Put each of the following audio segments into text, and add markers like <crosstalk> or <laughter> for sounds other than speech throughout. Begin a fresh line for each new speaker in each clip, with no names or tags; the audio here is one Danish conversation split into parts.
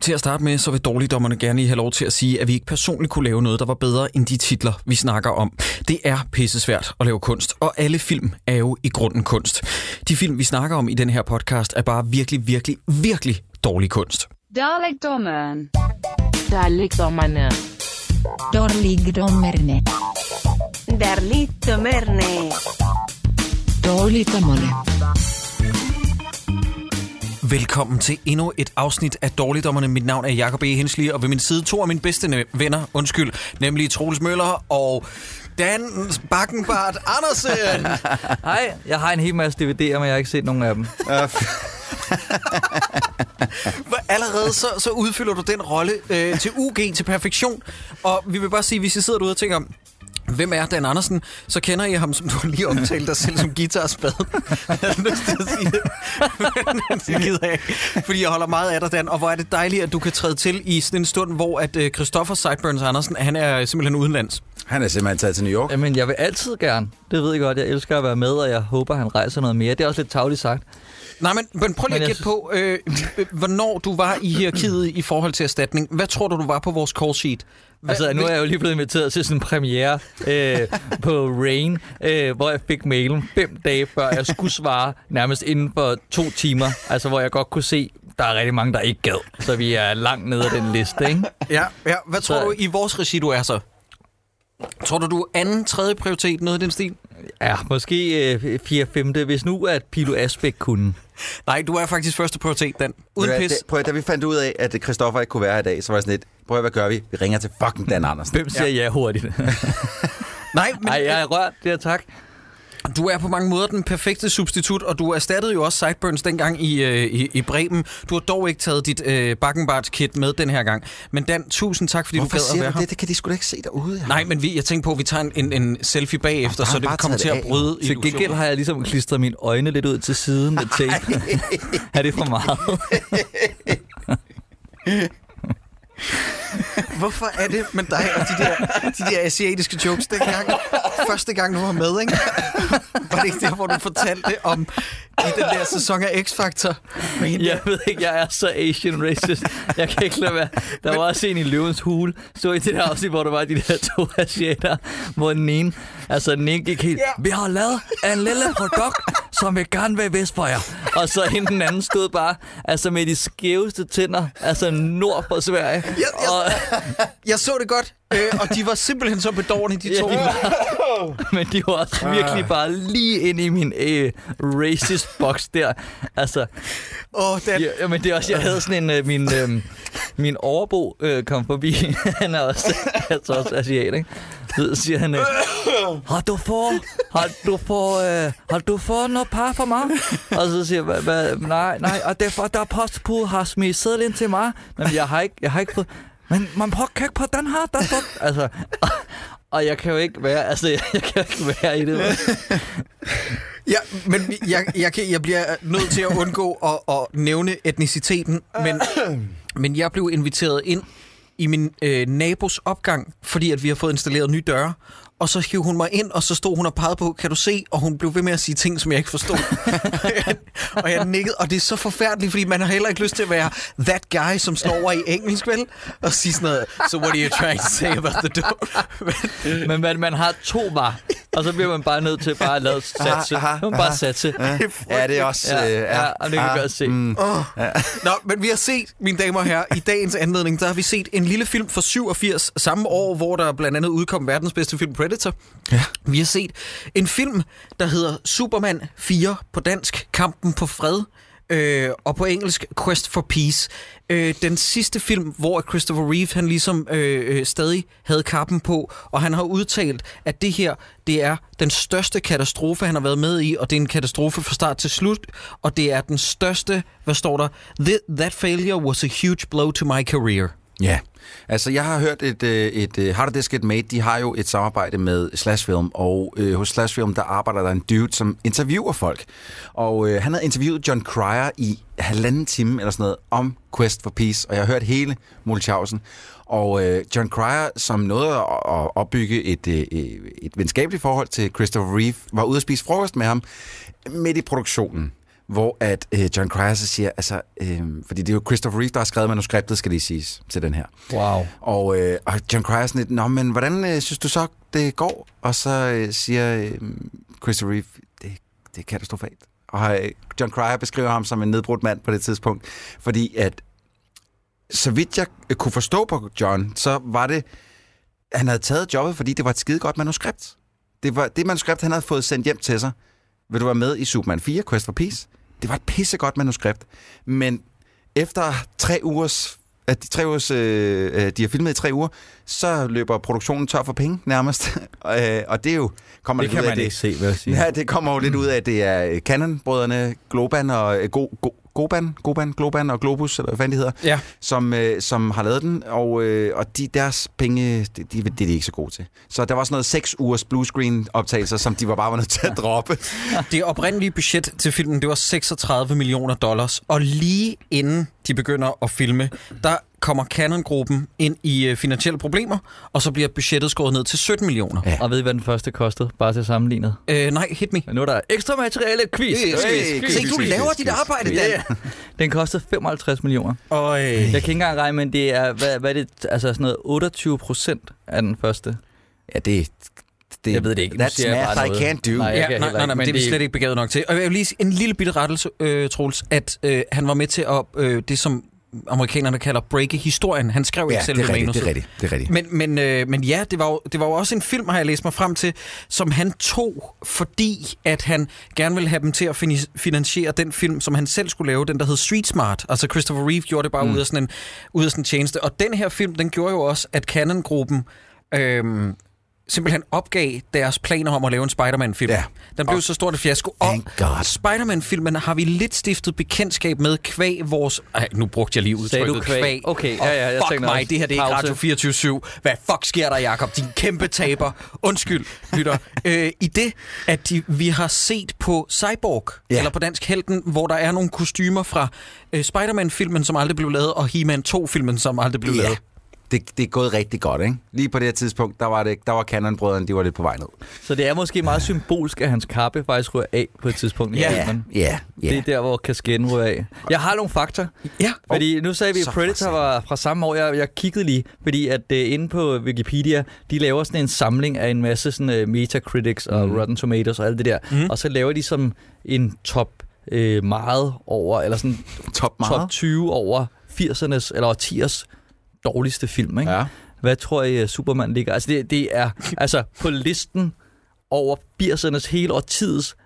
Til at starte med, så vil dårligdommerne gerne lige have lov til at sige, at vi ikke personligt kunne lave noget, der var bedre end de titler, vi snakker om. Det er pissesvært at lave kunst, og alle film er jo i grunden kunst. De film, vi snakker om i den her podcast, er bare virkelig, virkelig, virkelig dårlig kunst.
Dårligdommeren.
Dårligdommerne.
Dårligdommerne.
Darligdommerne.
Dårligdommerne.
Velkommen til endnu et afsnit af Dårligdommerne. Mit navn er Jakob E. Hensli, og ved min side to af mine bedste ne- venner, undskyld, nemlig Troels Møller og Dan Bakkenbart Andersen.
Hej, jeg har en hel masse DVD'er, men jeg har ikke set nogen af dem.
Hvor Allerede så, så udfylder du den rolle øh, til UG, til perfektion. Og vi vil bare sige, hvis I sidder derude og tænker, hvem er Dan Andersen, så kender I ham, som du lige omtalte dig selv som guitarspad. jeg havde lyst til at sige det. Men det gider jeg ikke, fordi jeg holder meget af dig, Dan. Og hvor er det dejligt, at du kan træde til i sådan en stund, hvor at øh, Christoffer Sideburns Andersen, han er simpelthen udenlands.
Han er simpelthen taget til New York.
Jamen, jeg vil altid gerne. Det ved jeg godt. Jeg elsker at være med, og jeg håber, han rejser noget mere. Det er også lidt tavligt sagt.
Nej, men, men prøv lige
Men
at
jeg
gætte på, øh, øh, hvornår du var i hierarkiet i forhold til erstatning. Hvad tror du, du var på vores call sheet? Hvad,
Altså, nu er jeg jo lige blevet inviteret til sådan en premiere øh, på Rain, øh, hvor jeg fik mailen fem dage før jeg skulle svare, nærmest inden for to timer. Altså, hvor jeg godt kunne se, der er rigtig mange, der ikke gad. Så vi er langt nede af den liste, ikke?
Ja, ja. Hvad tror
Så-
du i vores regi, du er så? Tror du, du er anden, tredje prioritet, noget i den stil?
Ja, måske øh, 4-5. Hvis nu, at Pilo Asbæk kunne.
Nej, du er faktisk første prioritet, Dan. Uden
Ved du hvad,
pis.
da- Prøv at, da vi fandt ud af, at Christoffer ikke kunne være her i dag, så var jeg sådan lidt, prøv at, hvad gør vi? Vi ringer til fucking Dan Andersen.
Hvem siger ja, ja hurtigt?
Nej, men
Nej, jeg er rørt. Det er tak.
du er på mange måder den perfekte substitut, og du erstattede jo også Sideburns dengang i, øh, i, i Bremen. Du har dog ikke taget dit øh, Bakkenbart-kit med den her gang. Men Dan, tusind tak, fordi
Hvorfor
du gad at
siger
være
du
her.
det? Det kan de sgu da ikke se derude. Ja.
Nej, men vi, jeg tænkte på, at vi tager en, en, en selfie bagefter,
Jamen,
så
bare-
det
bare
kommer
tag
til
det
at
af.
bryde
Til gengæld har jeg ligesom klistret mine øjne lidt ud til siden med tape. <laughs> er det for meget?
Hvorfor er det med dig og de der, de der asiatiske jokes dengang? Første gang, du var med, ikke? Var det ikke der, hvor du fortalte om i den der sæson af X-Factor?
jeg ved ikke, jeg er så Asian racist. Jeg kan ikke lade være. Der var også en i løvens hule. Så i det der afsnit, hvor der var de der to asiater, hvor den ene, altså den ene gik helt, vi har lavet en lille produkt, som vi gerne vil vise for jer. Og så hende den anden stod bare, altså med de skæveste tænder, altså nord for Sverige.
jeg-
Og,
Jeg så det godt, øh, og de var simpelthen så bedårende, de
Ja,
to.
de var- <laughs> men de var også virkelig bare lige ind i min øh, racist box der. Altså,
Åh, oh, Dan,
ja, ja, men det er også, jeg havde sådan en, øh, min, øh, min overbo øh, kom forbi, <laughs> han er også, altså også asiat, ikke? Så siger han, øh, har du for, har du for, øh, har du for noget par for mig? Og så siger jeg, "Hva- hva- nej, nej, og det er for, der er postbud har smidt sædel ind til mig, men jeg har ikke, jeg har ikke fået, men man prøver at kigge på den her, der står, altså, og, og jeg kan jo ikke være, altså, jeg, jeg kan ikke være i det. vel?
Ja, men vi- jeg, jeg, kan, jeg bliver øh, nødt til at undgå at, at nævne etniciteten, men, men jeg blev inviteret ind i min øh, nabos opgang, fordi at vi har fået installeret nye døre, og så hiv hun mig ind, og så stod hun og pegede på, kan du se? Og hun blev ved med at sige ting, som jeg ikke forstod. <laughs> og jeg nikkede, og det er så forfærdeligt, fordi man har heller ikke lyst til at være that guy, som slår over i engelsk, vel? Og sige sådan noget, so what are you trying to say about the door?
Men man, man har to var, og så bliver man bare nødt til bare at lade satse.
Aha, aha,
Man bare satse. <laughs>
Ja, det er også...
Ja,
øh,
ja, og det kan jeg godt se.
Nå, men vi har set, mine damer og herrer, i dagens anledning, der har vi set en lille film fra 87, samme år, hvor der blandt andet udkom verdens bedste film Predator. Ja. Vi har set en film, der hedder Superman 4 på dansk, Kampen på fred, øh, og på engelsk Quest for Peace. Øh, den sidste film, hvor Christopher Reeve, han ligesom øh, øh, stadig havde kappen på, og han har udtalt, at det her, det er den største katastrofe, han har været med i, og det er en katastrofe fra start til slut, og det er den største, hvad står der? That, that failure was a huge blow to my career.
Ja, altså jeg har hørt et, øh, et, et How Did This Get Made, de har jo et samarbejde med Slashfilm, og øh, hos Slashfilm, der arbejder der en dude, som interviewer folk. Og øh, han havde interviewet John Cryer i halvanden time eller sådan noget om Quest for Peace, og jeg har hørt hele Mulchausen. Og øh, John Cryer, som nåede at, at opbygge et, øh, øh, et venskabeligt forhold til Christopher Reeve, var ude at spise frokost med ham midt i produktionen hvor at øh, John Cryer så siger, altså, øh, fordi det er jo Christopher Reeve, der har skrevet manuskriptet, skal lige siges, til den her.
Wow.
Og, øh, og John Cryer er sådan lidt, Nå, men hvordan øh, synes du så, det går? Og så øh, siger øh, Christopher Reeve, det, det er katastrofalt. Og øh, John Cryer beskriver ham som en nedbrudt mand på det tidspunkt, fordi at, så vidt jeg øh, kunne forstå på John, så var det, han havde taget jobbet, fordi det var et skide godt manuskript. Det var det manuskript, han havde fået sendt hjem til sig. Vil du være med i Superman 4, Quest for Peace? Det var et pissegodt manuskript. Men efter tre ugers at de tre ugers, øh, øh, de har filmet i tre uger, så løber produktionen tør for penge nærmest. <laughs> og, øh, og det er jo... Kommer
Det
lidt
kan
ud af
man ikke se, vil jeg sige.
Ja, det kommer jo lidt ud af, at det er øh, Canon-brødrene, Globan og øh, Go, Go, Goban, Goban, Globan og Globus, eller hvad fanden de hedder,
Ja.
som, øh, som har lavet den, og, øh, og de, deres penge, det, de, det er de ikke så gode til. Så der var sådan noget seks ugers bluescreen-optagelser, som de var bare var nødt til at droppe.
Det oprindelige budget til filmen, det var 36 millioner dollars. Og lige inden de begynder at filme, der kommer Canon-gruppen ind i øh, finansielle problemer, og så bliver budgettet skåret ned til 17 millioner.
Ja.
Og ved I, hvad den første kostede? Bare til sammenlignet.
Øh, nej, hit me.
Men nu er der ekstra materiale quiz.
Hey,
Quiz, quiz,
Se, du
quiz,
laver
quiz,
dit
quiz.
arbejde, Dan.
Ja. Den kostede 55 millioner.
Og, øh,
Jeg kan ikke engang regne, men det er, hvad, hvad er det, altså sådan noget 28 procent af den første.
Ja, det, det
Jeg ved det ikke. Nu
That's
siger jeg
math
bare
I
noget.
can't do.
Nej, jeg
Ja,
kan
nej, nej,
heller
nej,
ikke,
men,
men
det er vi
det-
slet ikke begavet nok til. Og jeg vil lige sige en lille bitte rettelse, øh, Troels, at øh, han var med til at øh, det, som amerikanerne kalder breake historien. Han skrev
Ja,
ikke selv
det er rigtigt,
manuset.
det er rigtigt, det er rigtigt.
Men, men, øh, men ja, det var, jo, det var jo også en film, har jeg læst mig frem til, som han tog, fordi at han gerne ville have dem til at fini- finansiere den film, som han selv skulle lave, den der hed Street Smart. Altså Christopher Reeve gjorde det bare mm. ud, af sådan en, ud af sådan en tjeneste. Og den her film, den gjorde jo også, at Canon-gruppen øh, simpelthen opgav deres planer om at lave en Spider-Man-film.
Ja.
Den blev så stort et fiasko. Og
Thank God.
Spider-Man-filmen har vi lidt stiftet bekendtskab med kvæg vores... Ej, nu brugte jeg lige
Sagde
udtrykket
du kvæg? Okay, ja, ja, jeg
og fuck
tænker
mig,
også.
det her det er ikke
Pause.
Radio 24-7. Hvad fuck sker der, Jakob? Din kæmpe taber. Undskyld, lytter. Øh, I det, at de, vi har set på Cyborg,
Ja.
ja. eller på Dansk Helten, hvor der er nogle kostymer fra øh, Spider-Man-filmen, som aldrig blev lavet, og He-Man 2-filmen, som aldrig blev ja.
Ja.
lavet.
Det, det er gået rigtig godt, ikke? Lige på det her tidspunkt, der var, det, der var Canon-brødrene, de var lidt på vej ned.
Så det er måske meget symbolsk, at hans kappe faktisk ryger af på et tidspunkt. i
Ja.
filmen.
ja,
Det er der, hvor kasketten ryger af. Jeg har nogle fakta.
Ja.
Fordi nu sagde vi, at
så for
Predator
satan.
var fra samme år. Jeg, jeg kiggede lige, fordi at uh, inde på Wikipedia, de laver sådan en samling af en masse sådan, uh, Metacritics og
Mhm.
mm. Rotten Tomatoes og alt det der. Mm. Og så laver de som en top uh, meget over, eller sådan
Top meget.
top 20 over 80'ernes eller 10'ers dårligste film. Ikke?
Ja.
Hvad tror I, øh, Superman ligger? Altså, det, det
<laughs>
er altså på listen over 80'ernes hele årtiets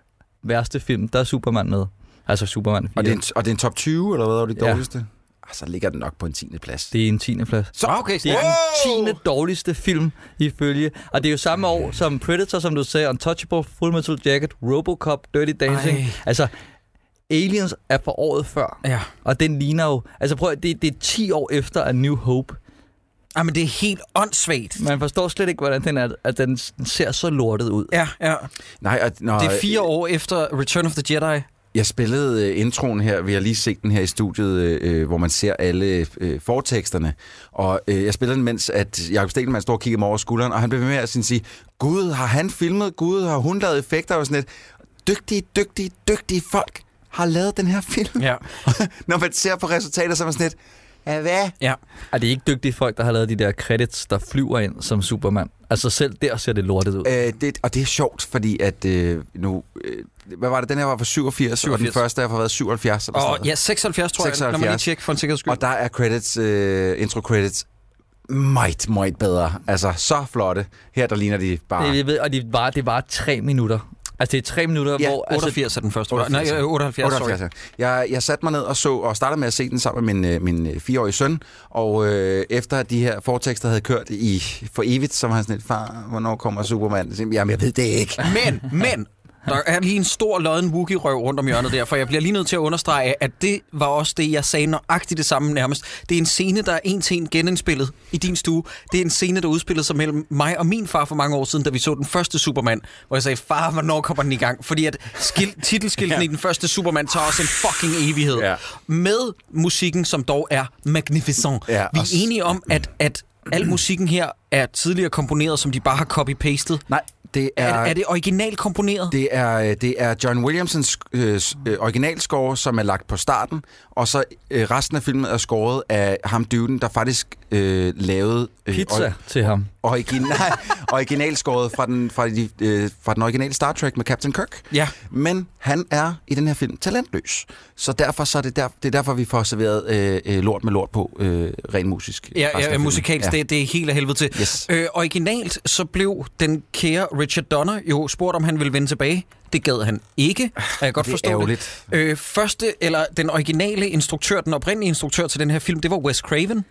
værste film, der er Superman med. Altså Superman 4.
Og, det er en, og det er en top 20, eller hvad var det
Ja.
dårligste? Ja. Så ligger den nok på en tiende plads.
det er en 10. plads.
Så okay,
Det er den 10. dårligste film ifølge. Og det er jo samme år som Predator, som du sagde, Untouchable, Full Metal Jacket, Robocop, Dirty Dancing.
Ej.
Ej. Altså, Aliens er fra året før.
Ja.
Og den ligner jo... Altså prøv at- det, det er 10 år efter A New Hope.
Ej, Ah, men det er helt åndssvagt.
Man forstår slet ikke, hvordan den, er, at den den ser så lortet ud.
Ja, ja.
Nej, og, når,
Det er fire år efter Return of the Jedi.
Jeg spillede øh, introen her, vi har lige set den her i studiet, øh, øh, hvor man ser alle øh, forteksterne. Og øh, jeg spillede den, mens at Jacob Stelman står og kigger mig over skulderen, og han blev ved med at sådan sige, Gud, har han filmet? Gud, har hun lavet effekter? Og sådan lidt. Dygtige, dygtige, dygtige folk har lavet den her film. <laughs>
Ja.
Når man ser på resultater, så er man sådan lidt, ja, hvad?
Ja.
Er det ikke dygtige folk, der har lavet de der credits, der flyver ind som Superman? Altså selv der ser det lortet ud.
Øh, det, og det er sjovt, fordi at øh, nu... Øh, hvad var det? Den her var fra 87, 87. og den
87.
første har været 77. Eller sådan
Og
noget.
ja, 76, tror 76. jeg. Lad mig lige
76.
tjekke for en sikkerheds skyld.
Og der er credits, øh, intro credits, meget, meget bedre. Altså, så flotte. Her, der ligner de bare...
Det, jeg ved, og det var, det var tre minutter. Altså det er tre minutter,
Ja,
hvor... Altså,
88 er den første.
88.
Nej, øh, 78,
78,
78.
ja. jeg, jeg satte mig ned og så og startede med at se den sammen med min, øh, min øh, fireårige søn. Og øh, efter at de her fortekster havde kørt i for evigt, så var han sådan lidt, far, hvornår kommer Superman? Så siger jeg, Jamen, jeg ved det
<laughs>
ikke.
sorry. Men, men, der er lige en stor lodden Wookie-røv rundt om hjørnet der, for jeg bliver lige nødt til at understrege, at det var også det, jeg sagde nøjagtigt det samme nærmest. Det er en scene, der er en til en genindspillet i din stue. Det er en scene, der udspillede sig mellem mig og min far for mange år siden, da vi så den første Superman, hvor jeg sagde, far, hvornår kommer den i gang? Fordi at skil- titelskilten ja. i den første Superman tager også en fucking evighed.
Ja.
Med musikken, som dog er magnificent.
Ja,
vi
og s-
er enige om, at, at al musikken her er tidligere komponeret, som de bare har copy-pastet.
Nej, Det
Er,
er,
er det originalt komponeret?
det er, øh, det er John Williamsons øh, s- øh, originalscore, som er lagt på starten, og så øh, resten af filmen er scoret af ham dyden, der faktisk øh, lavede øh,
Pizza øh, til ham.
or- <laughs> original, originalscoret fra den, fra, de, øh, fra den originale Star Trek med Captain Kirk.
Ja.
Men han er i den her film talentløs. Så derfor så er det, der, det er derfor, vi får serveret øh, øh, lort med lort på, øh, rent musisk.
Ja,
resten af
ja, ja
filmen.
musikalsk, ja. Det, det er helt af helvede til.
Yes.
Øh, originalt så blev den kære Richard Donner jo spurgt, om han ville vende tilbage. Det gad han ikke, og jeg kan godt
Det er
forstå
ærgerligt.
det. Øh, første, eller den originale instruktør, den oprindelige instruktør til den her film, det var Wes Craven.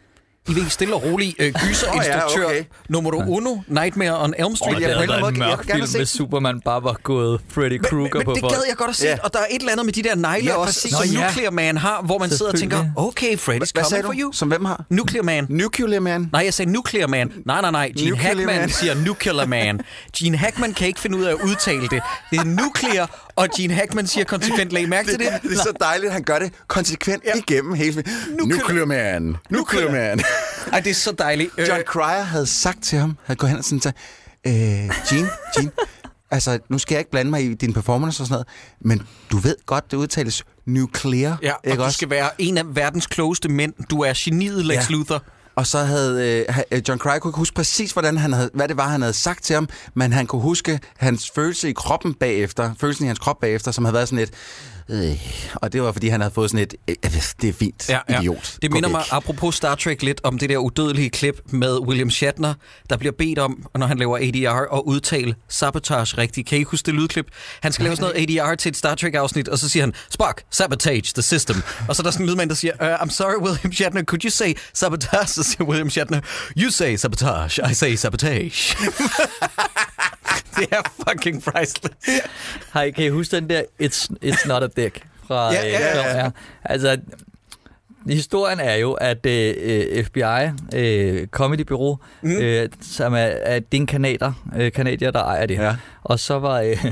I ved, stille og rolig øh, gyser-instruktør.
okay.
nummer uno, Nightmare on Elm Street.
Og
Og
jeg
det
på en
havde
eller
været
anden
en
måde- jeg
mørk
vil gerne
film,
se
hvis
den.
Superman bare var gået Freddy
men,
Krueger på
men det
folk.
gad jeg godt at se,
Ja.
og der er et eller andet med de der negle
Ja,
ja, også,
præcis.
som
Nå, ja.
Nuclear Man har, hvor man sidder og tænker,
Selvfølgelig.
okay, Freddy's
Hvad
coming
sagde
for
du?
you.
Som hvem har?
Nuclear Man.
Nuclear Man.
Nej, jeg sagde Nuclear Man. Nej, nej, nej. Gene
Nuclear
Hackman
Man.
siger Nuclear Man. Gene Hackman kan ikke finde ud af at udtale det. Det er Nuclear, og Gene Hackman siger konsekvent, lag mærke til det.
det
<laughs>
er så dejligt, at han gør det konsekvent ja. igennem hele filmen. Nuclear Man. Nuclear Man.
Ej, det er så dejligt. Øh,
John Cryer havde sagt til ham, havde gået hen og sådan sagt, øh, Gene, Gene, altså nu skal jeg ikke blande mig i din performance og sådan noget, men du ved godt, det udtales nuclear,
ja, og
Øh, ikke
du
også?
skal være en af verdens klogeste mænd. Du er geniet Lex
Ja.
Luthor.
Og så havde øh, ha- øh, John Cryer kunne ikke huske præcis, hvordan han havde, hvad det var, han havde sagt til ham, men han kunne huske hans følelse i kroppen bagefter, følelsen i hans krop bagefter, som havde været sådan et, øh, og det var, fordi han havde fået sådan et, øh, det er fint, idiot.
Det
Gå
minder mig,
væk."
apropos Star Trek, lidt om det der udødelige klip med William Shatner, der bliver bedt om, når han laver ADR, at udtale sabotage rigtigt. Kan I huske det lydklip? Han skal lave sådan noget ADR til et Star Trek-afsnit, og så siger han, Spock, sabotage the system. Og så er der sådan en lydmand, der siger, uh, I'm sorry, William Shatner, could you say sabotage? Så siger William Shatner, you say sabotage, I say sabotage. <laughs> det er fucking priceless.
Hej, kan I huske den der It's, it's not a dick fra... øh,
Ja, ja, ja,
ja. Altså, historien er jo, at øh, øh, FBI, øh, Comedy Bureau, mm. øh, som er, er det er en kanader, øh, kanadier, der ejer det.
Ja.
Og så var øh,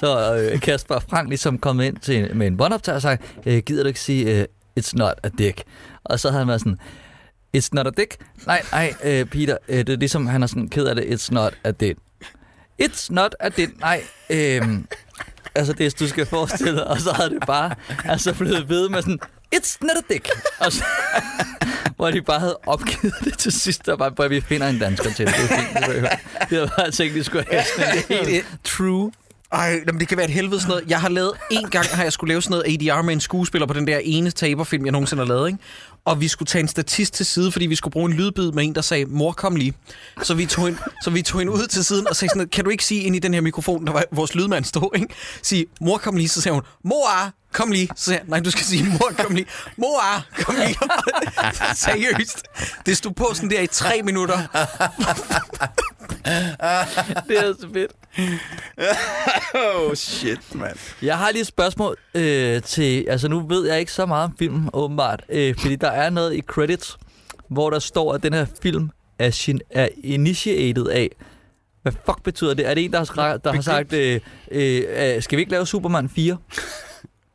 så, øh, Kasper Frank ligesom kommet ind til en, med en båndoptager og sagde, øh, gider du ikke sige, øh, it's not a dick? Og så havde han været sådan, it's not a dick? Nej, nej, øh, Peter, øh, det er ligesom, han er sådan ked af det, it's not a dick. It's not a dick, nej, øh, Altså det, du skal forestille dig, og så havde det bare altså blevet ved med sådan, it's not a dick. Og så, hvor de bare havde opgivet det til sidst, der bare, "Prøv, vi finder en dansker til det. Det er fint, det behøver. Det altså havde bare tænkt, de skulle have sådan en helt true.
Ej, jamen, det kan være et helvede sådan noget. Jeg har lavet, en gang har jeg skulle lave sådan noget ADR med en skuespiller på den der ene taberfilm, jeg nogensinde har lavet, ikke? Og vi skulle tage en statist til side, fordi vi skulle bruge en lydbid med en, der sagde, mor, kom lige. Så vi tog en, så vi tog en ud til siden og sagde sådan noget, kan du ikke sige ind i den her mikrofon, der var vores lydmand stod, ikke? Sige, mor, kom lige. Så sagde hun, mor, kom lige. Så sagde jeg, nej, du skal sige, mor, kom lige. Mor, kom lige. <laughs> Seriøst. Det stod på sådan der i tre minutter.
Det er så fedt.
Oh shit, man.
Jeg har lige et spørgsmål øh, til, altså nu ved jeg ikke så meget om filmen åbenbart, øh, fordi der er noget i credits, hvor der står, at den her film er, sin, er initiated af, hvad fuck betyder det? Er det en, der har, skra- der har sagt, øh, øh, øh, skal vi ikke lave Superman 4?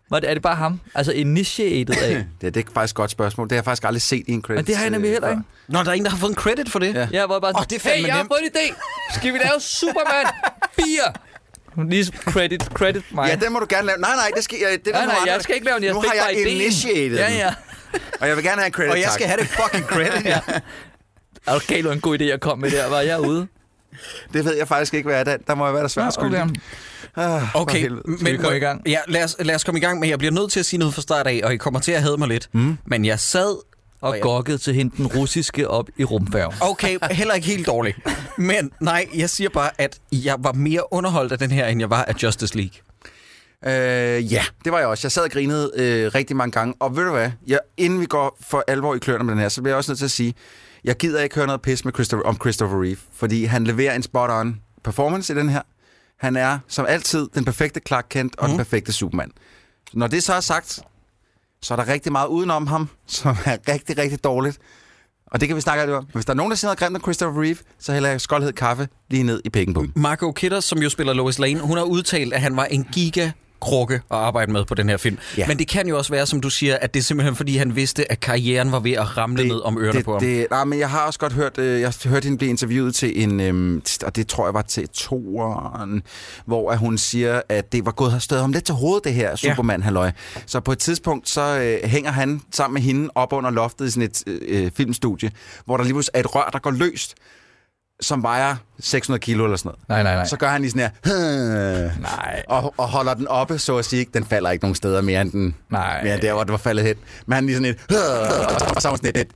Var det, er det bare ham? Altså initiated af.
Det, er- det er faktisk et godt spørgsmål. Det har jeg faktisk aldrig set i en credit.
Men det har jeg nemlig heller ikke.
Nå, der er en, der har fået en credit for det.
Ja.
Ja, hvor jeg bare
Åh, det er fandme
hey, jeg har
nemt."
fået en idé. Skal vi lave Superman 4? Lige credit, credit mig.
Ja, den må du gerne lave. Nej, nej, det skal, jeg, det er
nej,
der
nej,
nogle
jeg
andre.
skal ikke lave den. Jeg
nu
fik
har jeg
bare ideen.
initiated
Ja,
den.
ja.
Og jeg vil gerne have en credit,
Og jeg
tak.
skal have det fucking
<laughs>
credit, ja.
Er du gal, det var en god idé at komme med der? Var jeg ude?
Det ved jeg faktisk ikke, hvad er. Der, der må jeg være der svært skyld.
okay.
Ah, for
Okay,
helvede.
Skal vi komme i gang?
Ja, lad os, lad os komme i gang, men jeg bliver nødt til at sige noget fra start af, og I kommer til at hade mig lidt. Mm. Men jeg sad...
Og gokket til hende den russiske op i rumfærgen.
Okay, heller ikke helt dårlig. Men nej, jeg siger bare, at jeg var mere underholdt af den her, end jeg var af Justice League.
Øh, ja, det var jeg også. Jeg sad og grinede øh, rigtig mange gange. Og ved du hvad? Jeg, inden vi går for alvor i kløerne med den her, så bliver jeg også nødt til at sige, jeg gider ikke høre noget pis med Christopher, om Christopher Reeve, fordi han leverer en spot-on performance i den her. Han er som altid den perfekte Clark Kent og mm. den perfekte Superman. Når det så er sagt, så er der rigtig meget udenom ham, som er rigtig, rigtig dårligt. Og det kan vi snakke lidt om. Hvis der er nogen, der siger noget grimt om Christopher Reeve, så hælder jeg skoldhed kaffe lige ned i pikken på dem.
Margot Kidder, som jo spiller Lois Lane, hun har udtalt, at han var en giga krukke at arbejde med på den her film.
Ja.
Ja. Men det kan jo også være, som du siger, at det er simpelthen fordi, han vidste, at karrieren var ved at ramle det, ned om ørerne
det,
på ham.
Det, nej, men jeg har også godt hørt, øh, jeg hørte hende blive interviewet til en, øhm, t- og det tror jeg var til toeren, hvor at hun siger, at det var gået afsted om lidt til hovedet, det her superman halløj Så på et tidspunkt, så øh, hænger han sammen med hende op under loftet i sådan et øh, øh, filmstudie, hvor der lige pludselig er et rør, der går løst, som vejer 600 kilo eller sådan noget.
Nej, nej, nej.
Så gør han lige sådan her, "Hm."
Nej.
og, og holder den oppe, så at sige. ikke. Den falder ikke nogen steder mere end den.
Nej.
Mere end der, hvor den var faldet hen. Men han lige sådan et, "Hm." og så var sådan et, et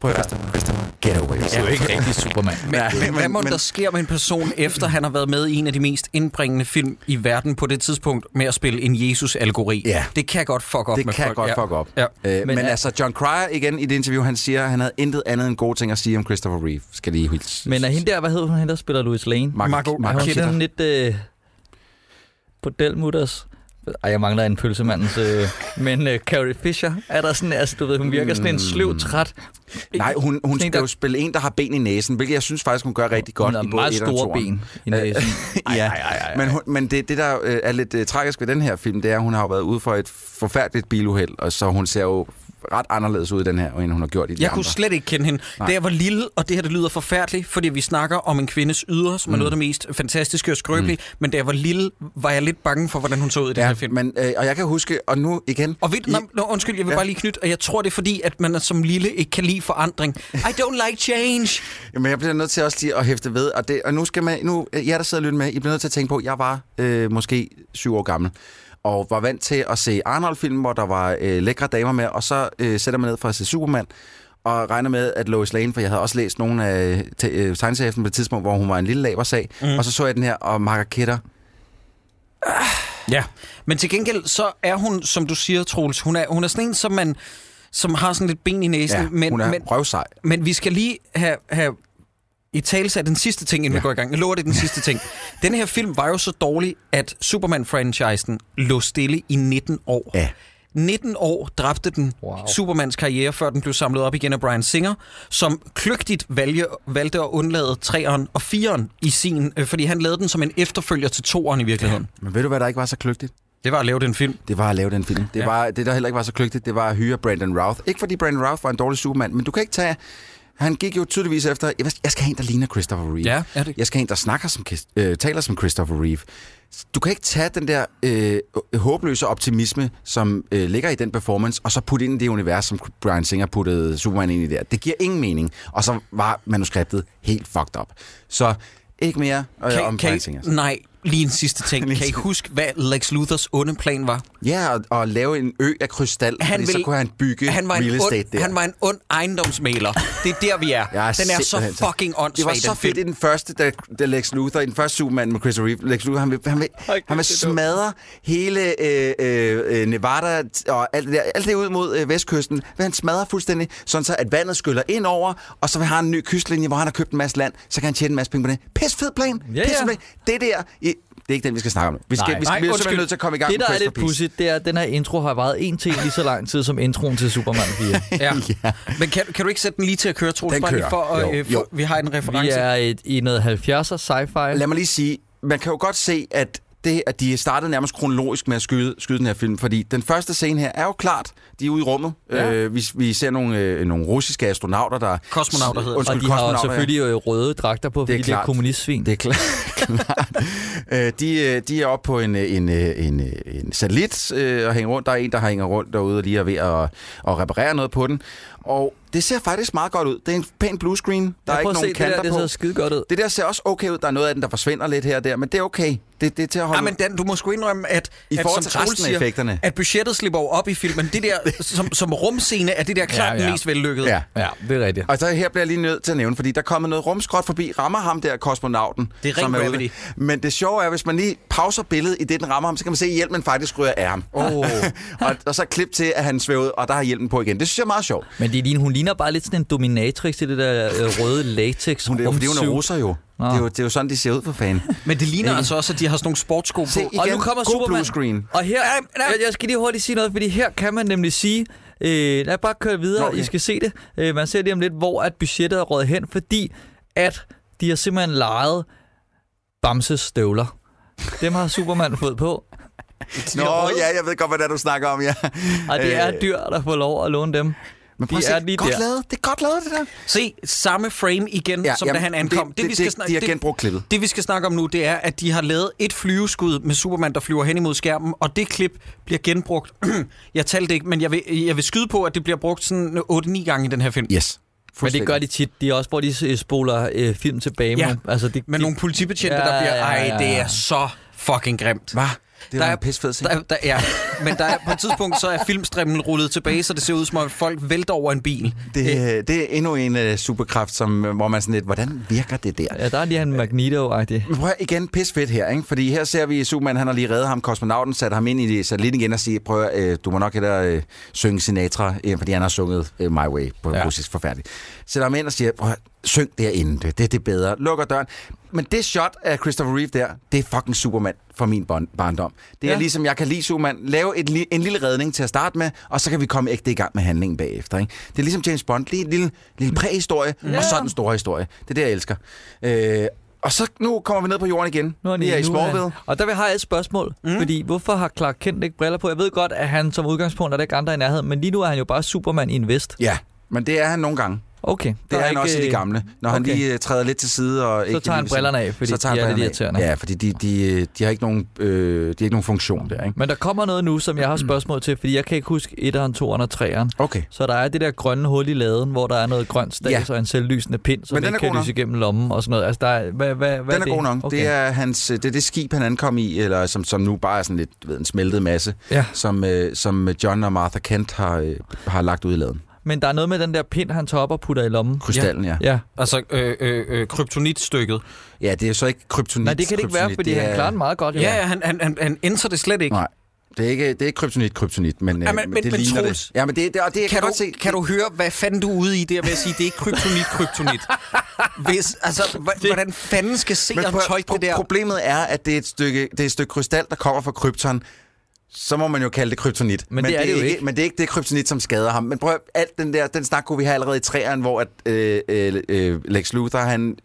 prøv at høre, Christopher, get away.
Det er jo ikke rigtig Superman.
Men,
Ja,
ja, men, hvad må der sker med en person, efter han har været med i en af de mest indbringende film i verden på det tidspunkt, med at spille en Jesus-allegori?
Ja.
Det kan godt fuck op
det
med
kan
folk.
godt
ja.
fuck op.
Ja.
Øh, men
Men er-
altså, John Cryer igen i det interview, han siger, at han havde intet andet end gode ting at sige om Christopher Reeve. Skal lige hilse.
Men er hende der, hvad hedder hun, hende der spiller Louis Lane?
Mark-
Margot-
Er
Mark-
hun
Kidder.
sådan lidt øh, bordelmutters? Ej, jeg mangler en pølsemandens... Øh, men øh, Carrie Fisher, er der sådan... Altså, du ved, hun virker sådan en
Hmm.
sløv, træt...
Nej, hun, hun
Sådan en,
skal
der-
jo spille en, der har ben i næsen, hvilket jeg synes faktisk, hun gør rigtig godt
hun har
i både
meget
et og
store
toeren.
ben i næsen.
<laughs> ja. Ej, ej, ej, Men, hun, men det, det, der øh, er lidt øh, tragisk ved den her film, det er, at hun har jo været ude for et forfærdeligt biluheld, og så hun ser jo ret anderledes ud i den her, end hun har gjort i de
Jeg
andre.
kunne slet ikke kende hende. Nej. Da jeg var lille, og det her det lyder forfærdeligt, fordi vi snakker om en kvindes yder, som mm. er noget af det mest fantastiske og skrøbelige, mm. men da jeg var lille, var jeg lidt bange for, hvordan hun så ud i den her
ja,
film.
men, øh, og jeg kan huske, og nu igen...
Og ved,
I-
I... nå, undskyld, jeg vil
Ja.
ja. bare lige knytte, og jeg tror, det er fordi, at man er som lille ikke kan lide
<laughs>
forandring. I don't like change.
Jamen, jeg bliver nødt til også lige at hæfte ved, og, det, og nu skal man, nu, jeg der sidder og lytter med, I bliver nødt til at tænke på, jeg var øh, måske syv år gammel, og var vant til at se Arnold-film, hvor der var øh, lækre damer med, og så øh, sætter man ned for at se Superman, og regner med, at Lois Lane, for jeg havde også læst nogle af te- øh, tegneserierne på et tidspunkt, hvor hun var en lille laversag, mm.
Mhm.
og så så jeg den her, og Margaret Kidder,
Ja, men til gengæld, så er hun, som du siger, Troels, hun er, hun er sådan en, som, man, som har sådan lidt ben i næsen,
ja,
ja, men,
hun er
men,
røvsej.
men vi skal lige have, have i tale sat den sidste ting, inden ja. vi går i gang. Jeg lover, det er den sidste ting. Den her film var jo så dårlig, at Superman-franchisen lå stille i 19 år.
Ja.
19 år dræbte den
Wow.
wow. Supermans karriere, før den blev samlet op igen af Brian Singer, som kløgtigt valgte, valgte at undlade 3'eren og 4'eren i sin, øh, fordi han lavede den som en efterfølger til 2'eren i virkeligheden. Ja.
Men ved du, hvad der ikke var så kløgtigt?
Det var at lave den film.
Det var at lave den film. Det, ja.
Ja.
var, det der heller ikke var så kløgtigt, det var at hyre Brandon Routh. Ikke fordi Brandon Routh var en dårlig supermand, men du kan ikke tage... Han gik jo tydeligvis efter, jeg, jeg skal have en, der ligner Christopher Reeve.
Ja, ja, det-
Jeg skal have en, der snakker som, Chris- øh, taler som Christopher Reeve. Du kan ikke tage den der øh, håbløse optimisme, som øh, ligger i den performance, og så putte ind i det univers, som Brian Singer puttede Superman ind i der. Det giver ingen mening. Og så var manuskriptet helt fucked up. Så ikke mere øh,
Kan,
om
kan,
Brian
I-
Singer.
nej, lige en sidste ting.
<laughs> Lige
kan I
en-
huske, hvad Lex Luthers onde plan var?
Ja, og, og lave en ø af krystal, han
Han
fordi så
ville-
kunne han bygge
Han var,
real
en
estate
ond,
der.
han var en ond ejendomsmaler. Det er der, vi er.
Jeg
den er så
simpelthen
fucking
Det var
åndssvag,
så
den
fedt
film.
i den første, da, da Lex Luthor, i den første Superman med Chris Reeve, Lex Luthor, han vil, han vil,
Hold kæft,
han vil
det er dumt.
smadre hele øh, øh, øh, Nevada og alt det, der, alt det ud mod øh, vestkysten, vil han smadre fuldstændig, sådan så at vandet skyller ind over, og så vil han have en ny kystlinje, hvor han har købt en masse land, så kan han tjene en masse penge på det. Pis fed plan!
Ja,
Pis
ja.
plan. Det der, i, det er ikke den, vi skal snakke om nu. Vi, skal,
Nej.
vi, skal,
Nej,
vi er simpelthen
undskyld.
nødt til at komme i gang
Det, der
med
er lidt
Christopher Reeve.
pudsigt, det er, at den her intro har varet en til lige så lang tid som introen til Superman
<laughs>
<laughs>
4.
Ja.
Ja.
Men kan, kan du ikke sætte den lige til at køre, Troels?
Den
Bare lige
kører.
For, at,
Jo,
øh, for,
jo.
Vi har en
Vi
reference.
er et, i noget 70'er sci-fi.
Lad mig lige sige, man kan jo godt se, at det, at de startede nærmest kronologisk med at skyde, skyde den her film, fordi den første scene her er jo klart, de er ude i rummet. Ja.
Ja.
Øh, vi, vi ser nogle, øh, nogle russiske astronauter, der...
Kosmonauter hedder det.
Og
Undskyld,
de har jo
kosmonauter,
selvfølgelig ja. røde dragter på, fordi det er, det
klart.
er kommunistsvin.
Det
<laughs>
er klart. klart. <laughs> Øh, de, øh, de er oppe på en, øh, en, øh, en, øh, en satellit øh, og hænger rundt. Der er en, der hænger rundt derude og lige er ved at, at reparere noget på den. Og det ser faktisk meget godt ud. Det er en pæn bluescreen. Der er
jeg
ikke
prøver at
nogen
se det
kanter
der, det
på.
ser skide godt ud.
Det der ser også okay ud. Der er noget af den, der forsvinder lidt her og der, men det er okay. Det, det er til at holde
Ja, Ah, men Dan, du må sgu indrømme, at,
I
at
forhold
som
til
Troels
resten af
siger,
effekterne.
at budgettet slipper jo op i filmen. Det
<laughs>
der, som, som rumscene, er det der klart
ja.
den mest vellykkede.
Ja.
Ja, det er rigtigt.
Og så her bliver jeg lige nødt til at nævne, fordi der kommer noget rumskrot forbi, rammer ham der, kosmonauten.
Det er ren
som ude.
gravity.
Men det sjove er, hvis man lige pauser billedet i det, den rammer ham, så kan man se, at hjelmen faktisk ryger af ham. Oh. <laughs> og, og, så klip til, at han svævede, og der har hjelmen på igen. Det synes jeg er meget sjovt.
Men det, ligner- hun ligner bare lidt sådan en dominatrix i det der øh, røde latex
Hun, det er jo, fordi hun er
rumsuit.
russer jo. Det er jo, det er jo sådan, de ser ud for fanden.
Men det ligner altså også, at de har sådan nogle sportssko på.
Se,
Og-
Og
igen,
nu kommer
god
Superman.
bluescreen.
Og her, jeg, jeg skal lige hurtigt sige noget, fordi her kan man nemlig sige, øh, lad bare køre videre,
Okay.
okay. I skal se det. Øh, man ser lige om lidt, hvor at budgettet er røget hen, fordi at de har simpelthen lejet Bamses støvler. Dem har Superman fået på.
Nå,
røde.
ja, jeg ved godt, hvad det er, du snakker om, ja.
Og det er
Øh,
dyr, der får lov at låne dem.
men prøv
de
at se,
er lige
godt
der.
Lavet, det er godt lavet, det der.
Se, samme frame igen, ja, som jamen, da han ankom.
Det, det, det, det,
snak-
de har genbrugt klippet.
Det, vi skal snakke om nu, det er, at de har lavet et flyveskud med Superman, der flyver hen imod skærmen, og det klip bliver genbrugt. <clears throat> jeg talte ikke, men jeg vil, jeg vil skyde på, at det bliver brugt sådan 8-9 gange i den her film.
Yes.
Men det gør
Fuldstændig.
de tit. De er også, hvor de øh, spoler øh, film tilbage.
Ja,
med. altså, de,
Men
de,
nogle politibetjente,
Ja,
der bliver,
ja, ja,
ej,
ja.
det er så fucking grimt.
Hvad? Det
Der
var
er-
en pissefed scene.
Der, der, ja, men der er, på et tidspunkt, så er filmstrimlen rullet tilbage, så det ser ud som om, at folk vælter over en bil.
Det, øh, det er endnu en uh, superkraft, som, øh, hvor man sådan lidt, hvordan virker det der?
Ja, der er lige han Magneto-agtig.
Men prøv at høre, igen, pis fedt her, ikke? Fordi her ser vi, at Superman, han har lige reddet ham, kosmonauten, satte ham ind i satellitten igen og siger, prøv at, høre, øh, du må nok hellere øh, synge Sinatra, øh, fordi han har sunget øh, My Way på ja. russisk forfærdeligt. Sætter ham ind og siger, prøv at, høre, syng derinde, det, det, det er bedre. Lukker døren. Men det shot af Christopher Reeve der, det er fucking Superman fra min barn- barndom. Det er ja.
Ja.
ligesom, jeg kan lide Superman, lave et, li- en lille redning til at starte med, og så kan vi komme ægte i gang med handlingen bagefter. Ikke? Det er ligesom James Bond, lige en lille, lille præhistorie, ja. og så den store historie. Det er det, jeg elsker. Øh, og så nu kommer vi ned på jorden igen.
Nu er
vi er i
nu han-
Smallville.
Og der vil- har jeg et spørgsmål. Mm. Fordi hvorfor har Clark Kent ikke briller på? Jeg ved godt, at han som udgangspunkt er der ikke andre i nærheden, men lige nu er han jo bare Superman i en vest.
Ja, men det er han nogle gange.
Okay.
Det
der
er, han
ikke,
også i de
øh,
gamle. Når okay. han
okay.
lige øh, træder lidt til side og ikke
tager han
lige-
brillerne af, fordi
så tager han
de er lidt
brillerne
irriterende.
af. Ja, fordi de, de, øh, de har ikke nogen øh, de har ikke nogen funktion der, ikke?
Men der kommer noget nu, som jeg har
Mm.
spørgsmål til, fordi jeg kan ikke huske 1'eren, 2'eren og 3'eren.
Okay.
Så der er det der grønne hul i laden, hvor der er noget grønt stads
Ja.
ja. og en selvlysende pind, som
Men den
ikke
er
kan
god nok.
lyse igennem lommen og sådan noget. Altså, der er, hvad, hvad, hvad
Den er
det?
god nok. Okay. Det er hans øh, det, er det skib han ankom i eller som som nu bare er sådan lidt du ved, en smeltet masse,
Ja.
som øh, som John og Martha Kent har øh, har lagt ud i laden.
Men der er noget med den der pind, han tager op og putter i lommen.
Krystallen, ja. ja.
Ja.
Altså, øh, øh, øh, kryptonitstykket.
Ja, det er så ikke kryptonit.
Nej, det kan det ikke være,
kryptonit,
fordi
det
han
er-
klarer den meget godt. jo.
Ja, ja han, han, han, han ændrer det slet ikke.
Nej. Det er ikke det er ikke kryptonit, kryptonit, men, ja,
Ja,
men,
men-
men,
men-
det
men
ligner
Troels,
det. Ja, men det, det, og det jeg
kan,
kan
du,
godt se.
kan du høre, hvad fanden du er ude i der ved at sige, det er ikke kryptonit, kryptonit? Hvis, altså, hva- hvordan fanden skal se og
prøv-
tolke
pro-
det der?
Problemet er, at det er, et stykke, det er et stykke krystal, der kommer fra krypton. Så må man jo kalde det kryptonit.
Men det er det jo ikke.
Men det er ikke det kryptonit, som skader ham. Men prøv at- alt den der, den snak kunne vi have allerede i træerne, hvor at, øh, øh, øh, Lex Luthor, han,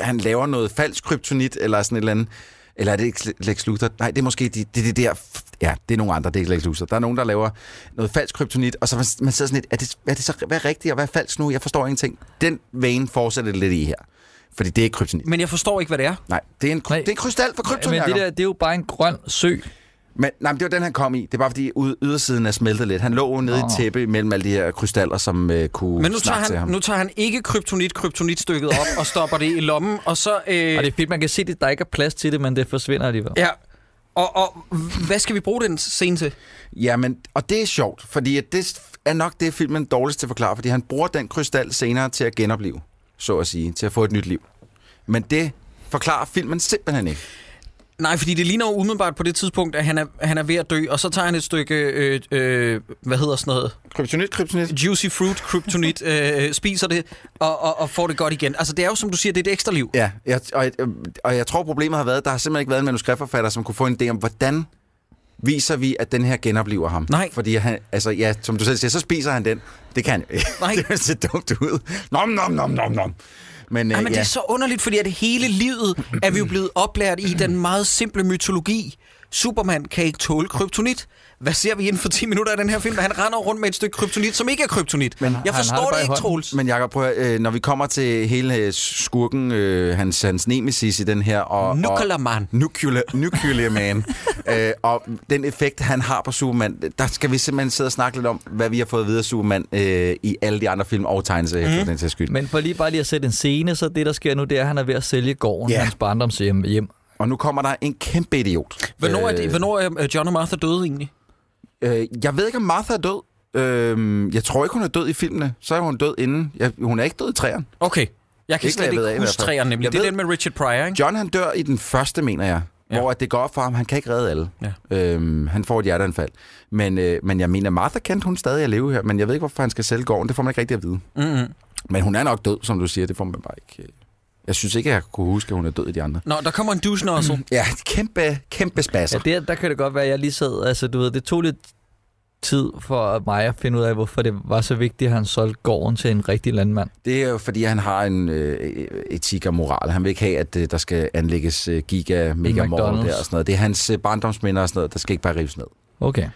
han laver noget falsk kryptonit, eller sådan et eller andet. Eller er det ikke Lex Luthor? Nej, det er måske de, det, det der... Ja, det er nogle andre, det er ikke Lex Luthor. Der er nogen, der laver noget falsk kryptonit, og så man, man sidder sådan lidt, er det, er det så, hvad er rigtigt, og hvad er falsk nu? Jeg forstår ingenting. Den vane fortsætter det lidt i her. Fordi det er ikke kryptonit.
Men jeg forstår ikke, hvad det er.
Nej, det er en,
Nej.
det er en krystal for krypton,
Men det,
der...
der, det er jo bare en grøn sø.
Men, nej, men det var den, han kom i. Det var, fordi ud, ydersiden er smeltet lidt. Han lå jo nede oh. i et tæppe mellem alle de her krystaller, som øh, kunne
Men nu tager,
snakke til
han,
ham.
nu tager han ikke kryptonit, kryptonitstykket op og stopper det i lommen, og så... Øh,
Og det er fedt, man kan se, at der ikke er plads til det, men det forsvinder alligevel.
Ja. Og, og hvad skal vi bruge den scene til?
Ja, men, og det er sjovt, fordi at det er nok det, filmen er dårligst til at forklare, fordi han bruger den krystal senere til at genopleve, så at sige, til at få et nyt liv. Men det forklarer filmen simpelthen ikke.
Nej, fordi det ligner jo umiddelbart på det tidspunkt, at han er, han er ved at dø, og så tager han et stykke, øh, øh, hvad hedder sådan noget,
Kryptonit, kryptonit.
juicy fruit kryptonit, øh, spiser det og, og, og får det godt igen. Altså det er jo, som du siger, det er et ekstra liv.
Ja, jeg, og, jeg- øhm, og jeg tror, problemet har været, at der har simpelthen ikke været en manuskriptforfatter, som kunne få en idé om, hvordan viser vi, at den her genoplever ham.
Nej.
Fordi han, altså, ja, som du selv siger, så spiser han den. Det kan han jo ikke. <laughs>
Nej.
det ser dumt ud. Nom, nom, nom, nom, nom. Men, øh,
Ej, men
ja.
det er så underligt, fordi at hele livet er vi jo blevet oplært i den meget simple mytologi. Superman kan ikke tåle kryptonit. Hvad ser vi inden for 10 minutter af den her film? Han render rundt med et stykke kryptonit, som ikke er kryptonit. Men jeg
har det
forstår
bare
det,
i
ikke,
hånden.
Troels.
Men Jacob, prøv at, høre, øh, når vi kommer til hele øh, skurken, øh, hans, hans nemesis i den her... Og,
Nuclear
og,
Man.
Nuclear, nuclear Man. øh, og den effekt, han har på Superman, der skal vi simpelthen sidde og snakke lidt om, hvad vi har fået videre af Superman øh, i alle de andre film og
Mhm.
tegneserier, mm. for den til skyld.
Men for lige bare lige at sætte en scene, så det, der sker nu, det er, at han er ved at sælge gården,
Ja.
yeah. hans barndomshjem. Hjem.
Og nu kommer der en kæmpe idiot.
Hvornår er, det, hvornår er øh, John og Martha døde egentlig?
Øh, jeg ved ikke, om Martha er død. Øh, jeg tror ikke, hun er død i filmene. Så er hun død inden. Jeg, hun er ikke død i træerne.
Okay. Jeg kan
Ikke,
ikke,
hvad jeg
slet
ved af i
ikke
hvert
huske
fald.
træerne,
Jeg
nemlig. Det er
ved-
den med Richard Pryor, ikke?
John han dør i den første, mener jeg. Ja.
Ja.
Hvor at det går op for ham, han kan ikke redde alle.
Ja.
Øhm, han får et hjerteanfald. Men, øh, men jeg mener, Martha kendte hun stadig at leve her, men jeg ved ikke, hvorfor han skal sælge gården. Det får man ikke rigtig at vide.
Mm-hmm.
Men hun er nok død, som du siger. Det får man bare ikke. øh. Jeg synes ikke, jeg kunne huske, at hun er død i de andre.
Nå, der kommer en douche
Ja, kæmpe, kæmpe spasser.
Ja, der, der kan det godt være, at jeg lige sad, altså du ved, det tog lidt tid for mig at finde ud af, hvorfor det var så vigtigt, at han solgte gården til en rigtig landmand.
Det er jo fordi, han har en øh, etik og moral. Han vil ikke have, at øh, der skal anlægges øh, giga mega der og
McDonald's.
sådan noget. Det er hans øh, barndomsminder og sådan noget, der skal ikke bare rives ned.
Okay.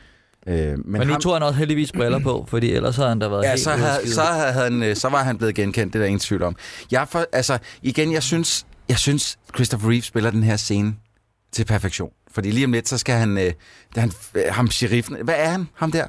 Øh,
Men, Men nu
ham-
tog han også heldigvis briller på, fordi ellers havde han da været
Ja,
helt
så,
ude at
havde,
skide.
så, havde han, øh, så var han blevet genkendt, det er der ingen tvivl om. Jeg for, altså, igen, jeg synes, jeg synes, Christopher Reeve spiller den her scene til perfektion. Fordi lige om lidt, så skal han, øh, da han øh, ham sheriffen, hvad er han, ham der?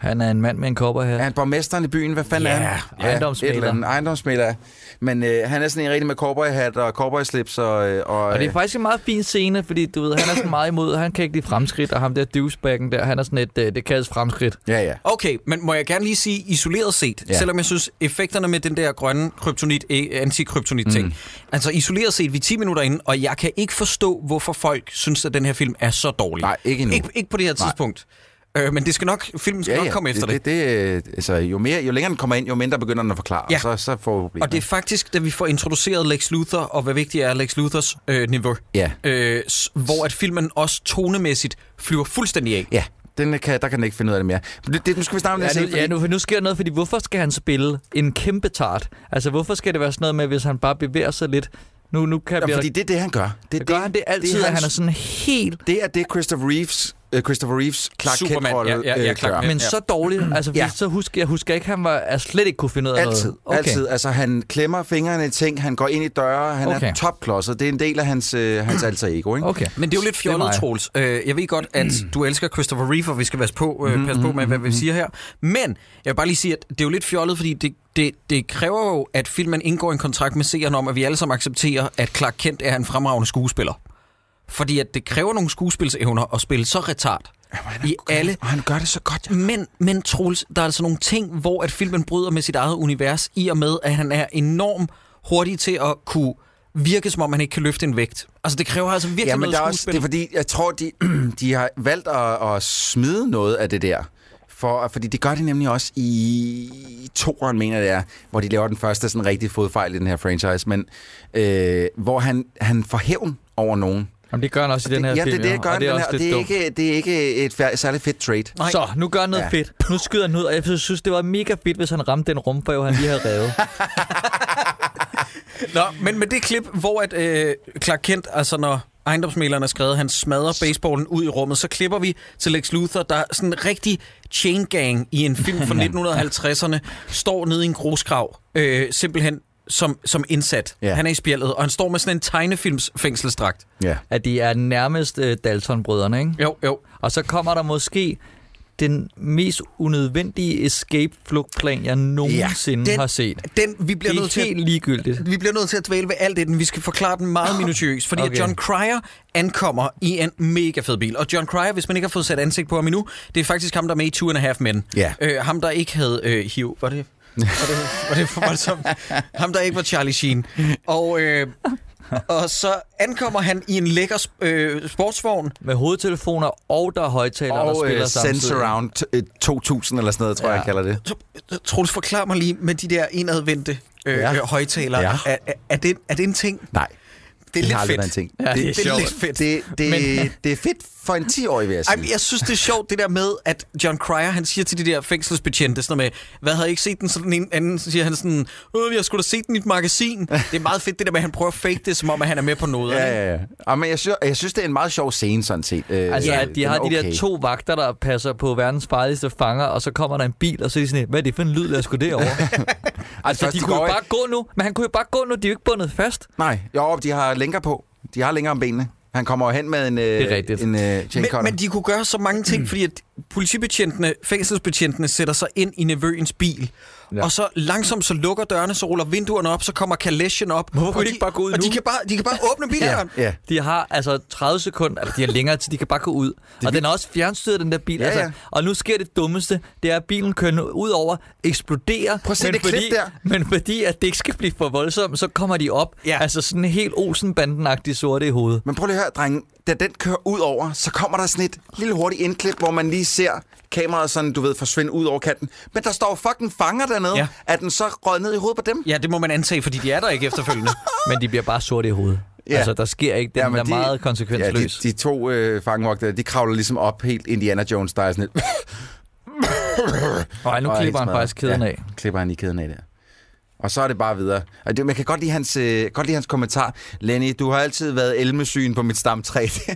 Han er en mand med en kopper her.
Er han borgmesteren i byen? Hvad fanden
Ja,
er han?
ejendomsmægler.
et eller andet. Ejendomsmægler. Men øh, han er sådan en rigtig med cowboyhat og cowboyslips. Og, øh, og,
Og det er
øh,
faktisk en meget fin scene, fordi du ved, han er sådan meget imod, han kan ikke lide fremskridt, og ham der douchebaggen der, han er sådan et, øh, det kaldes fremskridt.
Ja, ja.
Okay, men må jeg gerne lige sige isoleret set,
Ja.
ja. selvom jeg synes effekterne med den der grønne kryptonit, eh, anti-kryptonit ting, mm. altså isoleret set, vi er 10 minutter inde, og jeg kan ikke forstå, hvorfor folk synes, at den her film er så dårlig.
Nej, ikke endnu.
Ikke, ikke på det her
Nej.
tidspunkt. Øh, men det skal nok, filmen skal
Ja,
nok
ja.
komme efter det.
det, det, det øh, altså, jo, mere, jo længere den kommer ind, jo mindre begynder den at forklare, ja.
Ja.
og så, så får vi problemer.
Og det er faktisk, da vi får introduceret Lex Luthor, og hvad vigtigt er Lex Luthors øh, niveau,
Ja.
øh, s- hvor at filmen også tonemæssigt flyver fuldstændig af.
Ja, den kan, der kan den ikke finde ud af det mere. Men Det, det, nu skal vi snakke om det
Ja,
senere,
nu,
fordi-
ja nu, nu sker der noget, fordi hvorfor skal han spille en kæmpe tart? Altså, hvorfor skal det være sådan noget med, hvis han bare bevæger sig lidt? Nu, nu kan
Ja,
vi...
fordi det er det, han gør. Det,
det, gør han det altid, det
er
at han er sådan helt...
Det er det, Christopher Reeves, øh, Christopher Reeves Clark
Superman,
Kent-rolle
ja, ja, ja,
øh,
Clark
gør.
Kent.
Men
Ja.
så dårligt, altså fordi
Ja.
ja. så husker jeg husker ikke, han var er slet ikke kunne finde ud af
Altid,
noget.
altid. Altså, han klemmer fingrene i ting, han går ind i døre, han okay. er
Okay.
topklodset. Det er en del af hans, øh,
<clears throat>
hans alter ego, ikke?
Okay.
Men det er jo lidt
er
fjollet,
mig.
Troels. Øh, jeg ved godt, at
Mm.
du elsker Christopher Reeve, og vi skal passe på,
Mm-hmm,
øh, passe på med, hvad vi siger her. Men jeg vil bare lige sige, at det er jo lidt fjollet, fordi det, det, det kræver jo, at filmen indgår en kontrakt med seerne om, at vi alle sammen accepterer, at Clark Kent er en fremragende skuespiller. Fordi at det kræver nogle skuespilsevner at spille så retard i alle
Og han gør det så godt, ja.
Men, men Troels, der er altså nogle ting, hvor at filmen bryder med sit eget univers, i og med, at han er enormt hurtig til at kunne virke, som om han ikke kan løfte en vægt. Altså, det kræver altså virkelig
Ja, men
noget
der er også,
skuespil.
det er fordi, jeg tror, de, <clears throat> de har valgt at, at smide noget af det der. For, fordi det gør de nemlig også i toeren, mener jeg det er, hvor de laver den første sådan rigtig fodfejl i den her franchise, men øh, hvor han, han får hævn over nogen.
Jamen, det gør han også i den her
ja,
film,
det, det, det gør
og det er
den
også
her, og
lidt
det er,
dumt.
ikke, det er ikke et fær- særlig fedt trade.
Nej.
Så, nu gør han noget
Ja.
ja. fedt. Nu skyder han ud, og jeg synes, det var mega fedt, hvis han ramte den rumfag, han lige havde
<laughs>
revet.
Nå, men med det klip, hvor at, øh, Clark Kent, altså når ejendomsmæleren er skrevet, han smadrer baseballen ud i rummet, så klipper vi til Lex Luthor, der er sådan en rigtig chain gang i en film fra 1950'erne, står nede i en grusgrav, øh, simpelthen som, som indsat.
Ja.
Ja. Han er i spjældet, og han står med sådan en tegnefilms fængselsdragt.
Ja.
at de er nærmest øh, Dalton-brødrene, ikke?
Jo, jo.
Og så kommer der måske den mest unødvendige escape-flugtplan, jeg nogensinde
den-
den, har set.
Den, vi bliver
Det
nødt
er
til at
helt ligegyldigt.
vi bliver nødt til at dvæle ved alt det, den. Vi skal forklare den meget minutiøst, fordi okay.
Okay.
John Cryer ankommer i en mega fed bil. Og John Cryer, hvis man ikke har fået sat ansigt på ham endnu, det er faktisk ham, der er med i Two and a Half Men.
Ja.
Øh, ham, der ikke havde øh, HIV. Var det, var det, var det for voldsomt? Ham, der ikke var Charlie Sheen. Og, øh, og så ankommer han i en lækker sp- øh, sportsvogn.
Med hovedtelefoner, og der er højtalere, der
Og
spiller
øh,
samtidig.
Sense Around t- øh, 2000 eller sådan noget, tror ja.
Ja.
jeg, jeg kalder det.
Tr- Troels, forklar mig lige med de der indadvendte øh,
Ja.
ja. højtalere.
Ja.
Ja. Er, er, er, det, er det en ting?
Nej,
Det er
det har
lidt
aldrig
fedt.
været en ting.
Ja, det er
Det er
sjovt.
lidt fedt.
Det, det,
Men-
det er fedt for en 10-årig, vil jeg sige.
Ej, men jeg synes, det er sjovt, det der med, at John Cryer, han siger til de der fængselsbetjente, sådan noget med, hvad havde jeg ikke set den sådan en anden, så siger han sådan, øh, jeg skulle da set den i et magasin. Det er meget fedt, det der med, at han prøver at fake det, som om, at han er med på noget.
Ja,
ikke?
ja, ja. Ej, men jeg synes, jeg synes, det er en meget sjov scene, sådan set. Øh,
Altså, at
den
de har
er
de der to vagter, der passer på verdens farligste fanger, og så kommer der en bil, og så er de sådan, hvad er det for en lyd, lad os gå derover. altså,
først,
de
de
kunne
går
jo
ikke-
bare gå nu, men han kunne jo bare gå nu, de er jo ikke bundet fast.
Nej, jo, de har længer på. De har længere om benene. Han kommer jo hen med en,
er
øh,
rigtigt.
en øh, chain
Men,
cutter.
men de kunne gøre så mange ting, fordi at politibetjentene, fængselsbetjentene sætter sig ind i nevøens bil. Ja. Og så langsomt så lukker dørene, så ruller vinduerne op, så kommer kalesjen op.
Hvorfor
Og
kunne de ikke bare gå ud
og
nu?
De kan bare, de kan bare åbne bildøren.
ja.
De har altså 30 sekunder, eller de har længere til, de kan bare gå ud. og den er også fjernstyret, den der bil.
Ja,
altså.
ja.
Og nu sker det dummeste, det er, at bilen kører nu ud over, eksploderer.
Prøv at se det klip der.
Men fordi, at det ikke skal blive for voldsomt, så kommer de op.
Ja.
Ja. Altså sådan helt Olsenbanden-agtig sorte i hovedet.
Men prøv lige at høre, drenge. Da den kører ud over, så kommer der sådan et lille hurtigt indklip, hvor man lige ser kameraet sådan, du ved, forsvinde ud over kanten. Men der står jo fucking fanger dernede. Ja.
Ja.
Er den så røget ned i hovedet på dem?
Ja, det må man antage, fordi de er der ikke efterfølgende.
<laughs> Men de bliver bare sorte i hovedet.
Ja.
Ja. Altså, der sker ikke den ja, der de, meget
ja, de,
konsekvensløs. Ja,
de to øh, fangevogtere, de kravler ligesom op helt Indiana Jones, der er sådan et...
Nej, nu
Og er helt
klipper han
smadret.
faktisk kæden
ja,
af.
<laughs> klipper han i kæden af der. Og så er det bare videre. Og det, man kan godt lide, hans, øh, godt lide hans kommentar. Lenny, du har altid været elmesyn på mit stamtræ. <laughs> det,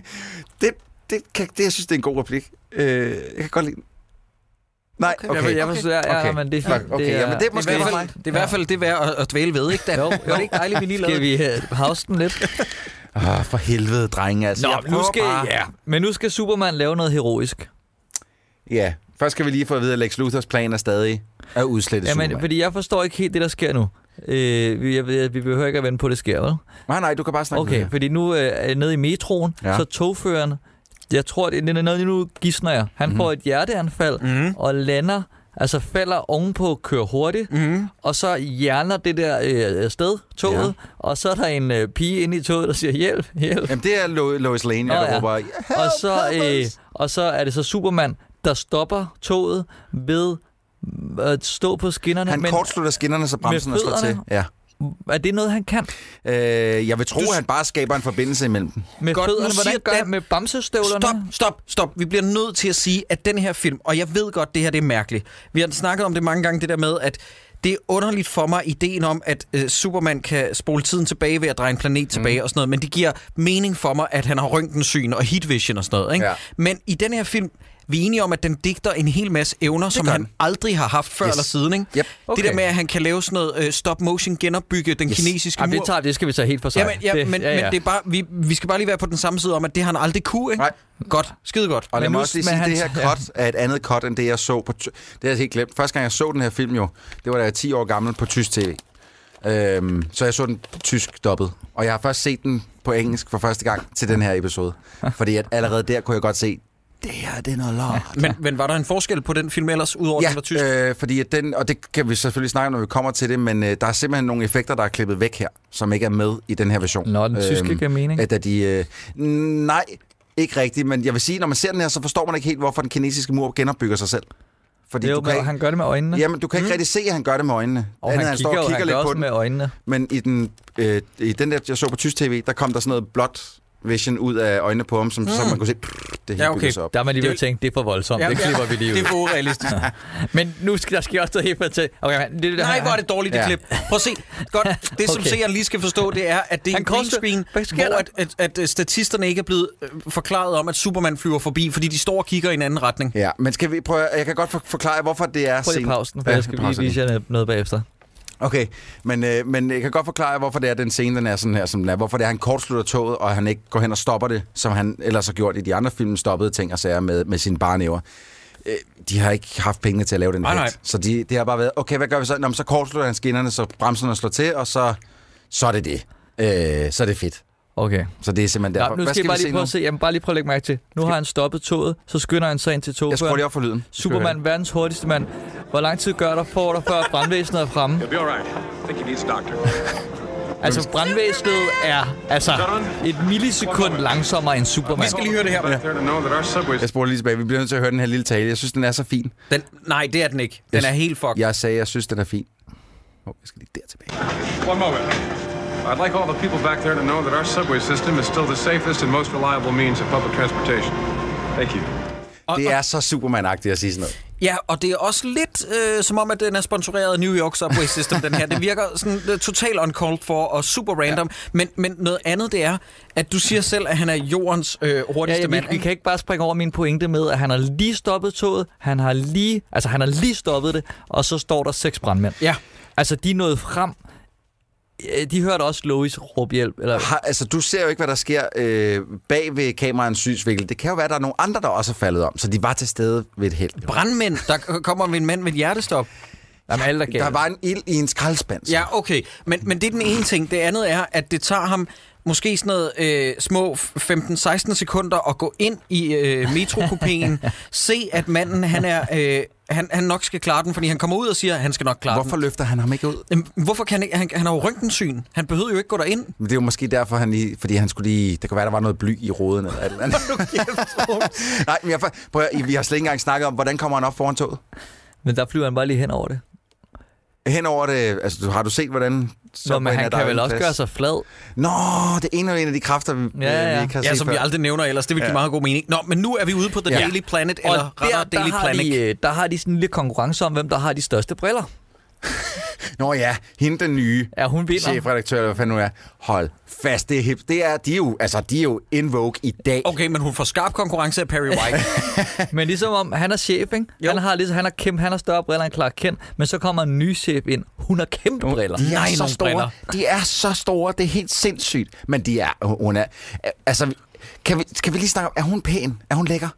det, det, kan, det, jeg synes, det er en god replik. Øh, jeg kan godt lide den. Nej, okay.
Okay. Jeg, vil- jeg,
okay.
vil- ja, ja,
Okay.
men det,
Fuck, okay,
det er,
jamen, det er
Det
måske
er, i
for
hvert
mig.
fald, det er i hvert fald det værd at, at dvæle ved, ikke Dan? Jo, jo. Var det ikke dejligt, vi lige lavede?
Skal
<laughs>
vi øh, house den lidt?
Ah, for helvede, drenge. Altså, Jeg
Nå, men nu
prøver
skal,
bare-
ja. men nu skal Superman lave noget heroisk.
Ja, først skal vi lige få at vide, at Lex Luthers plan er stadig at udslette
Jamen,
Superman.
fordi jeg forstår ikke helt det, der sker nu. Øh, vi, jeg, ved- vi behøver ikke at vente på, at det sker, vel?
Nej, nej, du kan bare snakke
Okay,
videre.
fordi nu øh, er jeg nede i metroen,
Ja.
ja. så togføreren, jeg tror, det det er noget, nu gidsner jeg. Han
Mhm.
mm-hmm. får et hjerteanfald mm-hmm. og lander, altså falder ovenpå, kører hurtigt, mm-hmm. og så hjerner det der øh, sted, toget, ja. og så er der en øh, pige inde i toget, der siger, hjælp, hjælp.
Jamen, det er Lo- Lois Lane,
Nå,
jeg
ja.
ja. råber...
og, så, øh, og så er det så Superman, der stopper toget ved øh, at stå på skinnerne.
Han
men
kortslutter skinnerne, så bremsen er slået til.
fødderne?
Ja.
er det noget, han kan?
Øh, jeg vil tro,
Du-
at han bare skaber en forbindelse imellem dem.
Med
Godt,
Godt,
nu
fødderne? Hvordan
siger
gør han
Dan-
med bamsestøvlerne?
Stop, stop, stop. Vi bliver nødt til at sige, at den her film, og jeg ved godt, det her det er mærkeligt. Vi har snakket om det mange gange, det der med, at det er underligt for mig, ideen om, at øh, Superman kan spole tiden tilbage ved at dreje en
Mhm.
planet tilbage og sådan noget, men det giver mening for mig, at han har røntgensyn og heat vision og sådan noget. Ikke?
Ja.
Men i den her film, vi er enige om, at den digter en hel masse evner, som
gør
han
den.
aldrig har haft før
Yes.
eller siden. Ikke?
Yep.
Okay. Det der med, at han kan lave sådan noget øh, stop-motion, genopbygge den
Yes.
kinesiske
Ej,
mur.
det, tager, det skal vi tage helt for sig.
Jamen, ja, men, ja, ja. men det er bare, vi, vi skal bare lige være på den samme side om, at det har han aldrig kunne, ikke?
Nej.
Godt. Skide godt.
Og lad
Men
mig
nu-
også lige
men
sige, at det
han-
her cut er et andet cut, end det jeg så på... Ty- det har jeg helt glemt. Første gang, jeg så den her film jo, det var da jeg var 10 år gammel på tysk tv. Øhm, så jeg så den på tysk dobbelt. Og jeg har først set den på engelsk for første gang til den her episode. Fordi at allerede der kunne jeg godt se, det her, det er noget lort.
Men, men var der en forskel på den film ellers, udover ja, den var tysk? Øh,
Øh, fordi at den, og det kan vi selvfølgelig snakke om, når vi kommer til det, men øh, der er simpelthen nogle effekter, der er klippet væk her, som ikke er med i den her version.
Nå, den tyske
Øhm,
giver mening.
At, at de, øh, nej, ikke rigtigt, men jeg vil sige, når man ser den her, så forstår man ikke helt, hvorfor den kinesiske mur genopbygger sig selv. Fordi
jo,
du kan,
men
ikke,
han gør det med øjnene.
jamen, du kan ikke rigtig se, at han gør det med øjnene.
og han,
Andet,
han
står
kigger,
og
jo-
kigger
han
lidt
gør
på
også
den.
med øjnene.
Men i den, øh, i den der, jeg så på tysk tv, der kom der sådan noget blåt vision ud af øjnene på ham, som mm. så man kunne se, prrr, det hele
Ja, okay.
bygger sig op.
Der er man lige ved
Det-
at tænke, det er for voldsomt, ja, det klipper ja. vi lige ud.
Det er for urealistisk.
Men nu skal der sker også noget helt fantastisk. Okay, men det, det,
Nej,
han,
hvor er det dårligt, det
Ja.
ja. klip. Prøv at se. Godt. Det, som okay.
Okay.
seeren lige skal forstå, det er, at det er
Han
en green
koster-
screen,
Hvad sker
hvor
der?
at, at, at øh, statisterne ikke er blevet øh, forklaret om, at Superman flyver forbi, fordi de står og kigger i en anden retning.
Ja, men skal vi prøve, jeg kan godt for, forklare, hvorfor det er
Prøv lige
sen-
pausen, for ja, jeg skal lige
pausen lige.
vise jer noget bagefter.
Okay, men, øh, men jeg kan godt forklare, hvorfor det er, den scene den er sådan her, som den er. Hvorfor det er, han kortslutter toget, og han ikke går hen og stopper det, som han ellers har gjort i de andre film, stoppede ting og sager med, med sine barnæver. Øh, de har ikke haft pengene til at lave den
Nej,
effekt.
nej.
Så de, det har bare været, okay, hvad gør vi så? Nå, men så kortslutter han skinnerne, så bremserne slår til, og så, så er det det. Øh, så er det fedt.
Okay.
Så det er simpelthen derfor.
Nå, nu skal, jeg bare lige prøve at se. Jamen, bare lige prøve at lægge mærke til. Nu har han stoppet toget, så skynder han sig ind til
Jeg skruer lige
togføreren.
op for lyden.
Superman, verdens hurtigste mand. Hvor lang tid gør der for dig, før brandvæsenet er fremme?
You'll be all right. I think he needs a <laughs> doctor.
Altså, brandvæsenet er altså et millisekund langsommere end Superman.
Vi skal lige høre det her.
There to know that our subways.
Jeg spoler lige tilbage. Vi bliver nødt til at høre den her lille tale. Jeg synes, den er så fin.
Den, nej, det er den ikke. Den er helt fucked.
Jeg sagde, jeg synes, den er fin. Åh, jeg skal lige der tilbage.
One moment. I'd like all the people back there to know that our subway system is still the safest and most reliable means of public transportation. Thank you.
Og-
Det er så Superman-agtigt at sige sådan noget.
Ja, og det er også lidt øh, som om, at den er sponsoreret af New York Subway System, den her. Det virker sådan uh, totalt uncalled for og super random. Ja. Men, men noget andet, det er, at du siger selv, at han er jordens øh,
Ja,
hurtigste
ja,
mand.
vi, vi
ikke?
kan ikke bare springe over min pointe med, at han har lige stoppet toget, han har lige, altså han har lige stoppet det, og så står der seks brandmænd.
Ja.
Altså, de nåede frem. Øh, De hørte også Lois råbe hjælp. Eller,
Har, altså, du ser jo ikke, hvad der sker øh, bag ved kameraens synsvinkel. Det kan jo være, at der er nogle andre, der også er faldet om, så de var til stede ved et held.
Brandmænd, der k- kommer med en mand med et hjertestop.
jamen, alle der gav.
Der var en ild i en skraldspand. så-
Ja, okay. Men, men det er den ene ting. Det andet er, at det tager ham måske sådan noget øh, små f- 15-16 sekunder at gå ind i øh,
<laughs>
metrokopien, se, at manden, han er... Øh, han, han nok skal klare den, fordi han kommer ud og siger, at han skal nok klare den.
Hvorfor løfter han ham ikke ud?
Jamen, hvorfor kan han ikke? Han, han har jo røntgensyn. Han behøvede jo ikke gå derind.
Men Det er jo måske derfor, han lige, fordi han skulle lige... Det kan være, der var noget bly i roden eller et
<laughs>
eller andet. <laughs> Nej, men jeg, for- prøv, at- vi har slet ikke engang snakket om, hvordan kommer han op foran toget?
Men der flyver han bare lige hen over det.
Henover det, altså du- har du set, hvordan...
Nå, men
Subway er
han
der
kan
jo
vel
en
også
plads?
gøre sig flad.
Nå, det ene er en af de kræfter, vi,
Ja, ja.
vi ikke har
Ja,
set
som
før.
vi aldrig nævner ellers. Det vil give
Ja.
meget god mening. Nå, men nu er vi ude på The
Ja.
Daily Planet, eller
og der,
rettere
der,
Daily
har
Planet.
de, øh, der har de sådan en lille konkurrence om, hvem der har de største briller.
<laughs>
Nå ja, hende den nye
Ja, hun vinder.
chefredaktør, eller hvad fanden nu er. Hold fast, det er hip. Det er, de er jo, altså, de er jo in vogue i dag.
Okay, men hun får skarp konkurrence af
<laughs>
Perry White.
Men ligesom om, han er chef, ikke?
Jo.
Han har, ligesom, han, har kæmpe, han har større briller end Clark Kent, men så kommer en ny chef ind. Hun har kæmpe briller.
De er
Nej,
så
nogle
store.
briller.
De er så store. Det er helt sindssygt. Men de er, hun er, altså, kan vi, kan vi lige snakke om, er hun pæn? Er hun lækker?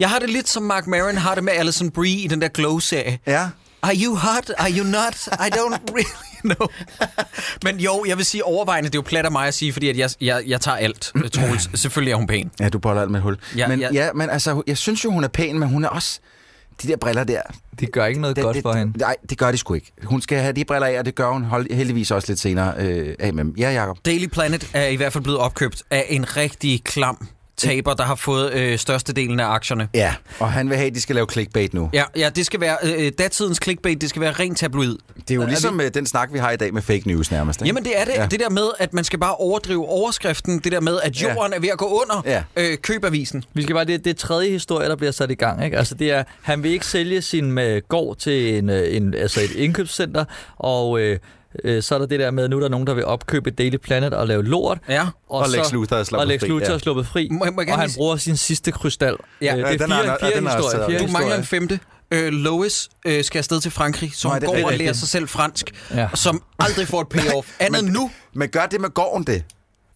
Jeg har det lidt som Mark Maron har det med Alison Brie i den der Glow-serie.
Ja.
Are you hot? Are you not? I don't
<laughs>
really know. Men jo, jeg vil sige overvejende, det er jo plat af mig at sige, fordi at jeg, jeg, jeg tager
<clears throat>
alt, Troels. Selvfølgelig er hun pæn.
Ja, du boller alt med et hul.
Ja,
men,
ja.
ja, men altså, jeg synes jo, hun er pæn, men hun er også... De der briller der.
Det gør ikke noget
Det,
godt
det,
for hende.
Nej, det gør de sgu ikke. Hun skal have de briller af, og det gør hun hold, heldigvis også lidt senere øh, af med dem. Ja, Jacob.
Daily Planet er i hvert fald blevet opkøbt af en rigtig klam taber, der har fået øh, størstedelen af aktierne.
Ja, og han vil have, at de skal lave clickbait nu.
Ja, ja, det skal være øh, datidens clickbait, det skal være rent tabloid.
Det er jo ligesom øh, den snak, vi har i dag med fake news nærmest. Ikke?
Jamen det er det. Ja. Det der med, at man skal bare overdrive overskriften, det der med, at
Ja.
jorden ja. er ved at gå under,
Ja.
ja. øh, køb avisen.
Vi skal bare, det, det er tredje historie, der bliver sat i gang. Ikke? Altså, det er, han vil ikke sælge sin med gård til en, øh, en, altså et indkøbscenter, og øh, øh, så er der det der med, at nu er der nogen, der vil opkøbe Daily Planet og lave lort.
Ja.
Og Lex Luthor er sluppet
og Lex
fri,
Luthor
ja.
er sluppet fri,
Må- må jeg gerne
og han
lige-
bruger sin sidste krystal.
Ja.
Øh, det
Ja,
er
den har
fire,
han-
fire
den har jeg også
historier.
taget
Fire
op.
Du mangler
historier.
en femte. Øh, Lois øh, skal afsted til Frankrig, så
Nej,
hun
det er
går og
rigtigt.
lærer sig selv fransk,
Ja.
ja. som aldrig får et payoff. Andet end nu.
<laughs> Men gør det med gården det.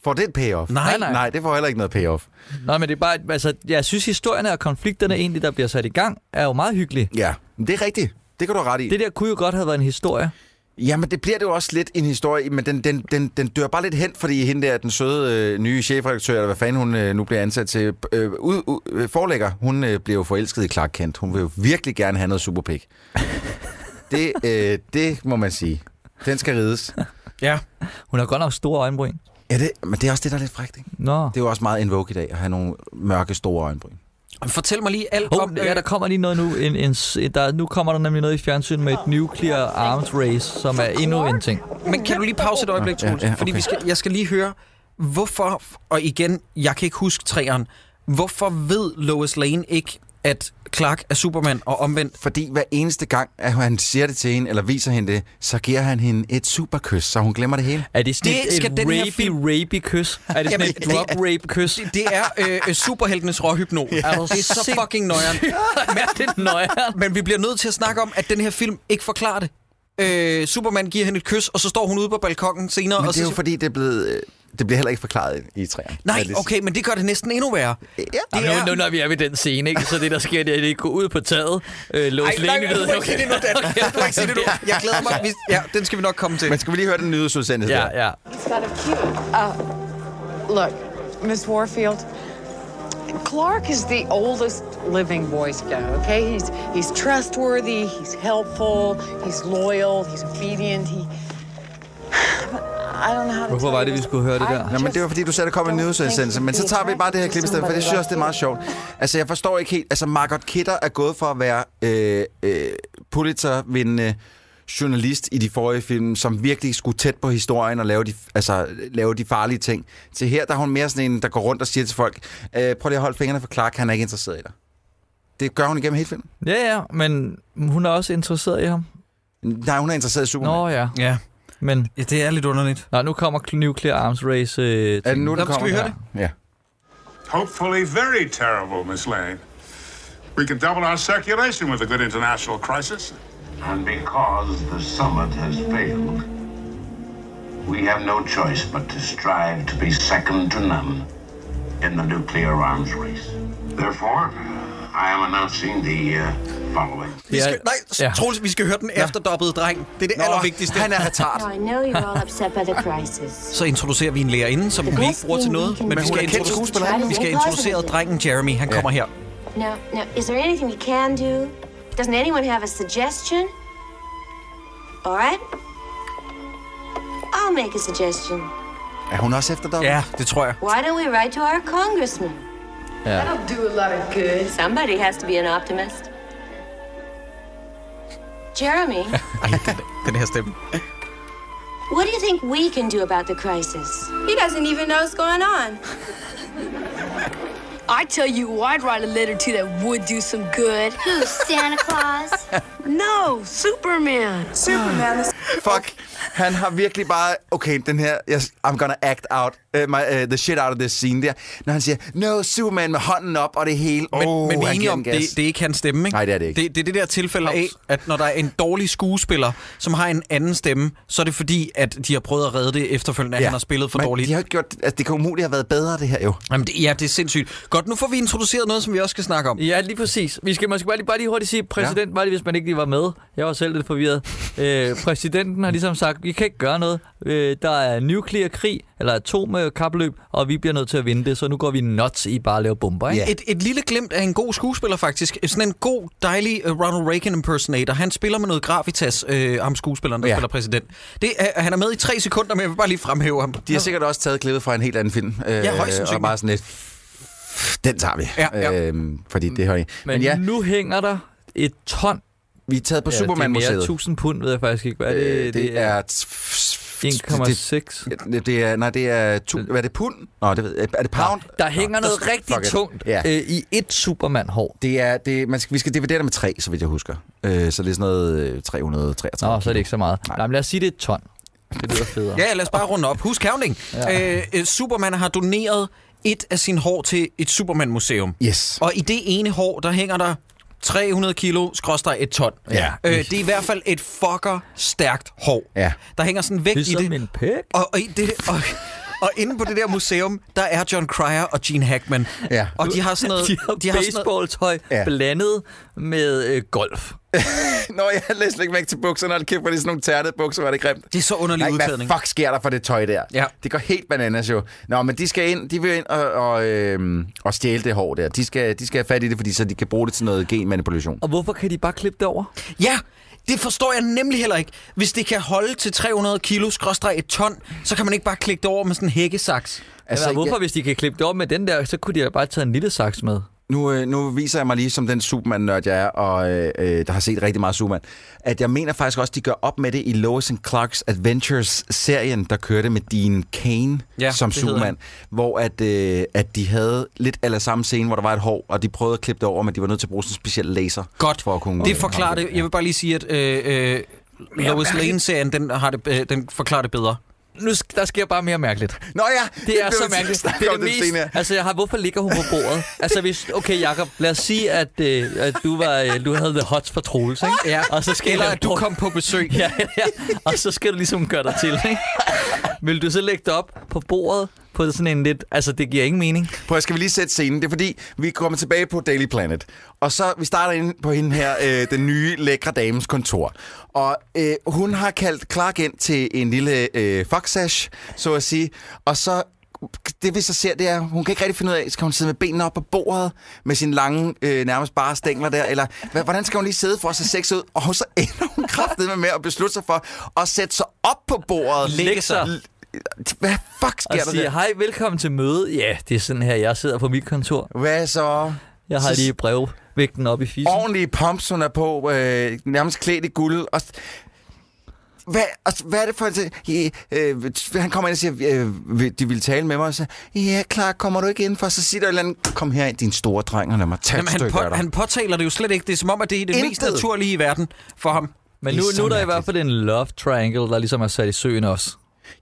Får det et payoff?
Nej.
Nej, nej.
Nej, det får heller ikke noget payoff.
Nej, men det er bare, altså, jeg synes, historierne og konflikterne egentlig, der bliver sat i gang, er jo meget hyggelige.
Ja, men det er rigtigt. Det kan du have ret i.
Det der kunne jo godt have været en historie.
Jamen, det bliver det jo også lidt en historie, men den, den, den, den dør bare lidt hen, fordi hende der, den søde øh, nye chefredaktør, eller hvad fanden hun øh, nu bliver ansat til, øh, ud, ud, øh, forlægger, hun øh, bliver jo forelsket i Clark Kent. Hun vil jo virkelig gerne have noget superpik. det, øh, det må man sige. Den skal rides.
Ja.
Hun har godt nok store øjenbryn.
Ja, det, men det er også det, der er lidt frækt, ikke?
Nå.
Det er jo også meget en vogue i dag, at have nogle mørke, store øjenbryn.
Fortæl mig lige alt
Oh,
om... øh,
ja, der kommer lige noget nu. En, en, s- der, nu kommer der nemlig noget i fjernsyn med et nuclear arms race, som er endnu en ting.
Men kan du lige pause et øjeblik, Troels? Ja,
ja, okay.
ja, Fordi vi skal, jeg skal lige høre, hvorfor, og igen, jeg kan ikke huske træeren, hvorfor ved Lois Lane ikke, at Clark er Superman og omvendt?
Fordi hver eneste gang, at han siger det til hende, eller viser hende det, så giver han hende et superkys, så hun glemmer det hele.
Er det sådan
Det
et,
skal
et
den her
rapey,
film-
rapey kys? Er det sådan
Jamen,
et
det-
drop rape kys? Det,
Det er øh, øh, superheltenes råhypno. Ja.
Er du
Det er så
sindssyg?
fucking
<laughs>
nøjeren.
det er nøjeren.
Men vi bliver nødt til at snakke om, at den her film ikke forklarer det. Øh, Superman giver hende et kys, og så står hun ude på balkongen senere.
Men
og
det er
så
jo fordi, det, er blevet, øh, det bliver heller ikke forklaret i træerne.
Nej, okay, men det gør det næsten endnu værre.
Ja,
Det
er-
er... nu, nu, når vi er ved den scene, ikke? så det der sker, det er, at de går ud på taget. Øh, Lås Lene
du må
ved,
ikke sige
okay.
det nu, Dan. Du må ikke sige det nu. Jeg glæder mig. Vi- Ja, den skal vi nok komme til.
Men skal vi lige høre den nyhedsudsendelse der?
Ja, ja.
It's kind of cute. Uh, look, Miss Warfield, Clark is the oldest living Boy Scout. Okay, he's he's trustworthy, he's helpful, he's loyal, he's obedient. He, <sighs> I don't know how to.
Hvorfor
tell
var
you
det, vi
this.
skulle høre det
I
der?
Nå, men
just
det var fordi, du sagde, der kom en
don't
nyhedsudsendelse,
think
men så
he's
tager vi bare det her
attracted
klip i
to
stedet, for det synes jeg også, det er meget sjovt.
somebody
Altså, jeg forstår ikke helt. Altså, Margot Kidder er gået for at være øh, øh, Pulitzer-vindende journalist i de forrige film, som virkelig skulle tæt på historien og lave de, altså, lave de farlige ting. Til her, der er hun mere sådan en, der går rundt og siger til folk, øh, prøv lige at holde fingrene for Clark, han er ikke interesseret i dig. Det gør hun igennem hele filmen.
Ja, ja, men hun er også interesseret i ham.
Nej, hun er interesseret i Superman.
Nå ja,
Ja,
men...
ja det er lidt underligt.
Nå, nu kommer Nuclear Arms Race. Øh,
Er det nu,
Nå,
der
skal
kommer?
vi høre det?
Ja.
Hopefully, very terrible, Miss Lane. We can double our circulation with a good international crisis.
And because the summit has failed, we have no choice but to strive to be second to none in the nuclear arms race. Therefore, I am announcing the uh, following.
Vi skal, nej,
Ja.
ja. Troels, vi skal høre den efterdoppede dreng. Det er det Nå, allervigtigste.
han er retard.
I know you're all upset by the crisis.
Så introducerer vi en lærerinde, som vi ikke bruger til noget, men,
Men
vi
hun
skal,
er kendt
introducere,
skuespiller.
vi skal introducere drengen Jeremy. Han kommer her.
Now, now, is there anything you can do? Doesn't anyone have a suggestion? All right. I'll make a suggestion.
Er hun også efter dig?
Ja, det tror jeg.
Why don't we write to our congressman?
That'll
do a lot of good. Somebody has to be an optimist. Jeremy,
Ej, den, den her stemme.
what do you think we can do about the crisis?
He doesn't even know what's going on. I tell you, I'd write a letter to that would do some good.
Who, Santa Claus?
No, Superman. Superman.
Fuck. Han har virkelig bare, okay, den her, yes, I'm gonna act out, uh, my, uh, the shit out of this scene der. Når han siger, no, Superman med hånden op og det hele.
Men,
oh,
men vi er
han
enige
giver
om,
den gas.
det, det er ikke hans stemme, ikke?
Nej, det er det ikke.
Det, det er det der tilfælde af, at når der er en dårlig skuespiller, som har en anden stemme, så er det fordi, at de har prøvet at redde det efterfølgende, at han har spillet for
men
dårligt.
De har ikke gjort, altså, det kan umuligt have været bedre, det her jo.
Jamen, det, ja, det er sindssygt. Godt, nu får vi introduceret noget, som vi også skal snakke om.
Ja, lige præcis. Vi skal måske bare lige, bare lige hurtigt sige, præsident ja. var det, hvis man ikke lige var med. Jeg var selv lidt
<laughs>
forvirret. Øh, præsidenten har ligesom sagt, vi kan ikke gøre noget. Øh, der er nuklear krig, eller atomkapløb, og vi bliver nødt til at vinde det, så nu går vi nuts i bare at lave bomber, ikke?
Ja.
Et, et lille glimt af en god skuespiller, faktisk. Sådan en god, dejlig øh, Ronald Reagan impersonator. Han spiller med noget gravitas, øh, ham skuespilleren, der ja.
Ja.
spiller præsident. Det er, han er med i tre sekunder, men jeg vil bare lige fremhæve ham.
De har sikkert også taget klippet fra en helt anden film. Øh,
højst
og
sandsynligt.
bare sådan lidt, den tager vi.
Ja, ja.
Øhm, fordi det har I. Men,
Men
ja,
nu hænger der et ton
vi er taget på
Ja, Det er mere
Superman-museet.
1000 pund, ved jeg faktisk ikke. Hvad er det?
Øh, det, det er...
1,6.
Det, det er, nej, det er... Tu, hvad er det? Pund? Nå, det ved jeg. Er det pound?
Der hænger
Nå,
noget rigtig
fuck it.
tungt
Ja.
øh, i et Superman-hår.
Det er, det, man skal, vi skal dividere det med tre, så vidt jeg husker. Øh, så det er sådan noget øh, 333.
Nå, så er det ikke så meget.
Nej.
Nej, men lad os sige, det er et ton. Det lyder federe.
Ja, lad os bare runde op. Husk counting. Ja. Øh, øh, Superman har doneret et af sine hår til et Superman-museum.
Yes.
Og i det ene hår, der hænger der 300 kilo, skråstrej et ton.
Ja.
Øh, det er i hvert fald et fucker stærkt hår.
Ja.
Der hænger sådan vægt i det.
Ligesom en pæk.
Og, og, i det, og, og inde på det der museum, der er John Cryer og Gene Hackman.
Ja.
Og de har
<laughs>
sådan noget...
De har, de har
sådan noget-
baseballtøj
Ja.
ja. blandet med øh, golf.
Nå, jeg læste slet ikke mærke til bukserne, og kæft, hvor det er sådan nogle tærtede bukser, var det grimt.
det er så underlig
Nej,
udklædning.
hvad fuck sker der for det tøj der?
Ja.
Det går helt bananas jo. Nå, men de skal ind, de vil ind og, og, øh, og stjæle det hår der. De skal, de skal have fat i det, fordi så de kan bruge det til noget genmanipulation.
Og hvorfor kan de bare klippe det over?
Altså,
Ja, det forstår jeg nemlig heller ikke. Hvis det kan holde til 300 kilo, skråstrej et ton, så kan man ikke bare klikke det over med sådan en hækkesaks.
Altså, Eller hvorfor, hvis de kan klippe det over med den der, så kunne de have bare taget en lille saks med.
Nu, øh, nu viser jeg mig lige som den Superman-nørd, jeg er, og øh, øh, der har set rigtig meget Superman, at jeg mener faktisk også, at de gør op med det i Lois and Clark's Adventures-serien, der kørte med Dean Kane
Ja,
ja, som
det hedder
Superman, hvor at, øh, at de havde lidt eller samme scene, hvor der var et hår, og de prøvede at klippe det over, men de var nødt til at bruge sådan en speciel laser.
Godt.
For at kunne
det forklarer det. Jeg vil bare lige sige, at øh, øh, Lois Lane-serien, den, har det, øh, den forklarer det bedre.
Nu sk- der sker bare mere mærkeligt.
Nå ja,
Det er
blev
så
vi <laughs>
mærkeligt.
snakke
Det er
om
det
den scene
mest,
her.
altså, jeg har, hvorfor ligger hun på
<laughs>
bordet? Altså, hvis, okay, Jakob, lad os sige, at, øh, at du, var, øh, du havde the hots for Troels, ikke?
Ja.
Og så skal
Eller
jeg-
at du kom på
<laughs>
besøg.
<laughs> ja, ja, og så skal du ligesom gøre dig til, ikke? Vil du så lægge det op på bordet på sådan en lidt... Altså, det giver ingen mening.
Prøv, skal vi lige sætte scenen? Det er fordi, vi kommer tilbage på Daily Planet. Og så, vi starter inde på hende her, øh, den nye lækre dames kontor. Og øh, hun har kaldt Clark ind til en lille øh, foxash, så at sige. Og så, det vi så ser, det er, hun kan ikke rigtig finde ud af, skal hun sidde med benene op på bordet, med sine lange, øh, nærmest bare stængler der, eller hva- hvordan skal hun lige sidde for at se sex ud? Og så ender hun kraftedeme med at beslutte sig for at sætte sig op på bordet.
Lægge sig.
L- Hvad fuck
Og
sker der
sige,
der?
hej, velkommen til møde. Ja, det er sådan her, jeg sidder på mit kontor.
Hvad så?
Jeg har
Så-
lige brevvægten op i fisen.
Ligesom-
ordentlige pumps, hun er på, øh, nærmest klædt i guld. Og, hvad, og, hvad er det for en... Øh, øh, han kommer ind og siger, øh, vil- de vil tale med mig, og så ja, klar, kommer du ikke indenfor? Så siger der et eller andet, kom her ind, din store dreng, og lad mig tage
Jamen,
et
han,
stykke af
på,
dig.
han påtaler det jo slet ikke. Det er som om, at det er det
Intet.
mest naturlige i verden for ham.
Men
Det
nu,
er så
nu er der i
mærkeligt.
hvert fald en love triangle, der ligesom er sat i søen også.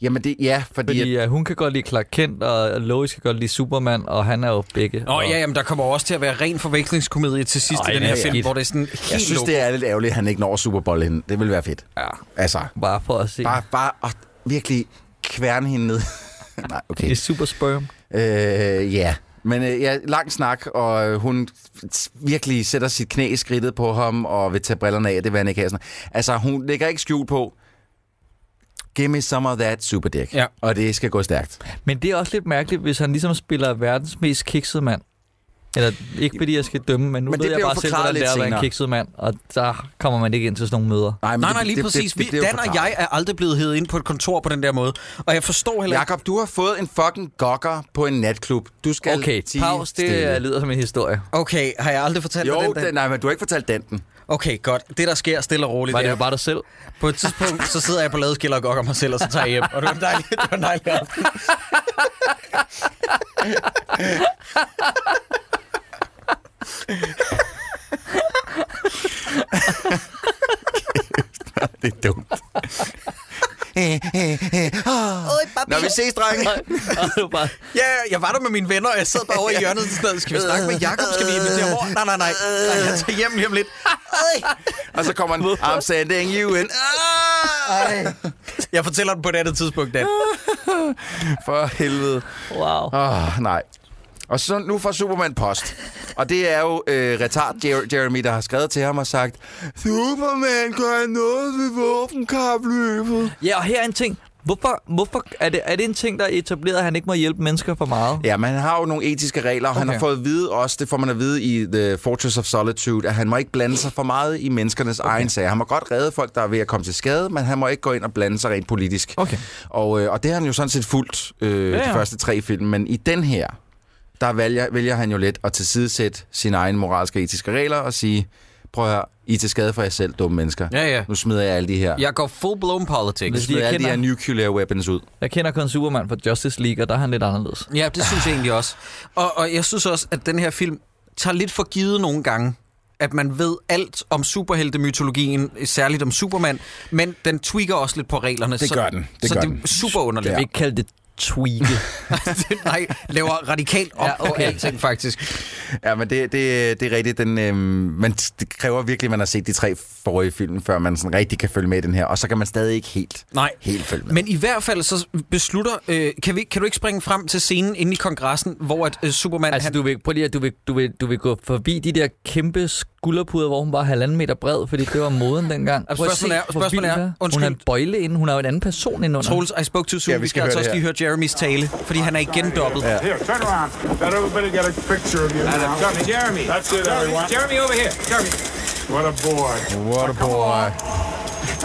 Jamen, det, ja, fordi...
Fordi
fordi
ja. hun kan godt lide Clark Kent, og Lois kan godt lide Superman, og han er jo begge.
Nå
og
ja, jamen, der kommer også til at være ren forvekslingskomedie til sidst
Ej,
i den her
ja, ja.
film, hvor det er sådan helt
jeg synes,
lukket.
det er lidt ærgerligt, at han ikke når Super Bowl hende. Det ville være fedt. Ja. Altså,
Bare for at se.
bare, bare at virkelig kværne hende ned. <laughs> Nej, okay.
Det er super sperm.
Øh, ja. Men øh, ja, lang snak, og øh, hun t- virkelig sætter sit knæ i skridtet på ham, og vil tage brillerne af, det vil han ikke have. Sådan. Altså, hun lægger ikke skjul på, give me some of that super dick.
Ja.
Og det skal gå stærkt.
Men det er også lidt mærkeligt, hvis han ligesom spiller verdens mest kiksede mand. Eller ikke fordi jeg skal dømme, men nu
Men
men
det
ved jeg
bliver jo
bare selv,
forklaret
hvordan det
lidt
er at være en
senere.
kikset mand, og der kommer man ikke ind til sådan nogle møder.
men
Nej,
det-
nej, lige
det-
præcis.
det- det
Vi,
bliver
Dan og
forklaret.
jeg er aldrig blevet hævet ind på et kontor på den der måde. Og jeg forstår heller ikke...
Jakob, du har fået en fucking gokker på en natklub. Du skal
Okay,
tie
pause, det
stille.
øh, lyder som en historie.
Okay, har jeg aldrig fortalt dig
Jo,
den dag?
den, nej, men du har ikke fortalt den.
Okay, godt. Det, der sker stille og roligt,
Var det
er-
jo bare dig selv?
På et tidspunkt, så sidder jeg på ladeskiller og gokker mig selv, og så tager jeg hjem. Og det var en dejlig, det var en dejlig aften.
Det er dumt. Når vi ses,
<laughs>
drenge.
Nej, nej, det <laughs> var bare...
Ja, jeg var der med mine venner, og jeg sad bare over i hjørnet og sådan noget. Skal vi snakke med Jakob? Skal vi invitere mor? Nej, nej, nej. nej jeg tager hjem lige om lidt.
Og så kommer han, I'm sending you in. Ah!
Ej. Jeg fortæller den på et andet tidspunkt, Dan.
For helvede.
Wow.
Åh, oh, nej. Og så nu får Superman post. Og det er jo øh, retard Jer- Jeremy, der har skrevet til ham og sagt, Superman gør noget ved våbenkapløbet.
Ja, og her er en ting. Hvorfor, hvorfor er, det, er det en ting, der er etableret, at han ikke må hjælpe mennesker for meget?
Ja, men han har jo nogle etiske regler, og okay. han
Okay.
har fået at vide også, det får man at vide i The Fortress of Solitude, at han må ikke blande sig for meget i menneskernes okay. egen sager. Han må godt redde folk, der er ved at komme til skade, men han må ikke gå ind og blande sig rent politisk.
Okay.
Og, øh, og det har han jo sådan set fulgt øh, ja,
Ja,
ja.
ja.
de første tre film, men i den her, der vælger, vælger han jo lidt at tilsidesætte sine egne moralske og etiske regler og sige, prøv at høre, I er til skade for jer selv, dumme mennesker.
Ja, ja.
Nu smider jeg alle de her,
Jeg går full-blown
nu
politics.
Hvis de
smider jeg alle de
kender-
her nuclear weapons ud.
Jeg kender kun Superman fra Justice League, og der er han lidt anderledes.
Ja, det synes jeg egentlig også. Og, og jeg synes også, at den her film tager lidt for givet nogle gange, at man ved alt om superheltemytologien, særligt om Superman, men den tweaker også lidt på reglerne.
Det gør den. Det
så
gør
det
den.
er super underligt.
Ja.
Ja.
Vi kalder det tweake.
<laughs> Nej, laver radikalt op ja, okay. på alting, faktisk.
Ja, men det, det, det er rigtigt. Den, øhm, man, det kræver virkelig, at man har set de tre forrige film, før man sådan rigtig kan følge med i den her. Og så kan man stadig ikke helt,
Nej.
helt følge med.
Men i hvert fald så beslutter... Øh, kan, vi, kan du ikke springe frem til scenen inde i kongressen, hvor at, øh, Superman...
altså,
han,
du vil, prøv lige, at- du vil, du, vil, du vil gå forbi de der kæmpe skulderpuder, hvor hun var halvanden meter bred, fordi det var moden dengang.
Altså,
Prøv at
spørgsmålet
se
er- spørgsmålet
forbi
er-
der. Hun har
undskyld.
en bøjle inden, hun har jo en anden person indenunder.
Troels, I spoke too soon.
Ja, vi
vi
skal
skal,
høre
altså
det
også lige høre Jeremys tale, fordi han er igen dobbelt. Ja.
Here, turn around. Let everybody get a picture of you. now.
Jeremy.
That's it, everyone.
Jeremy, over here. Jeremy.
What a boy.
What a boy.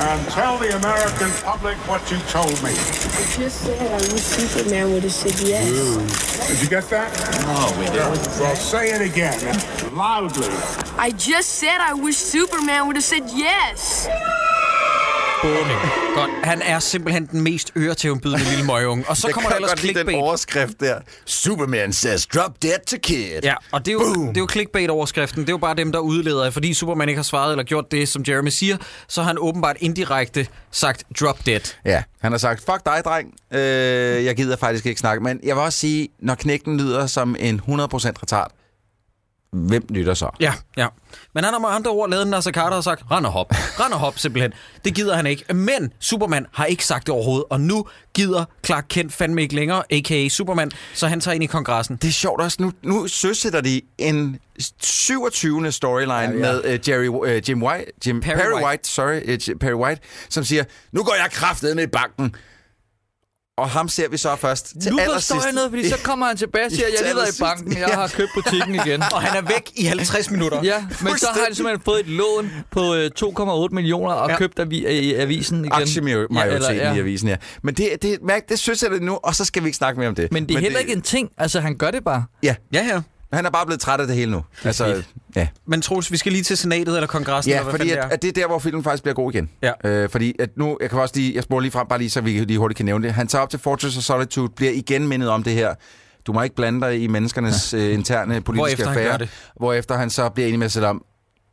And tell the American public what you told me.
Just said I wish Superman would have said yes.
Did you get that?
Oh, we did.
Well, say it again. Loudly.
I just said I wish Superman would have said yes.
Godt. Han er simpelthen den mest øretævnbydende lille møgeunge. Og så kommer der ellers
lige den
clickbait.
overskrift der. Superman says, drop dead to kid.
Ja, og det er jo, det er jo clickbait-overskriften. Det er jo bare dem, der udleder. Fordi Superman ikke har svaret eller gjort det, som Jeremy siger, så har han åbenbart indirekte sagt drop dead.
ja. Han har sagt, fuck dig, dreng. Øh, jeg gider faktisk ikke snakke. Men jeg vil også sige, når knægten lyder som en 100% retard, hvem lytter så?
Ja, ja. Men han har med andre ord lavet en Nasser Carter og sagt, rend og hop, rend og hop simpelthen. Det gider han ikke. Men Superman har ikke sagt det overhovedet, og nu gider Clark Kent fandme ikke længere, a.k.a. Superman, så han tager ind i kongressen.
Det er sjovt også. Nu, nu søsætter de en 27. storyline ja, ja. med uh, Jerry, uh, Jim White, Jim Perry,
Perry
Perry White.
White.
White, sorry, uh, Perry White, som siger, nu går jeg kraftet med i banken. Og ham ser vi så først til
nu
allersidst.
forstår jeg noget, fordi så kommer han
<laughs>
tilbage og siger, jeg har lige været i
Til allersidst.
banken, jeg har købt butikken igen.
Og han er væk i 50 minutter.
Ja, men så har han simpelthen fået et lån på øh, 2,8 millioner og
Ja.
ja. købt avi- øh, avisen igen.
aktiemajoriteten ja,
ja.
ja. i avisen her. Men det, det, mærk, det synes jeg det nu, og så skal vi ikke snakke mere om det.
Men det er heller ikke en ting. Altså, han gør det bare.
Ja,
Ja, ja.
han er bare blevet træt af det hele nu. Det altså, ja.
Men Troels, vi skal lige til senatet eller kongressen.
Ja,
eller hvad
fordi
fanden
at,
det er.
at det er der, hvor filmen faktisk bliver god igen.
Ja.
Øh, fordi at nu, jeg kan også lige, jeg spoler lige frem, bare lige, så vi lige hurtigt kan nævne det. Han tager op til Fortress of Solitude, bliver igen mindet om det her. Du må ikke blande dig i menneskernes ja. øh, interne politiske
Hvorefter han
affære.
gør det.
Hvorefter han så bliver enig med sig selv om,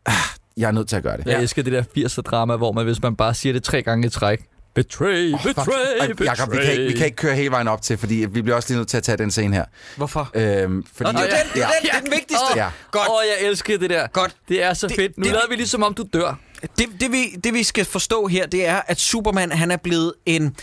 ah, jeg er nødt til at gøre det.
Jeg elsker det der 80'er drama, hvor man, hvis man bare siger det tre gange i træk. Betray, oh, betray,
Ej,
betray.
Jakob, vi kan, ikke, vi kan ikke køre hele vejen op til, fordi vi bliver også lige nødt til at tage den scene her.
Hvorfor?
Øhm, fordi,
Nå, det er den, det er den, det er den vigtigste.
Ja.
Godt.
Åh, oh, jeg elsker det der.
Godt.
Det er så det, fedt. Nu
det-
det, lader vi ligesom om, du dør.
Det, det, vi, det vi skal forstå her, det er, at Superman han er blevet en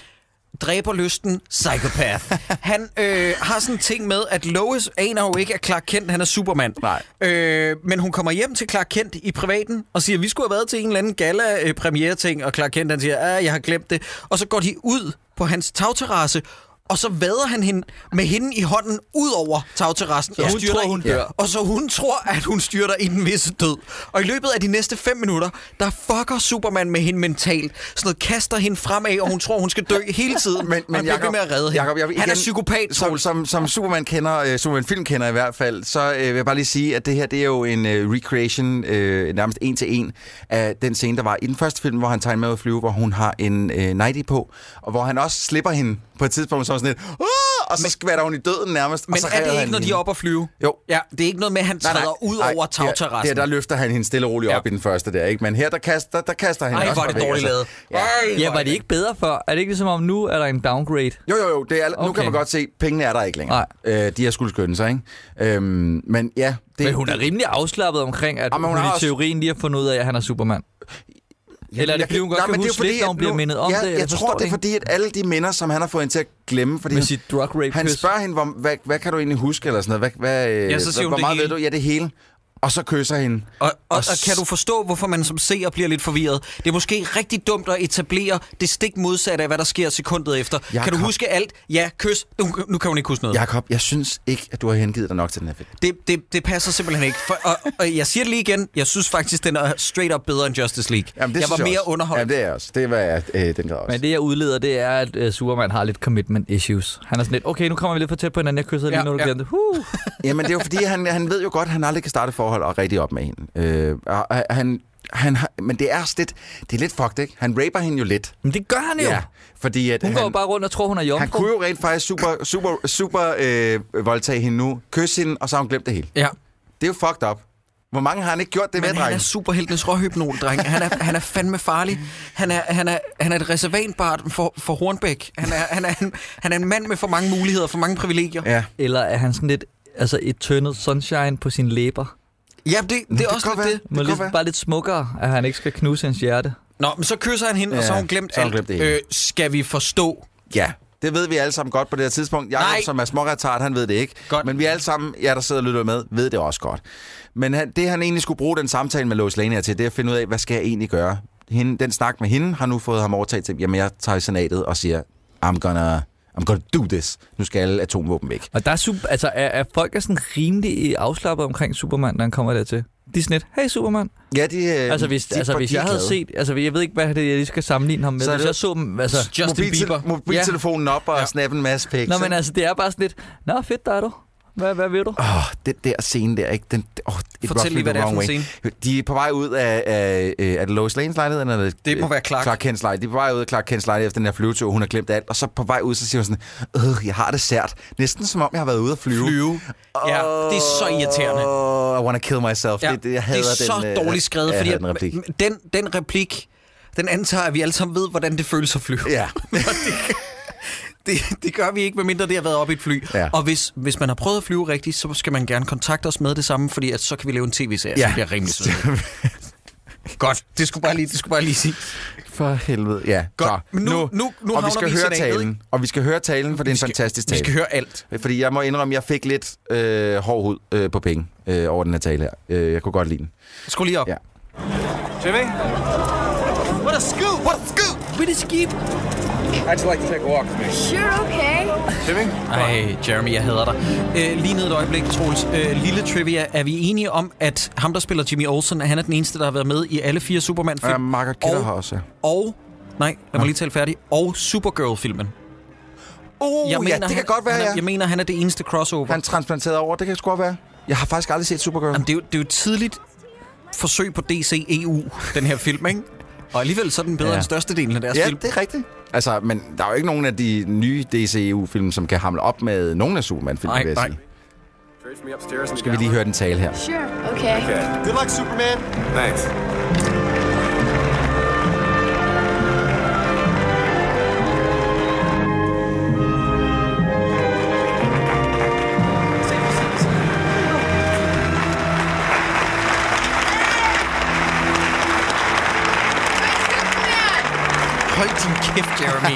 dræberlysten psykopat. Han øh, har sådan en ting med, at Lois aner jo ikke, at Clark Kent han er Superman.
Nej.
Øh, men hun kommer hjem til Clark Kent i privaten og siger, vi skulle have været til en eller anden øh, gala-premiere-ting, og Clark Kent han siger, ah, jeg har glemt det. Og så går de ud på hans tagterrasse, og så vader han hende med hende i hånden ud over tagterrassen. og
hun
styrter
tror, hun
i-
dør.
Og så hun tror, at hun styrter i den visse død. Og i løbet af de næste 5 minutter, der fucker Superman med hende mentalt. Sådan noget kaster hende fremad, og hun tror, hun skal dø hele tiden.
Men,
og
men
han bliver ved med at redde hende.
Jacob, jeg vil
han er
igen-
psykopat,
Som,
Troels.
som, som Superman kender, øh, Superman film kender i hvert fald, så øh, vil jeg bare lige sige, at det her det er jo en øh, recreation, øh, nærmest en til en, af den scene, der var i den første film, hvor han tager med at flyve, hvor hun har en øh, nightie på, og hvor han også slipper hende på et tidspunkt, som sådan lidt, "Åh!" og så skvatter hun i døden nærmest. og
Men
så
er
redder
det
han
ikke, når de er
hende.
oppe at flyve?
Jo.
Ja, det er ikke noget med, at han træder ud over
det er-
tagterrassen.
Det, er- der løfter han hende stille og roligt op i den første der, ikke? Men her, der kaster, der kaster han
Ej,
også
hvor er
bare
det
væk,
dårligt
altså.
lavet.
Ja.
Ja, var det ikke bedre før? Er det ikke ligesom om, nu er der en downgrade?
Jo, jo, jo. Det er, okay. Nu
Okay.
kan man godt se, at pengene er der ikke længere.
Nej.
Øh, de har skulle skynde sig, ikke? Øhm, men ja, det
Men hun er rimelig afslappet omkring, at
Ah, men
hun,
hun
hun i
har også-
teorien lige har fundet ud af, at han er Superman. Eller er det,
Jeg
fordi hun godt
Nej,
kan
men det er
huske
fordi,
lidt, når hun
at
bliver
nu-
mindet om
ja,
det?
Jeg, jeg
forstår
tror, det er fordi, at alle de minder, som han har fået hende til at glemme... Fordi
Med
han-
sit drug rape
Han
kys.
spørger hende, hvor, hvad, hvad kan du egentlig huske, eller sådan noget. Hvad, hvad, øh,
Ja, så siger hun
hvor
det
meget
hele.
ved du? Ja, det hele. Og så kysser hende.
Og, og, og
s-
kan du forstå, hvorfor man som seer bliver lidt forvirret? Det er måske rigtig dumt at etablere det stik modsatte af, hvad der sker sekundet efter.
Jeg
kan du
kom-
huske alt? Ja, kys. Nu, nu kan hun ikke huske noget.
Jakob, jeg synes ikke, at du har hengivet dig nok til den her film.
Det, det, det passer simpelthen ikke. For, og, og jeg siger det lige igen. Jeg synes faktisk, den er straight up bedre end Justice League.
Jamen, det
jeg
synes
var mere
også.
underholdt.
Jamen, det er jeg også. Det var jeg øh, den grad også.
Men det, jeg udleder, det er, at øh, Superman har lidt commitment issues. Han er sådan lidt, okay, nu kommer vi lidt for tæt på hinanden. Jeg kysser ja,
Ja,
lige, når du
ja.
ja. glemte. Huh.
<laughs> Jamen, det er jo fordi, han, han ved jo godt, at han aldrig kan starte et forhold og rigtig op med hende. Øh, og, og, han, han, har- men det er også lidt, det er lidt fucked, ikke? Han raper hende jo lidt.
Men det gør han jo. Ja.
Fordi at
Hun han, går
han,
jo bare rundt og tror, hun er
han
jomfru.
kunne jo rent faktisk super, super, super øh, voldtage hende nu, kysse hende, og så har hun glemt det hele.
Ja.
Det er jo fucked up. Hvor mange har han ikke gjort
Men
det med,
han er
dreng?
superheltenes råhypnol, dreng. Han er, han er fandme farlig. Han er, han er, han er et reservatbart for, for Hornbæk. Han er, han, er en, han er en mand med for mange muligheder, for mange privilegier. Ja,
Ja.
Eller er han sådan lidt altså eternal sunshine på sine læber?
ja det, det, det er
kan
også
godt
lidt
være.
det.
Må
kan
lidt,
være.
bare lidt smukkere, at han ikke skal knuse hans hjerte.
Nå, men så kysser han hende, ja, og så har hun glemt
så har
alt.
hun glemt det hele.
øh, skal vi forstå?
Ja, det ved vi alle sammen godt på det her tidspunkt. Jakob,
Nej.
som er småretard, han ved det ikke.
Godt.
Men vi alle sammen, jer der sidder og lytter med, ved det også godt. Men han, det, han egentlig skulle bruge den samtale med Lois Lane her til, det er at finde ud af, hvad skal jeg egentlig gøre? Hende, den snak med hende har nu fået ham overtaget til, jamen jeg tager i senatet og siger, I'm gonna, I'm gonna do this. Nu skal alle atomvåben væk.
Og der er, super, altså, er, er folk er sådan rimelig øh, afslappet omkring Superman, når han kommer dertil. De er sådan lidt, hey Superman.
Ja, de,
Øhm,
øh,
Altså hvis,
de,
altså,
de
hvis
er
jeg havde
glade.
set, altså jeg ved ikke, hvad det er, jeg lige skal sammenligne ham med.
Så
Så
er
hvis
det-
jeg så dem, altså...
Justin
Mobiltel-
Bieber.
mobiltelefonen op og
Ja.
ja. snappe en masse pics.
Nå, men
ikke?
altså, det er bare sådan lidt, nå fedt, der er du. Hvad, hvad vil du?
Åh, oh, den der scene der, ikke? Den, oh, it
Fortæl lige, hvad det er for en
scene. De er på vej ud af, af, øh, er det Lois Lanes lejlighed? Eller er øh,
Det må være Clark.
Clark Kent's lejlighed. De er på vej ud af Clark Kent's lejlighed efter den her flyvetur. Hun har glemt alt. Og så på vej ud, så siger hun sådan, øh, jeg har det sært. Næsten som om, jeg har været ude at flyve.
Flyve. Ja, det er så irriterende.
Oh, I wanna kill myself.
Ja,
det, det, jeg hader
det er så
den, øh,
dårligt skrevet,
jeg
fordi
hader den
<laughs>
replik.
at, den, den replik, den antager, at vi alle sammen ved, hvordan det føles at flyve.
Ja.
<laughs> Og det, det, det gør vi ikke, medmindre det har været op i et fly.
Ja.
Og hvis, hvis man har prøvet at flyve rigtigt, så skal man gerne kontakte os med det samme, fordi at så kan vi lave en tv-serie, ja.
Ja.
som bliver rimelig sød. Godt, det skulle <laughs> bare lige, det skulle bare lige sige.
For helvede. Ja,
Godt.
så,
Men nu- nu- nu
og
havner
vi skal
vi i
høre
senatet,
talen.
ikke?
Og vi skal høre talen, for det er en fantastisk tale.
Vi skal høre alt.
Fordi jeg må indrømme, at jeg fik lidt øh, hård hud øh, på penge øh, over den her tale her. Øh, jeg kunne godt lide den.
Skru lige op.
Ja.
Jimmy?
What a scoop! What a scoop! What a scoop!
I'd like to take a walk with me.
Sure, okay.
Jimmy?
Ej, Jeremy, jeg hader dig. Øh, lige ned et øjeblik, Troels. Øh, lille trivia. Er vi enige om, at ham, der spiller Jimmy Olsen, han er den eneste, der har været med i alle fire Superman-film?
Ja, Margaret Kidder
Og-
har også.
Og, nej, lad mig lige tale færdig, og Supergirl-filmen.
Uh, jeg mener, Oh, ja, det
han,
kan godt være,
han, er-
ja.
Jeg mener, han er det eneste crossover.
Han
Han...
transplanteret over, det kan sgu godt være. Jeg har faktisk aldrig set Supergirl.
Jamen, det, er jo, det er jo et tidligt forsøg på DCEU, den her film, ikke? Og alligevel så er den bedre ja.
Ja.
end størstedelen af deres
ja,
film.
det er rigtigt. Altså, men der er jo ikke nogen af de nye DCEU-film, som kan hamle op med nogen af Superman-filmene,
Nej,
vil jeg
nej.
sige.
Trade me upstairs and
Skal vi lige høre den tale her?
Sure, okay.
Good luck, Superman. Thanks.
Hold din kæft, Jeremy.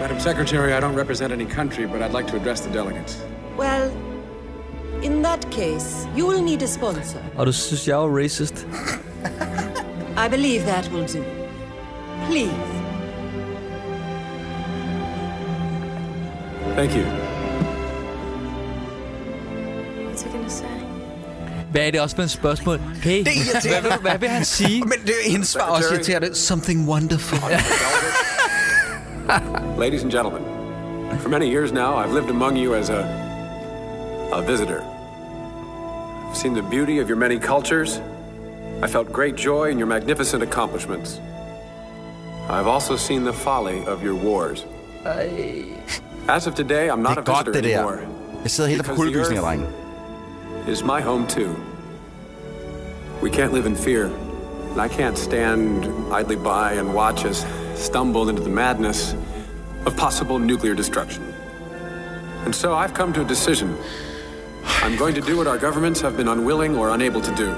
Madam Secretary, I don't represent any country, but I'd like to address the delegates.
Well, in that case, you will need a sponsor.
Og du synes, jeg er racist.
I believe that will do. Please.
Thank you.
What's he gonna say?
Hvad er det også med et spørgsmål? Hey,
Det er
hvad,
irriterende.
vil, hvad vil han sige?
Men det er hendes svar også irriterende. Something wonderful.
Ladies and gentlemen, for many years now, I've lived among you as a, a visitor. I've seen the beauty of your many cultures. I felt great joy in your magnificent accomplishments. I've also seen the folly of your wars. As of today, I'm not
Det
a
er godt,
visitor
det der.
anymore.
Jeg sidder helt og får
Because the
kuldegysninger,
earth
drenge.
is my home too. We can't live in fear, and I can't stand idly by and watch us stumble into the madness of possible nuclear destruction. And so I've come to a decision. I'm going to do what our governments have been unwilling or unable to do.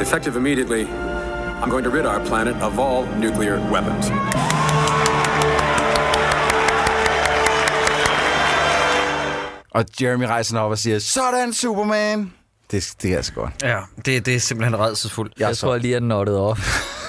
Effective immediately, I'm going to rid our planet of all nuclear weapons.
Og Jeremy rejser op og siger, sådan Superman! Det, det er altså godt.
Ja, det, det er simpelthen redselsfuldt.
Jeg tror lige, at nottet op.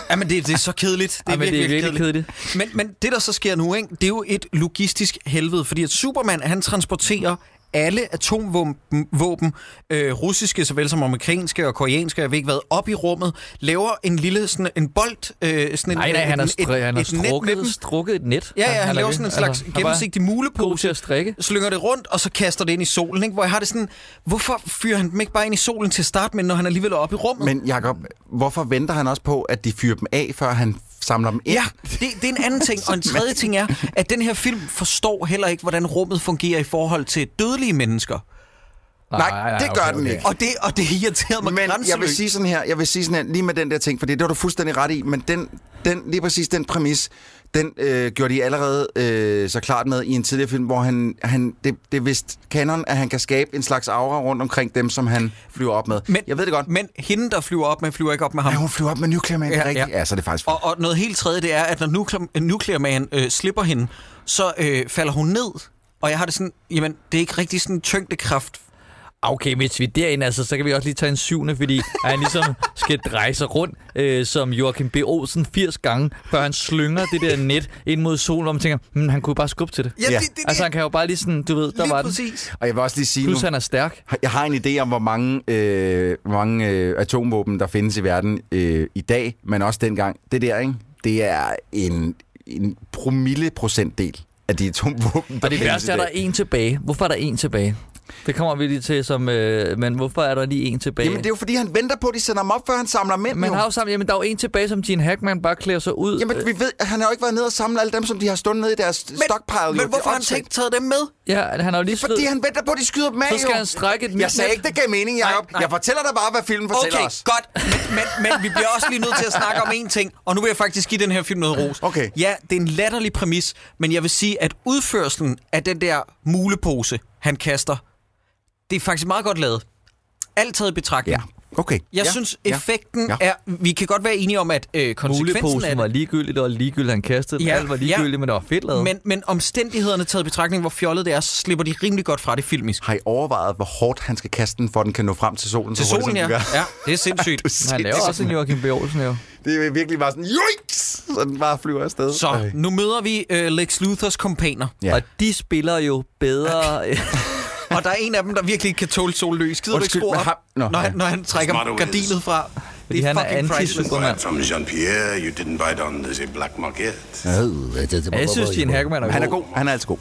Ja, men det, det er så kedeligt. Det er,
Ej, men det er
virkelig,
virkelig
kedeligt. kedeligt. Men, men det, der så sker nu, ikke, det er jo et logistisk helvede, fordi at Superman, han transporterer alle atomvåben, våben, øh, russiske såvel som amerikanske og koreanske, jeg ved ikke hvad, op i rummet, laver en lille sådan en bold, øh, sådan
Nej,
en,
nej, han har,
en-
str- han har
net med dem.
strukket, strukket et net.
Ja, ja, han, han
er
laver
ved-
sådan en slags
han
altså,
er bare
gennemsigtig
god til
mulepose,
at strikke.
slynger det rundt, og så kaster det ind i solen, ikke? hvor jeg har det sådan, hvorfor fyrer han dem ikke bare ind i solen til start med, når han alligevel er oppe i rummet?
Men Jacob, hvorfor venter han også på, at de fyrer dem af, før han samler dem ind?
Ja, det, det er en anden ting. Og en tredje ting er, at den her film forstår heller ikke, hvordan rummet fungerer i forhold til dødelige mennesker.
Nej, det gør den ikke.
Og det, og det irriterede mig
Men jeg vil
grænseløst.
sige sådan her, jeg vil sige sådan her, lige med den der ting, for det var du fuldstændig ret i, men den, den, lige præcis den præmis, den øh, gjorde de allerede øh, så klart med i en tidligere film, hvor han, han det, det er vist kanon, at han kan skabe en slags aura rundt omkring dem, som han flyver op med. Men, jeg ved det godt.
Men hende, der flyver op med, flyver ikke op med ham.
Ja, hun flyver op med Nuclear Man, ja, det er rigtigt. Ja. ja, så er det faktisk
Og, og noget helt tredje, det er, at når Nuclear, Nuclear Man øh, slipper hende, så øh, falder hun ned. Og jeg har det sådan, jamen, det er ikke rigtig sådan tyngdekraft.
Okay, hvis vi er derinde, altså, så kan vi også lige tage en syvende, fordi at han ligesom skal dreje sig rundt øh, som Joachim B. Olsen 80 gange, før han slynger det der net ind mod solen, og man tænker, hm, han kunne jo bare skubbe til det.
Ja, det- det- det-
altså, han kan jo bare lige sådan, du ved, der var
præcis.
Og jeg vil også lige
den.
sige
Plus,
nu,
han er stærk.
jeg har en idé om, hvor mange, øh, hvor mange øh, atomvåben, der findes i verden øh, i dag, men også dengang. Det der, ikke? Det er en, en promille procentdel af de atomvåben, der
Og det
findes i
værste er,
dag.
der er en tilbage. Hvorfor er der en tilbage? Det kommer vi lige til som, øh, men hvorfor er der lige en tilbage?
Jamen, det er jo fordi, han venter på, at de sender ham op, før han samler dem ind.
Man
jo.
har jo sammen, jamen der er jo en tilbage, som Gene Hackman bare klæder sig ud.
Jamen, vi ved, at han har jo ikke været nede og samlet alle dem, som de har stået nede i deres men, stockpile. jo.
Men
Det er
hvorfor har han
åndssvagt.
ikke taget dem med?
Ja, han har jo lige
Fordi
sved-
han venter på, at de skyder dem af,
Så skal
jo.
han strække et
Jeg
nyt
sagde
net.
ikke, det gav mening, Jacob.
nej.
Jeg fortæller dig bare, hvad filmen fortæller
Okay,
os.
godt. Men, men, men vi bliver også lige nødt til at snakke om en ting, og nu vil jeg faktisk give den her film noget ros.
Okay.
Ja, det er en latterlig præmis, men jeg vil sige, at udførelsen af den der mulepose, han kaster, det er faktisk meget godt lavet. Alt taget i betragtning.
Ja, okay.
Jeg
ja.
synes,
ja,
effekten
ja.
ja. er... Vi kan godt være enige om, at øh, konsekvensen
Muleposen var
af det...
ligegyldigt, og ligegyldigt, han kastede ja,
Ja,
Alt var ligegyldigt, ja.
ja.
men det var fedt lavet. Men,
Men, men omstændighederne taget i betragtning, hvor fjollet det er, så slipper de rimelig godt fra det filmisk.
Har I overvejet, hvor hårdt han skal kaste den, for at den kan nå frem til solen?
Til
så hurtigt,
solen, ja.
som den gør?
ja. Det er sindssygt.
<laughs> Du siger,
han laver <laughs>
det er-
også en Joachim B. Olsen, jo.
Det er virkelig bare sådan, joiks! Så den bare flyver afsted.
Så, nu møder vi øh, Lex Luthers kompaner.
Ja.
Ja.
Og de spiller jo bedre... <laughs>
<laughs> Og der er en af dem, der virkelig ikke kan tåle sollys. Gider du ikke
Undskyld,
skrue
men
op,
ham- Nå,
når,
ja.
han, når han trækker
Smart overheads.
gardinet fra?
Fordi han er
priceless.
anti-Superman.
From Jean Pierre, you didn't buy it on the black market.
Ja, jeg synes, Gene Hackman er
Han er
god.
god. Han er altid god.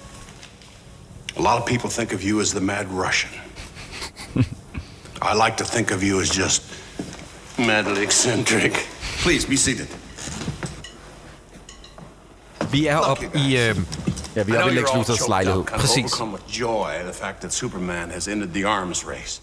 A lot of people think of you as the mad Russian. I like to think of you as just madly eccentric. Please be seated.
Vi er oppe i... Øh,
Ja, vi
I
er
know
oppe i
you're
Lex
all
Luthers
choked
lejlighed.
up, kind of
Præcis.
overcome with joy the fact that Superman has ended the arms race.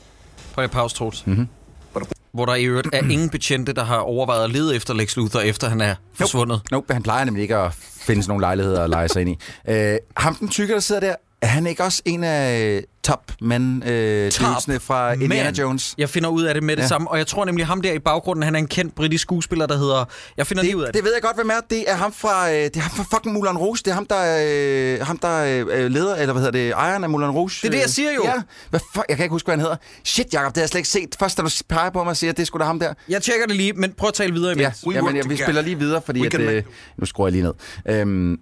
prøv at pause, Troels.
Mhm.
Mm-hmm. Hvor der i øvrigt er ingen betjente, der har overvejet at lede efter Lex Luthor, efter han er forsvundet.
Nope, han plejer nemlig ikke at finde sådan nogle lejligheder at lege sig ind i. Øh, ham den tykke, der sidder der, er han ikke også en af top man øh, typesne fra Indiana
Man.
Jones?
Jeg finder ud af det med det
Ja.
ja. samme, og jeg tror nemlig, ham der i baggrunden, han er en kendt britisk skuespiller, der hedder... Jeg finder lige ud af
Det ved jeg godt, hvem er. Det er ham fra, øh, det er ham fra fucking Moulin Rouge. Det er ham, der, øh, ham, der øh, leder, eller hvad hedder det, ejeren af Moulin Rouge. Det
er det, jeg siger jo.
Ja. Hvad fuck? Jeg kan ikke huske, hvad han hedder. Shit, Jacob, det har jeg slet ikke set. Først, da du peger på mig og siger, at det er sgu da ham der.
Jeg tjekker det lige, men prøv at tale videre
Ja,
imens.
ja men, ja, vi spiller lige videre, fordi at, øh, nu skruer jeg lige ned. Øhm,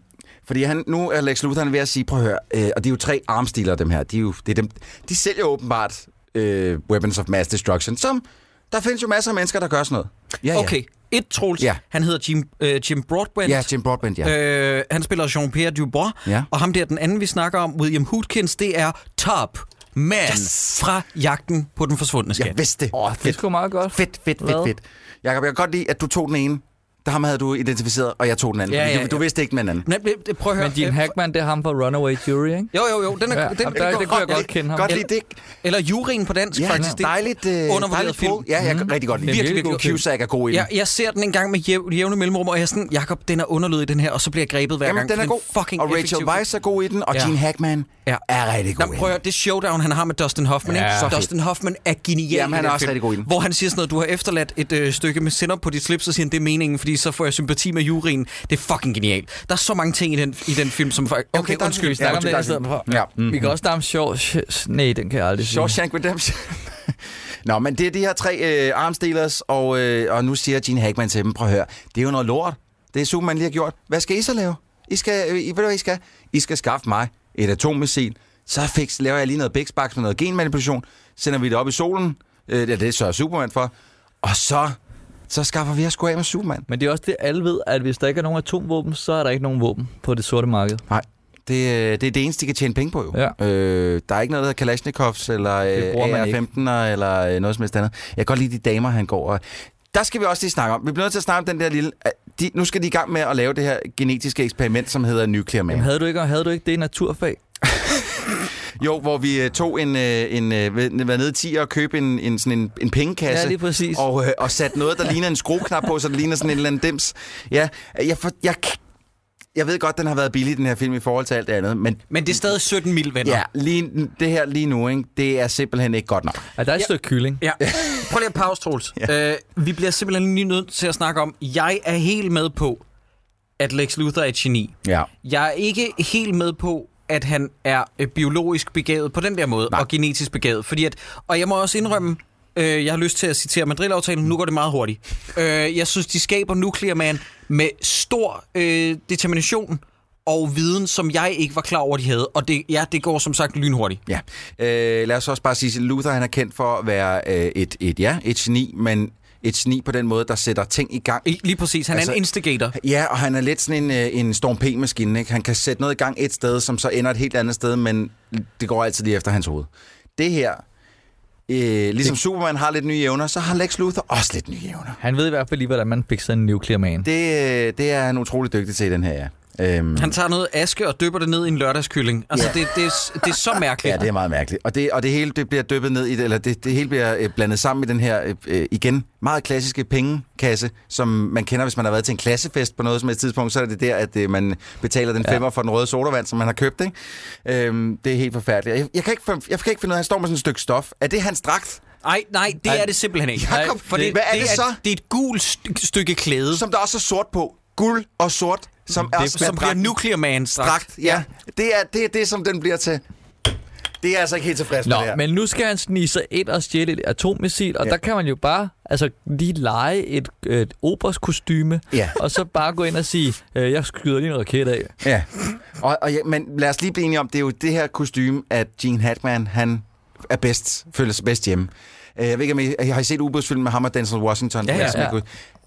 Fordi han, nu er Lex Luthor han er ved at sige, prøv at høre, øh, og det er jo tre armstiler, dem her. De, er jo, det er dem, de sælger åbenbart øh, Weapons of Mass Destruction, som der findes jo masser af mennesker, der gør sådan noget. Ja, ja.
Okay, et Troels,
Ja.
han hedder Jim, øh, Jim Broadbent.
Ja, Jim Broadbent, ja.
Øh, han spiller Jean-Pierre Dubois,
Ja.
og ham der, den anden vi snakker om, William Hootkins, det er Top Man yes. fra jagten på den forsvundne skat.
Jeg vidste det. Åh,
Det er sgu meget godt.
Fedt, fedt, fedt,
Hvad?
fedt. Jakob, jeg kan godt lide, at du tog den ene. Der ham havde du identificeret, og jeg tog den anden.
Ja,
Ja,
ja,
ja,
ja.
Du, du vidste ikke den anden.
Men, men, prøv at høre.
Men Gene
øh,
Hackman, det er ham fra Runaway Jury, ikke?
Jo, jo, jo. Den er,
Ja,
den,
jamen, der- det kunne jeg godt kende ham.
Godt
Eller-
lide det.
Eller juryen på dansk,
Ja,
faktisk.
faktisk,
Det er
dejligt, øh,
undervurderet
dejligt
film.
film. Ja, jeg kan rigtig godt lide
Det er
den.
en virkelig god film.
Cusack er god i den.
Jeg, jeg ser den en gang med jæv- jævne mellemrum, og jeg er sådan, Jakob, den er underlød i den her, og så bliver jeg grebet hver
Jamen,
gang.
den
for
er god.
Fucking
og
effektiv
Rachel
film.
Weisz er god i den, og
Ja.
ja. Gene Hackman
Ja.
ja. er rigtig god
Nå,
i
prøv at
den.
høre, det showdown, han har med Dustin Hoffman,
Ja,
ikke?
så fedt.
Dustin Hoffman er genial.
Jamen,
i
han
den
er også
film,
rigtig god i den.
Hvor han siger sådan noget, du har efterladt et øh, stykke med sender på dit slips, og siger, han, det er meningen, fordi så får jeg sympati med juryen. Det er fucking genialt. Der er så mange ting i den, i den film, som faktisk... Okay,
der
okay
er
undskyld,
en-
vi
Snak
snakker
om
om
det,
det.
jeg sidder på.
Ja.
Vi kan også snakke om sjov... sj- Nej, den kan jeg aldrig sige.
Shawshank Redemption. Nå, men det er de her tre øh, armsdelers, og, øh, og nu siger Gene Hackman til dem, prøv at høre, det er jo noget lort. Det er Superman lige har gjort. Hvad skal I så lave? I skal, øh, I, ved du, hvad I skal? I skal skaffe mig et atommissil. Så fix, laver jeg lige noget big med noget genmanipulation. Sender vi det op i solen. Øh, ja, det sørger Superman for. Og så, så skaffer vi os sgu af med Superman.
Men det er også det, alle ved, at hvis der ikke er nogen atomvåben, så er der ikke nogen våben på det sorte marked.
Nej. Det, øh, det er det eneste, de kan tjene penge på, jo.
Ja.
Øh, der er ikke noget, der hedder Kalashnikovs, eller øh,
bruger man ikke.
AR-15'er, eller øh, noget som helst andet. Jeg kan godt lide de damer, han går og... Der skal vi også lige snakke om. Vi bliver nødt til at snakke om den der lille... at De, nu skal de i gang med at lave det her genetiske eksperiment, som hedder Nuclear Man.
Jamen, havde du ikke, havde du ikke det i naturfag?
Jo, hvor vi øh, tog en, øh, en øh, ved- var nede i 10 og købte en, en, sådan en, en pengekasse.
Ja, lige præcis.
Og, øh, og satte noget, der ligner en skrueknap på, så det ligner sådan en eller anden dims. Ja, jeg, for, jeg, jeg ved godt, den har været billig, den her film, i forhold til alt det andet, men
Men det er stadig 17 mil, venner.
Ja, lige, det her lige nu, ikke? det er simpelthen ikke godt nok.
Er der et
Ja.
stykke kylling?
Ja. Prøv lige at pause, Troels. ja. øh, vi bliver simpelthen lige nødt til at snakke om, jeg er helt med på, at Lex Luthor er et geni.
Ja.
Jeg er ikke helt med på, at han er øh, biologisk begavet på den der måde, Nej.
Nej.
og genetisk begavet. Fordi at, og jeg må også indrømme, øh, jeg har lyst til at citere Madrid-aftalen, nu går det meget hurtigt. Øh, jeg synes, de skaber Nuclear Man med stor øh, determination og viden, som jeg ikke var klar over, de havde. Og det, ja, det går som sagt lynhurtigt.
Ja. Øh, lad os også bare sige, at Luther han er kendt for at være øh, et, et, ja, et geni, men et geni på den måde, der sætter ting i gang.
I- Lige præcis, han altså, er
Altså,
en instigator.
Ja, og han er lidt sådan en, øh, en Storm P-maskine. Ikke? Han kan sætte noget i gang et sted, som så ender et helt andet sted, men det går altid lige efter hans hoved. Det her, øh, ligesom Superman har lidt nye evner, så har Lex Luthor også lidt nye evner.
Han ved i hvert fald lige, hvordan man fikser en nuclear man.
Det, øh, det er han utrolig dygtig til i den her, ja. Øhm.
Han tager noget aske og dypper det ned i en lørdagskylling. Altså, det, det, er, det er så mærkeligt.
Ja, det er meget mærkeligt. Og det, og det hele det bliver dyppet ned i det, eller det, det hele bliver øh, blandet sammen i den her, øh, øh, igen, meget klassiske pengekasse, som man kender, hvis man har været til en klassefest på noget som et tidspunkt, så er det der, at øh, man betaler den femmer for den røde sodavand, som man har købt. Ikke? Øhm, det er helt forfærdeligt. Jeg, jeg, kan ikke, fin- jeg kan ikke finde ud af, at han står med sådan et stykke stof. Er det hans dragt,
Ej, nej, det
Ej.
er det simpelthen ikke.
Jakob,
Nej, for
det- hvad er det så?
Det er et gult st- stykke klæde, som,
som der også er sort på? Guld og sort, som, er,
som bliver Nuclear Man strakt.
dragt. Ja, det er det, er det, som den bliver til. Det er jeg altså ikke helt tilfreds med det
Nå,
her.
men nu skal han snige sig ind og stjæle et atommissil, og ja. der kan man jo bare altså, lige lege et, et oberskostyme,
Ja.
og så bare gå ind og sige, øh, jeg skyder lige en raket af.
Ja. Og, og ja, men lad os lige blive enige om, det er jo det her kostume, at Gene Hackman, han er bedst, føler sig bedst hjemme. Øh, Jeg ved ikke, om I har I set ubådsfilmen med ham og Denzel Washington?
Ja, ja,
Altså,
ja.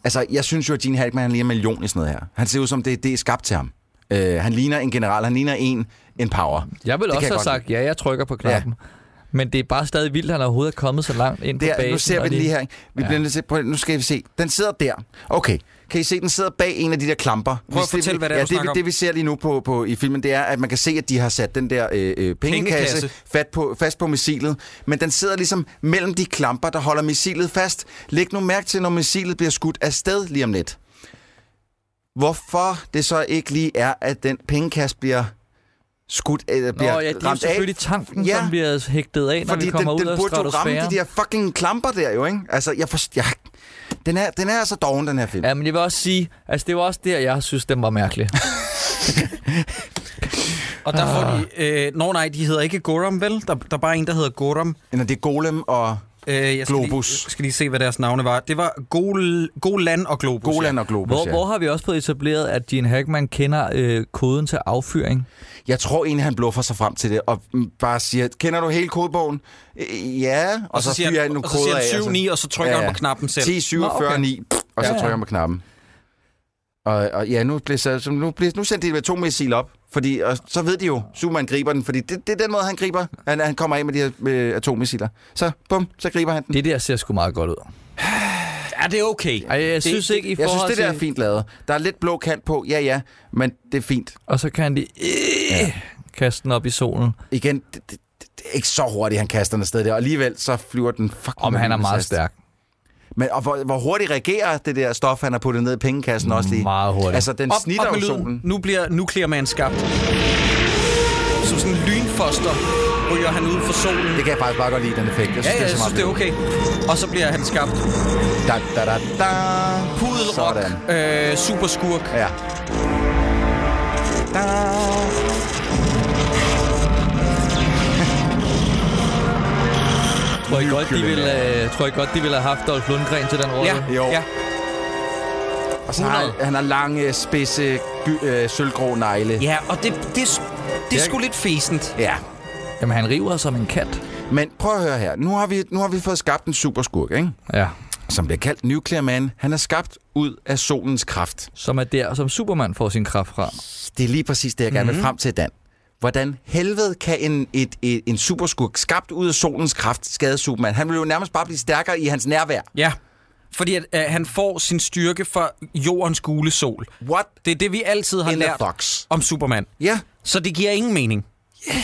Altså, jeg synes jo, at Gene Hackman, han ligner en million i sådan noget her. Han ser ud som, det, det er skabt til ham. Øh, han ligner en general, han ligner en, en power.
Jeg vil
Det
også
kan jeg
have
godt
sagt, ja, jeg trykker på knappen. Ja. Men det er bare stadig vildt, at han overhovedet er kommet så langt ind på
Det er,
basen.
nu ser vi
og
den lige her. ikke? Vi ja. bliver nødt til, prøv, nu skal vi se. Den sidder der. Okay. Kan I se, den sidder bag en af de der klamper?
Prøv at
Hvis det-
fortælle, hvad det er,
ja,
du
det,
snakker om.
det, vi ser lige nu på, på, i filmen, det er, at man kan se, at de har sat den der øh, øh, pengekasse,
Pengekasse.
Fat på, fast på missilet. Men den sidder ligesom mellem de klamper, der holder missilet fast. Læg nu mærke til, når missilet bliver skudt afsted lige om lidt. Hvorfor det så ikke lige er, at den pengekasse bliver skudt, eller
Nå,
bliver
ja, det er jo
ramt af.
selvfølgelig tanken,
Ja.
som bliver hægtet af, når
Fordi
vi kommer
den,
ud
den
af
burde jo ramme
stratosfæren.
de der fucking klamper der jo, ikke? Altså, jeg, for, jeg den, er, den er altså doven, den her film.
Ja, men jeg vil også sige, altså det var også der, jeg synes, den var
<laughs>
mærkelig.
Og
Ah.
der får de... Øh, Nå nej, de hedder ikke Gorum, vel? Der, der er bare en, der hedder Gorum.
Eller det er Golem og...
Øh, jeg skal
Globus.
Lige, jeg skal lige se, hvad deres navne var. Det var Gol, Golan og Globus.
Golan og Globus,
Hvor,
ja.
hvor har vi også fået etableret, at Gene Hackman kender øh, koden til affyring?
Jeg tror egentlig, han bluffer sig frem til det, og mm, bare siger, kender du hele kodebogen? Øh, ja, og,
Og så
så,
siger
fyrer
han-
han nogle
og så siger
koder
han
af. altså.
7, 9, og så trykker han på knappen selv.
10, 7,
Nå,
Nå,
okay.
40, 9, og så
Ja, ja.
trykker han på knappen. Og, og ja, nu, blev så, så nu, blev, nu sendte de med to missiler op, fordi, og så ved de jo, Superman griber den, fordi det, det er den måde, han griber. Han, han kommer af med de her øh, atommissiler. Så, bum, så griber han den.
Det der ser sgu meget godt ud.
Ja, det er okay.
Ej, jeg synes ikke, i
jeg synes,
forhold
det der er
til-
fint lavet. Der er lidt blå kant på, ja ja, men det er fint.
Og så kan de ja. kaste den op i solen.
Igen, det, det, det, det er ikke så hurtigt, han kaster den afsted der. Og alligevel, så flyver den fucking...
Om han er meget
fast.
stærk.
Men og hvor, hvor hurtigt reagerer det der stof, han har puttet ned i pengekassen også lige?
Meget hurtigt.
Altså, den
Op,
snitter
op med
jo
lyden.
solen.
Nu bliver Nuclear Man skabt. Som sådan en lynfoster ryger han ud for solen.
Det kan jeg faktisk bare godt lide, den effekt. Jeg synes,
Ja, ja, jeg
det er så
synes, det er
meget
okay. Og så bliver han skabt.
Da, da, da, da.
Pudelrock,
Sådan.
øh, superskurk.
Ja. Da.
Tror I godt, de ville, øh, tror I godt, de ville have haft Dolph Lundgren til den rolle?
Ja,
Jo.
ja.
Og så har han, han har lange, spidse, gy- øh, sølvgrå negle.
ja og det, det, er sgu- det er sgu lidt fæsent.
Ja.
Jamen, han river som en kat.
Men prøv at høre her. Nu har vi, nu har vi fået skabt en superskurk, ikke?
Ja.
Som bliver kaldt Nuclear Man. Han er skabt ud af solens kraft.
Som er der, som Superman får sin kraft fra.
Det er lige præcis det, jeg gerne vil frem til, Dan. Hvordan helvede kan en, et, et, en superskurk skabt ud af solens kraft skade Superman? Han vil jo nærmest bare blive stærkere i hans nærvær.
Ja. Fordi at, øh, han får sin styrke fra jordens gule sol.
What
Det er det, vi altid har
in the
lært
fox?
om Superman.
Ja,
Så det giver ingen mening.
yeah.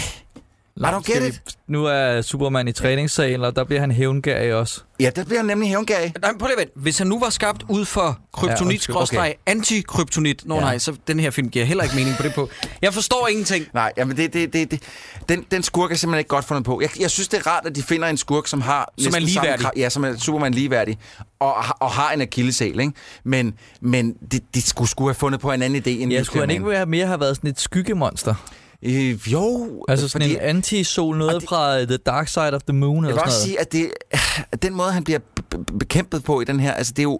I don't get it.
Nu er Superman i træningssalen, og der bliver han hævngærig også.
Ja, der bliver han nemlig hævngag.
Nej, men prøv lige at vente. Hvis han nu var skabt ud for kryptonit,
undskyld.
ja, okay. anti-kryptonit, nå ja. nej, så den her film giver heller ikke mening på det på. Jeg forstår ingenting.
Nej, jamen det, det, det, det. Den, den skurk er simpelthen ikke godt fundet på. Jeg, jeg synes, det er rart, at de finder en skurk, som har... næsten samme
ligeværdig.
krav- Ja, som er Superman ligeværdig. Og, og har en akillesæl, ikke? Men, men de, de skulle, skulle have fundet på en anden idé end
Ja,
Nuclear
skulle han
Man.
ikke have- mere have været sådan et skyggemonster?
Øh, jo,
Altså sådan en anti-sol, noget det, fra øh, The Dark Side of the Moon
Jeg
eller
vil
sådan
også
noget.
sige, at det, at den måde, han bliver b- b- bekæmpet på i den her, altså det er jo...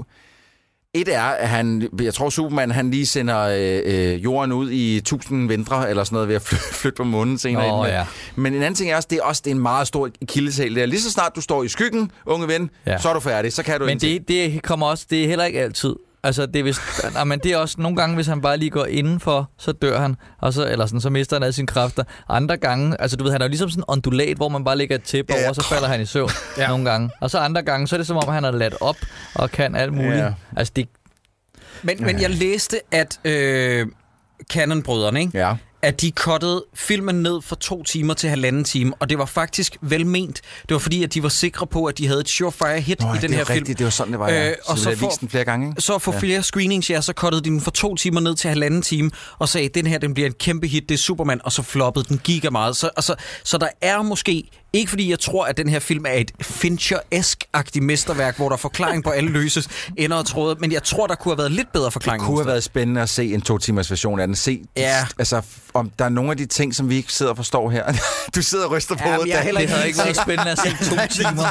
Et er, at han, jeg tror Superman, han lige sender øh, øh, jorden ud i tusind vintre, eller sådan noget, ved at fly, <laughs> flytte på månen senere.
Nå,
inden.
ja.
Men en anden ting er også, det er også det er en meget stor kildesal. Det er lige så snart du står i skyggen, unge ven,
Ja.
ja. så er du færdig, så kan du
Men
ingenting.
det, det kommer også, det er heller ikke altid. Altså, det er, <laughs> hvis, nej, men det er også nogle gange, hvis han bare lige går indenfor, så dør han, og så, eller sådan, så mister han alle sine kræfter. Andre gange, altså du ved, han er jo ligesom sådan en ondulat, hvor man bare lægger et tæppe
Ja,
ja,
ja.
over, så falder han i
<laughs>
søvn ja. nogle gange. Og så andre gange, så er det som om, han er ladt op og kan alt muligt.
Ja.
Ja. Altså, det, <laughs>
Men, men jeg læste, at øh, Canon-brødrene, ikke?
Ja.
at de kottede filmen ned fra to timer til halvanden time, og det var faktisk velment. Det var fordi, at de var sikre på, at de havde et surefire hit
Nå,
i
ja,
den
det er
her
rigtigt,
film. Øh,
det var sådan, det var, ja. Så
og
vi
så
havde
for,
vist den flere gange, ikke?
Så for ja. flere screenings, ja, så kottede de den fra to timer ned til halvanden time, og sagde, den her den bliver en kæmpe hit, det er Superman, og så floppede den giga meget. Så, altså, så der er måske, ikke fordi jeg tror, at den her film er et Fincher-esk-agtigt mesterværk, hvor der er forklaring på alle løses ender og tråde, men jeg tror, der kunne have været lidt bedre forklaring.
kunne have
nogle
været spændende at se en to timers version af den. Se,
Ja.
altså, f- om der er nogle af de ting, som vi ikke sidder og forstår her. <laughs> du sidder og ryster på
Ja, men
hovedet.
jeg er
Dan.
heller
det havde ikke været spændende at se
<laughs>
to timer.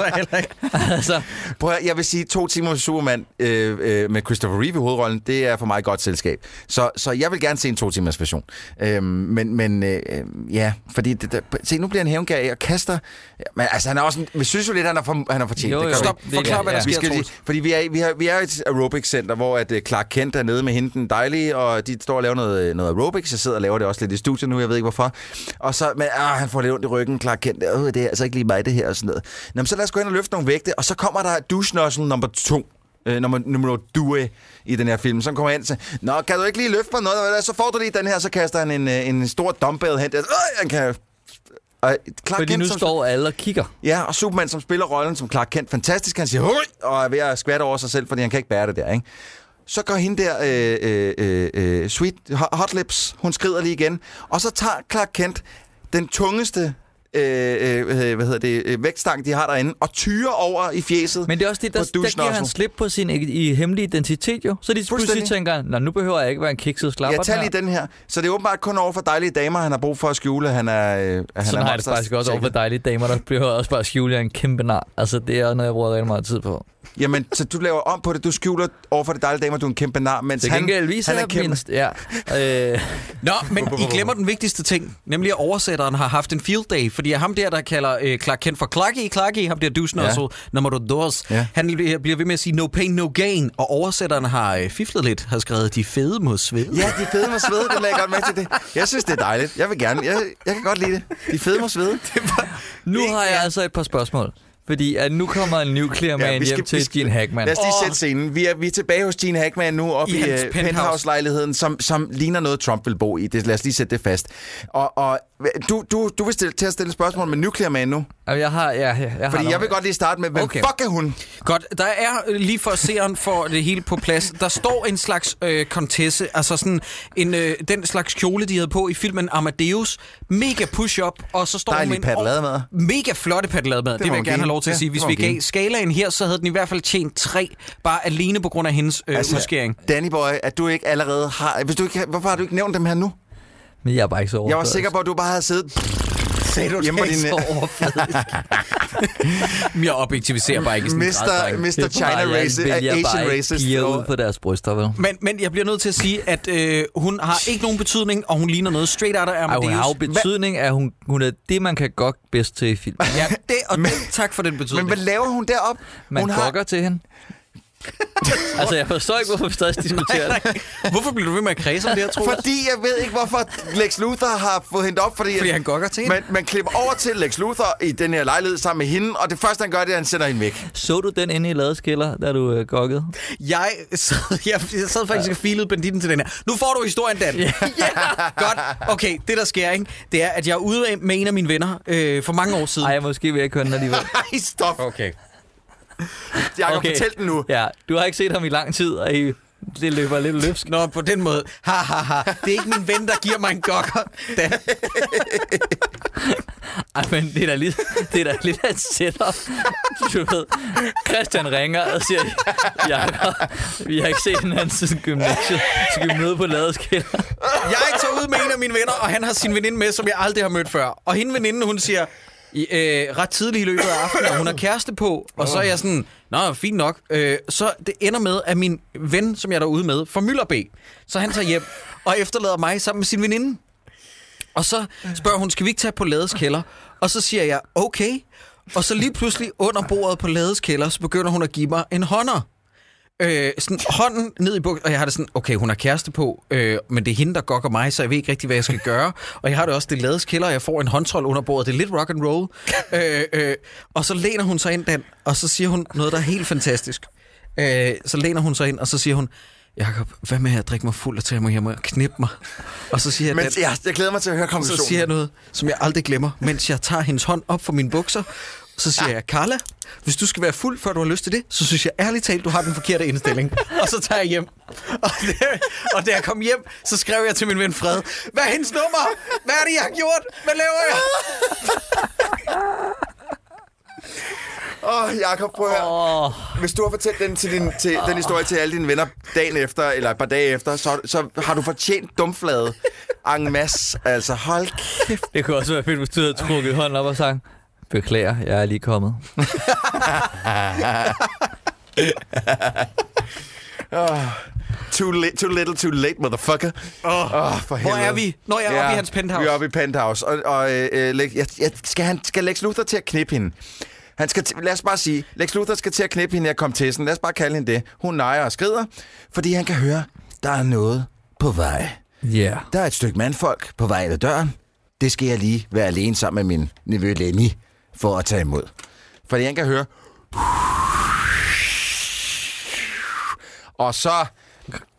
altså,
Prøv at, høre, jeg vil sige, to timer med Superman øh, øh, med Christopher Reeve i hovedrollen, det er for mig et godt selskab. Så, så jeg vil gerne se en to timers version. Øh, men men øh, øh, ja, fordi... Det, der, se, nu bliver han hævngær og kaster... Ja, men altså, han er også en, vi synes jo lidt, han har, for, han har fortjent
Jo,
det.
jo.
gør vi
Stop,
ikke?
forklar, hvad der
Ja.
Vi
sker,
skal lige,
Troels.
fordi vi er, vi, har, vi er et aerobic-center, hvor at øh, Clark Kent er nede med hende den dejlige, og de står og laver noget, øh, noget aerobics. Jeg sidder og laver det også lidt i studiet nu, jeg ved ikke hvorfor. Og så, men ah, han får lidt ondt i ryggen, Clark Kent. Øh, det er altså ikke lige mig, det her og sådan noget. Nå, men så lad os gå hen og løfte nogle vægte, og så kommer der douchenossel nummer to. Øh, nummer, nummer due i den her film, som kommer hen til, Nå, kan du ikke lige løfte mig noget? Eller Så får du lige den her, så kaster han en, øh, en stor dumbbell hen. Der. Øh, han kan... Og Clark
fordi
Kent,
nu
som-
står alle og kigger.
Ja, og Superman, som spiller rollen som Clark Kent, fantastisk, han siger, Hoi! og er ved at skvatte over sig selv, fordi han kan ikke bære det der, ikke? Så går hende der, øh, øh, øh, øh, Sweet Hot Lips, hun skrider lige igen, og så tager Clark Kent den tungeste øh, øh, hvad hedder det, øh, vægtstang, de har derinde, og tyrer over i fjeset.
Men det er også det, der,
på
der
duschen
giver
også
han
nu.
slip på sin i, i hemmelige identitet jo. Så de pludselig
Fuldstændig.
tænker, Nå, nu behøver jeg ikke være en kikset slapper.
Ja, tag lige den her. Så det er åbenbart kun over for dejlige damer, han har brug for at skjule, at han er... Øh, at han
Sådan
er
har jeg det faktisk også over for dejlige damer, der behøver også bare at skjule jeg er en kæmpe nar. Altså, det er noget, jeg bruger rigtig meget tid på.
Jamen, så du laver om på det. Du skjuler over for det dejlige damer, du er en kæmpe nar, mens
Til
han,
gengæld viser
han er
jeg
kæmpe...
mindst, ja. Øh,
Nå, men I glemmer den vigtigste ting, nemlig at oversætteren har haft en field day, fordi ham der, der kalder øh, Clark Kent for Clarky, Clarky, ham der dusen
Ja.
ja. også, nummer dos,
Ja.
ja. han bliver bliver ved med at sige no pain, no gain, og oversætteren har øh, fiflet lidt, har skrevet de fede mod svede.
Ja, de fede må svede, det lagde jeg godt med til det. Jeg synes, det er dejligt. Jeg vil gerne. Jeg, jeg kan godt lide det. De fede må svede. <laughs>
nu har jeg altså et par spørgsmål. Fordi at nu kommer en nuclear man hjem til Gene Hackman.
Lad os lige sætte scenen. Vi er, vi er tilbage hos Gene Hackman nu, oppe
I
i, i
hans
øh,
penthouse.
penthouse-lejligheden, som, som ligner noget, Trump vil bo i. Det, lad os lige sætte det fast. Og, og du, du, du vil stille, til at stille et spørgsmål med Nuclear Man nu.
Jamen, Jeg har, ja, jeg, jeg har
Fordi
nogle-
jeg vil godt lige starte med, hvem
Okay.
okay.
Altså,
fuck er hun?
Godt, der er øh, lige for seeren for det hele på plads, der står en slags øh, kontesse, altså sådan en, øh, den slags kjole, de havde på i filmen Amadeus, mega push-up, og så står hun
Dejlig
med en
pattelademad.
ord- Mega flotte pattelademad, det, det
må
vil
man
jeg gerne
give.
have lov til
Ja,
at sige. Hvis
det må
vi
man give.
gav skalaen her, så havde den i hvert fald tjent tre, bare alene på grund af hendes øh, altså, udskæring.
Danny Boy, at du ikke allerede har... Hvis du ikke, har- hvorfor har du ikke nævnt dem her nu?
Men jeg er bare ikke så overført.
Jeg var sikker på, at du bare havde siddet... Sagde du hjemme på din, øh,
så overfladisk.
<laughs> Jeg objektiviserer bare ikke i sådan en grad,
Mr.
drenge.
Mr. China Racist, Asian Racist.
Jeg ud
derovre.
på deres bryster, vel?
Men, men jeg bliver nødt til at sige, at øh, hun har ikke nogen betydning, og hun ligner noget straight out af
Ej, hun har jo
Amadeus.
betydning, at hun, hun er det, man kan godt bedst til i
<laughs>
film.
Ja, <laughs> det, og det, tak for den betydning.
Men
<laughs>
hvad laver hun derop?
Man
hun
gokker til
<laughs>
hende. altså, jeg forstår ikke, hvorfor vi stadig diskuterer det.
Hvorfor bliver du ved med at kredse om det her, <laughs> tror
Fordi jeg ved ikke, hvorfor Lex Luthor har fået hende op. Fordi,
Fordi han gokker til hende.
man, man klipper over til Lex Luthor i den her lejlighed sammen med hende, og det første, han gør, det er, at han sender hende væk.
<laughs>
Så du den inde i ladeskælder, da du øh, gokkede?
Jeg sad, jeg, jeg sad faktisk og filede banditten til den her. Nu får du historien, <laughs> Dan. Yeah. Godt. Okay, det der sker, ikke? det er, at jeg er ude af- med en af mine venner øh, for mange år siden.
Nej, måske vil jeg ikke høre den <laughs> alligevel.
Ej, stop.
Okay.
Jakob, okay. fortæl den nu.
Ja, du har ikke set ham i lang tid, og I, det løber lidt løbsk.
Nå, på den måde. Ha, ha, ha. Det er ikke min ven, der giver mig en gokker. Dan.
Ej, men det er da, lige, det er da lidt af et setup. Du ved, Christian ringer og siger, Jakob, vi har ikke set hinanden siden gymnasiet. Skal vi møde på ladeskælder?
Jeg tager ud med en af mine venner, og han har sin veninde med, som jeg aldrig har mødt før. Og hende veninde, hun siger, i, øh, ret tidligt i løbet af aftenen, at hun har kæreste på. Og så er jeg sådan, nå, fint nok. Øh, så det ender med, at min ven, som jeg er derude med, får Møllerbæk. Så han tager hjem og efterlader mig sammen med sin veninde. Og så spørger hun, skal vi ikke tage på Lades kælder? Og så siger jeg, okay. Og så lige pludselig under bordet på Lades kælder, så begynder hun at give mig en hånder. Øh, sådan hånden ned i bukken, og jeg har det sådan, okay, hun har kæreste på, øh, men det er hende, der gokker mig, så jeg ved ikke rigtig, hvad jeg skal gøre. Og jeg har det også, det lades kælder, og jeg får en håndtrol under bordet, det er lidt rock and roll. Øh, øh, og så læner hun sig ind, Dan, og så siger hun noget, der er helt fantastisk. Øh, så læner hun sig ind, og så siger hun, Jakob, hvad med at drikke mig fuld og tage mig hjem og knippe mig? Og så siger jeg,
Men
Dan,
ja, jeg glæder mig til at høre
så
konklusionen.
siger jeg noget, som jeg aldrig glemmer, mens jeg tager hendes hånd op fra mine bukser. Så siger jeg, Carla, hvis du skal være fuld, før du har lyst til det, så synes jeg ærligt talt, du har den forkerte <laughs> indstilling. Og så tager jeg hjem. Og, det, og da jeg kom hjem, så skrev jeg til min ven Fred, hvad er hendes nummer? Hvad er det, jeg har gjort? Hvad laver jeg?
Åh, oh, Jakob, prøv at høre.
Åh,
Hvis du har fortalt den, til din, til, den historie til alle dine venner dagen efter, eller et par dage efter, så, så har du fortjent
<laughs>
dumflade. Ang mas, altså hold kæft.
det kunne også være fedt, hvis du havde trukket hånden op og sang, beklager, jeg er lige kommet.
Too, li- too little, too late, motherfucker. Åh, oh, oh, for
Hvor
helvede.
er vi? Nå, jeg er oppe i hans penthouse.
Vi er oppe i penthouse. Og, og øh, øh, Lex- jeg, jeg, skal, han, skal Lex Luthor til at knippe hende? Han skal t- lad os bare sige, Lex Luthor skal til at knippe hende, jeg kom til sådan. Lad os bare kalde hende det. Hun nejer og skrider, fordi han kan høre, der er noget på vej.
Ja. Yeah.
Der er et stykke mandfolk på vej ad døren. Det skal jeg lige være alene sammen med min nevø Lemmy for at tage imod. Fordi han kan høre... Og så,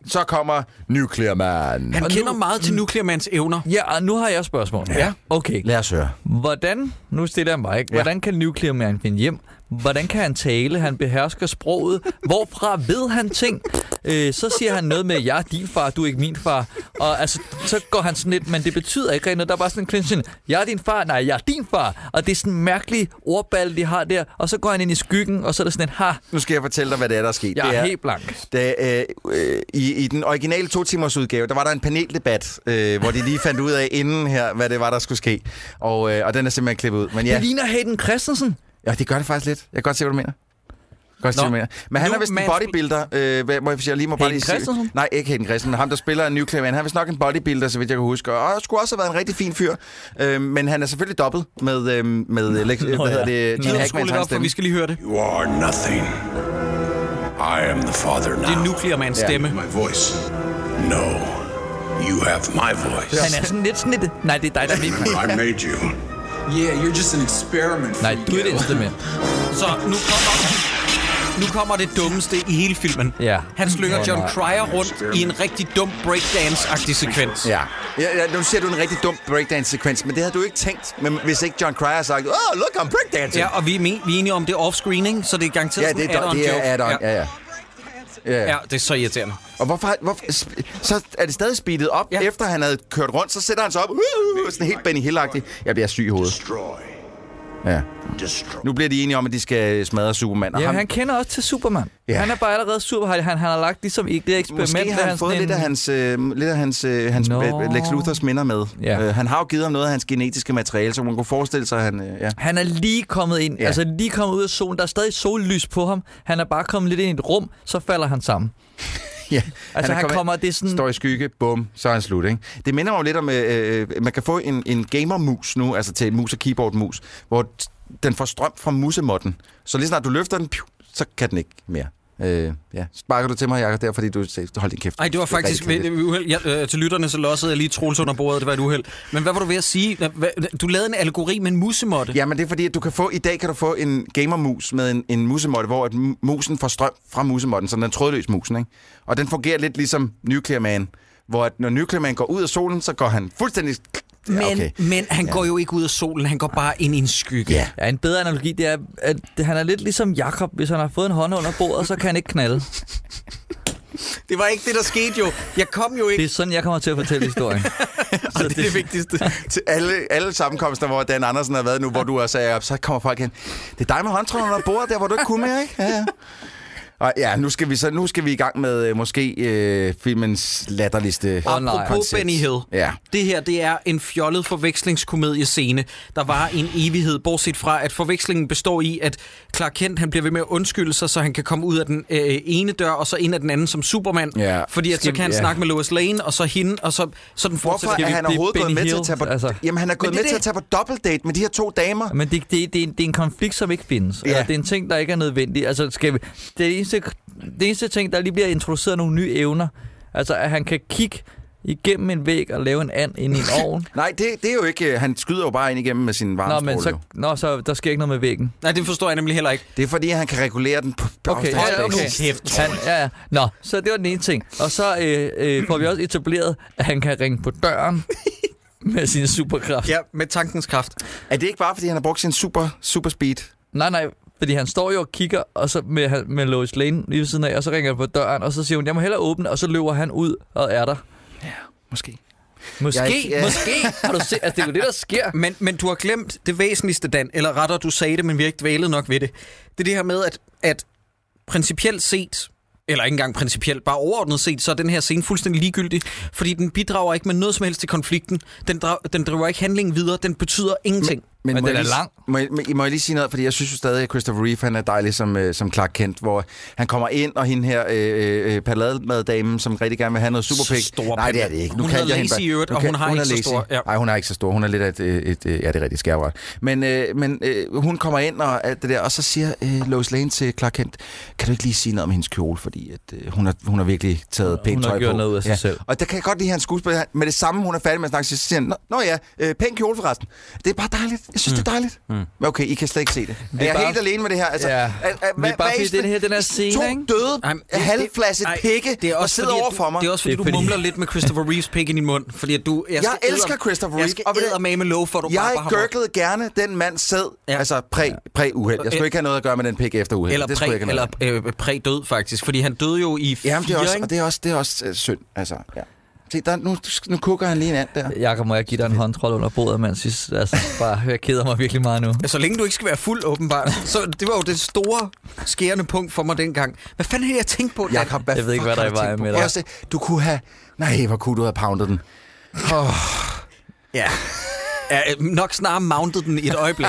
så kommer Nuclear Man.
Han kender meget til Nuclearmans evner.
Ja, og nu har jeg spørgsmål.
Ja.
Okay,
Lad os høre.
Hvordan, nu stiller jeg mig ikke,
Ja.
hvordan kan Nuclear Man finde hjem? Hvordan kan han tale? Han behersker sproget. Hvorfra ved han ting? Øh, så siger han noget med, jeg er din far, du er ikke min far. Og altså, så går han sådan lidt, men det betyder ikke rigtig noget. Der er bare sådan en clinch, jeg er din far, nej, jeg er din far. Og det er sådan en mærkelig ordball, de har der. Og så går han ind i skyggen, og så er der sådan en, ha,
Nu skal jeg fortælle dig, hvad det er, der er sket.
Jeg
det
er helt blank.
Da, øh, øh, i, I den originale to-timers udgave, der var der en paneldebat, øh, hvor de lige fandt ud af inden her, hvad det var, der skulle ske. Og, øh, og den er simpelthen klippet ud. Men ja,
det ligner Hayden Christensen.
ja, det gør det faktisk lidt. Jeg kan godt se, hvad du mener. Jeg kan Godt se, hvad du mener. Men han
Nu
er vist en
man-
bodybuilder. Øh, hvad- må jeg, jeg lige må bare
Hayden
lige sige-
Christensen?
Nej, ikke Hayden Christensen. Ham, der spiller en New Clayman. Han er vist nok en bodybuilder, så vidt jeg kan huske. Og skulle også have været en rigtig fin fyr. Øh, men han er selvfølgelig dobbelt med, øh, med øh, Lex, øh, hvad hedder det, Gene Hackmans hans stemme.
skal lige høre det.
You are nothing. I am the father now.
Det er Nuclear Mans stemme.
My voice. No. You have my voice.
<laughs> Han er sådan lidt sådan lidt, nej, det er dig, der er min
I
far.
made you.
Yeah, you're just an experiment.
Nej, du er det instrument.
Så nu kommer, nu kommer det dummeste i hele filmen.
Ja.
Han slynger
Ja,
John
nej.
Cryer rundt i en rigtig dum breakdance-agtig sekvens.
Ja. ja, ja nu ser du en rigtig dum breakdance-sekvens, men det havde du ikke tænkt, men hvis ikke John Cryer havde sagt, oh, look, I'm breakdancing.
Ja, og vi er, men, vi er enige om, det er off-screen, ikke? så det er garanteret
Ja, det
sådan
er,
add-on
det
joke.
er add-on, ja, ja. Ja, ja.
ja, det er så irriterende.
Og hvorfor, hvorfor, sp- så er det stadig speedet op, ja. efter han havde kørt rundt, så sætter han sig op, uh, uh, sådan helt Benny hill -agtig. Jeg bliver syg i hovedet. Ja. Nu bliver de enige om, at de skal smadre Superman. Og
Ja,
ham,
han kender også til Superman.
Ja.
Ja. Han er bare allerede super. Han, han har lagt ligesom ikke det eksperiment.
Måske
der
har han
er
fået
sådan
lidt af
en-
hans, øh, lidt af hans, øh, hans
Nå.
no. Lex Luthers minder med.
Ja.
Øh, han har jo givet ham noget af hans genetiske materiale, så man kunne forestille sig, at han... Øh, ja.
Han er lige kommet ind,
Ja.
ja. altså lige kommet ud af solen. Der er stadig sollys på ham. Han er bare kommet lidt ind i et rum, så falder han sammen.
Ja,
Altså, han
kommet-
kommer- det er sådan-
Står i skygge, bum, så er han slut, ikke? Det minder mig jo lidt om, øh, øh, man kan få en, en gamer-mus nu, altså til mus og keyboard-mus, hvor t- den får strøm fra musemotten. Så lige snart du løfter den, piu, så kan den ikke mere. Øh, ja. Sparker du til mig, Jacob, der, fordi du hold din kæft.
Ej, det var faktisk
rigtig kedeligt.
ved, ved uheld. Jeg, øh, til lytterne, så lossede jeg lige Troels under bordet. Det var et uheld. Men hvad var du ved at sige? Hva- hva- Du lavede en algori med en musemotte.
Ja, men det er fordi, at du kan få, i dag kan du få en gamermus med en, en musemotte, hvor at mu- musen får strøm fra musemotten, så den er trådløs musen, ikke? Og den fungerer lidt ligesom Nuclear Man, hvor at når Nuclear Man går ud af solen, så går han fuldstændig... Ja,
Men,
okay.
men han ja. går jo ikke ud af solen. Han går bare ind i en skygge.
Ja.
Ja, en bedre analogi, det er, at han er lidt ligesom Jakob. Hvis han har fået en hånd under bordet, så kan han ikke knalde.
Det var ikke det, der skete jo. Jeg kom jo ikke.
Det er sådan, jeg kommer til at fortælle
<laughs>
historien. så
<laughs> det er det vigtigste.
til alle, alle sammenkomster, hvor Dan Andersen har været nu, hvor du også er op, så kommer folk hen. Det er dig med håndtræden under bordet, der hvor du ikke kunne mere, ikke? Ja, ja. Og ja, nu skal vi så nu skal vi i gang med øh, måske øh, filmens latterligste
Apropos
koncept.
Benny Hill.
Ja.
Det her, det er en fjollet forvekslingskomediescene, der var en evighed, bortset fra, at forvekslingen består i, at Clark Kent han bliver ved med at undskylde sig, så han kan komme ud af den øh, ene dør, og så ind af den anden som Superman.
Ja.
Fordi at, så
Skal-
kan han
ja.
snakke med Lois Lane, og så hende, og så sådan
Hvorfor er han overhovedet gået med til at tage på... Altså.
altså.
Jamen, han er gået
det
med
er
til
det.
at tage på dobbeltdate med de her to damer.
Men det, det, det, er en, det er en konflikt, som ikke findes.
Ja.
Ja. Det er en ting, der ikke er nødvendig. Altså, skal vi, det er det eneste, det eneste ting, der lige bliver introduceret nogle nye evner. Altså, at han kan kigge igennem en væg og lave en and ind i en ovn.
Nej, det, det er jo ikke... øh, Han skyder jo bare ind igennem med sin
Nå,
varmestråle.
men så,
jo.
nå, så der sker ikke noget med væggen.
Nej, det forstår jeg nemlig heller ikke.
Det er fordi, han kan regulere den på på
Okay,
afstandsbasis.
ja, okay.
Kæft,
Han, ja, ja. Nå, så det var den ene ting. Og så øh, øh, får vi også etableret, at han kan ringe på døren <laughs> med sin superkraft.
Ja, med tankens kraft.
Er det ikke bare, fordi han har brugt sin super, super speed?
Nej, nej, fordi han står jo og kigger og så med, med Lois Lane lige ved siden af, og så ringer han på døren, og så siger hun, jeg må hellere åbne, og så løber han ud og er der.
Måske.
Måske,
Jeg-
jeg,
ja.
ja. måske. Har du set? Altså, det er jo det, der sker.
Men, men du har glemt det væsentligste, Dan. Eller rettere, du sagde det, men vi har ikke dvælet nok ved det. Det er det her med, at, at principielt set, eller ikke engang principielt, bare overordnet set, så er den her scene fuldstændig ligegyldig, fordi den bidrager ikke med noget som helst til konflikten. Den, dra- den driver ikke handlingen videre. Den betyder ingenting.
Men
må
den
jeg
er
lige,
lang.
Må jeg, må, må jeg lige sige noget? Fordi jeg synes jo stadig, at Christopher Reeve han er dejlig som, øh, som Clark Kent, hvor han kommer ind, og hende her øh, øh, palademaddamen, som rigtig gerne vil have noget superpik.
Så stor
Nej, det er
pande.
det ikke.
Hun
kan
hedder
jeg hende
Lacey
bare-
i øvrigt,
Nu
og
kan-
hun har ikke så
Lacey.
stor- ja.
Nej, hun er ikke så stor. Hun er lidt af et... et, et øh, ja, det er rigtigt skærvret. Men, øh, men øh, hun kommer ind og alt det der, og så siger øh, Lois Lane til Clark Kent, kan du ikke lige sige noget om hendes kjole, fordi at, øh, hun, har, hun har virkelig taget pænt
hun har
tøj
gjort
på.
noget ud af sig selv.
Og der kan jeg godt lide hans skuespil. Han- Med det samme, hun er færdig med at snakke, så siger han, "Nå- Nå ja, øh, pæn kjole forresten. Det er bare dejligt. Jeg synes, mm. det er dejligt. Mm. Men okay, I kan slet ikke se det.
Vi er
det er jeg
bare-
er helt alene med det her. Altså,
Ja.
ja.
Vi er bare fordi den her- den er scene,
To
ikke?
døde,
Ej, men det-
halvflasset
ej,
pikke,
det er også
der sidder
fordi, at
over
du-
for mig.
Det er også fordi,
Det
du
er fordi-
mumler lidt med Christopher
<laughs>
Reeves pik i din mund. Fordi at du,
Jeg,
skal
jeg
æder-
elsker Christopher Reeve.
Jeg skal
og ved du-
eddermame love for, at du bare
Jeg
bare har
gurglede gerne den mand sæd, ja. altså præ, præ uheld. Jeg skulle ikke have noget at gøre med den pik efter uheld.
Eller,
det
præ,
skulle jeg ikke have
eller
noget.
øh, præ-død, faktisk. Fordi han døde jo i fire,
Jamen, det er også,
ikke?
og det er også, det er også øh, synd, altså. Ja. Se, der, nu, nu kukker han lige en and der.
Jakob, må jeg give dig en håndtrol under bordet, mand? Synes, altså, bare, jeg keder mig virkelig meget nu.
Så længe du ikke skal være fuld, åbenbart. Så det var jo det store skærende punkt for mig dengang. Hvad fanden havde jeg tænkt på? da-
Jakob, hvad
Jeg ved ikke,
fuck
hvad der
har
er
du
i
tænkt
vejen
på?
med
Prøv
dig.
at se, Du kunne have... Nej, hvor kunne du have poundet den. Oh.
Ja. ja øh, nok snarere mounted den i et øjeblik.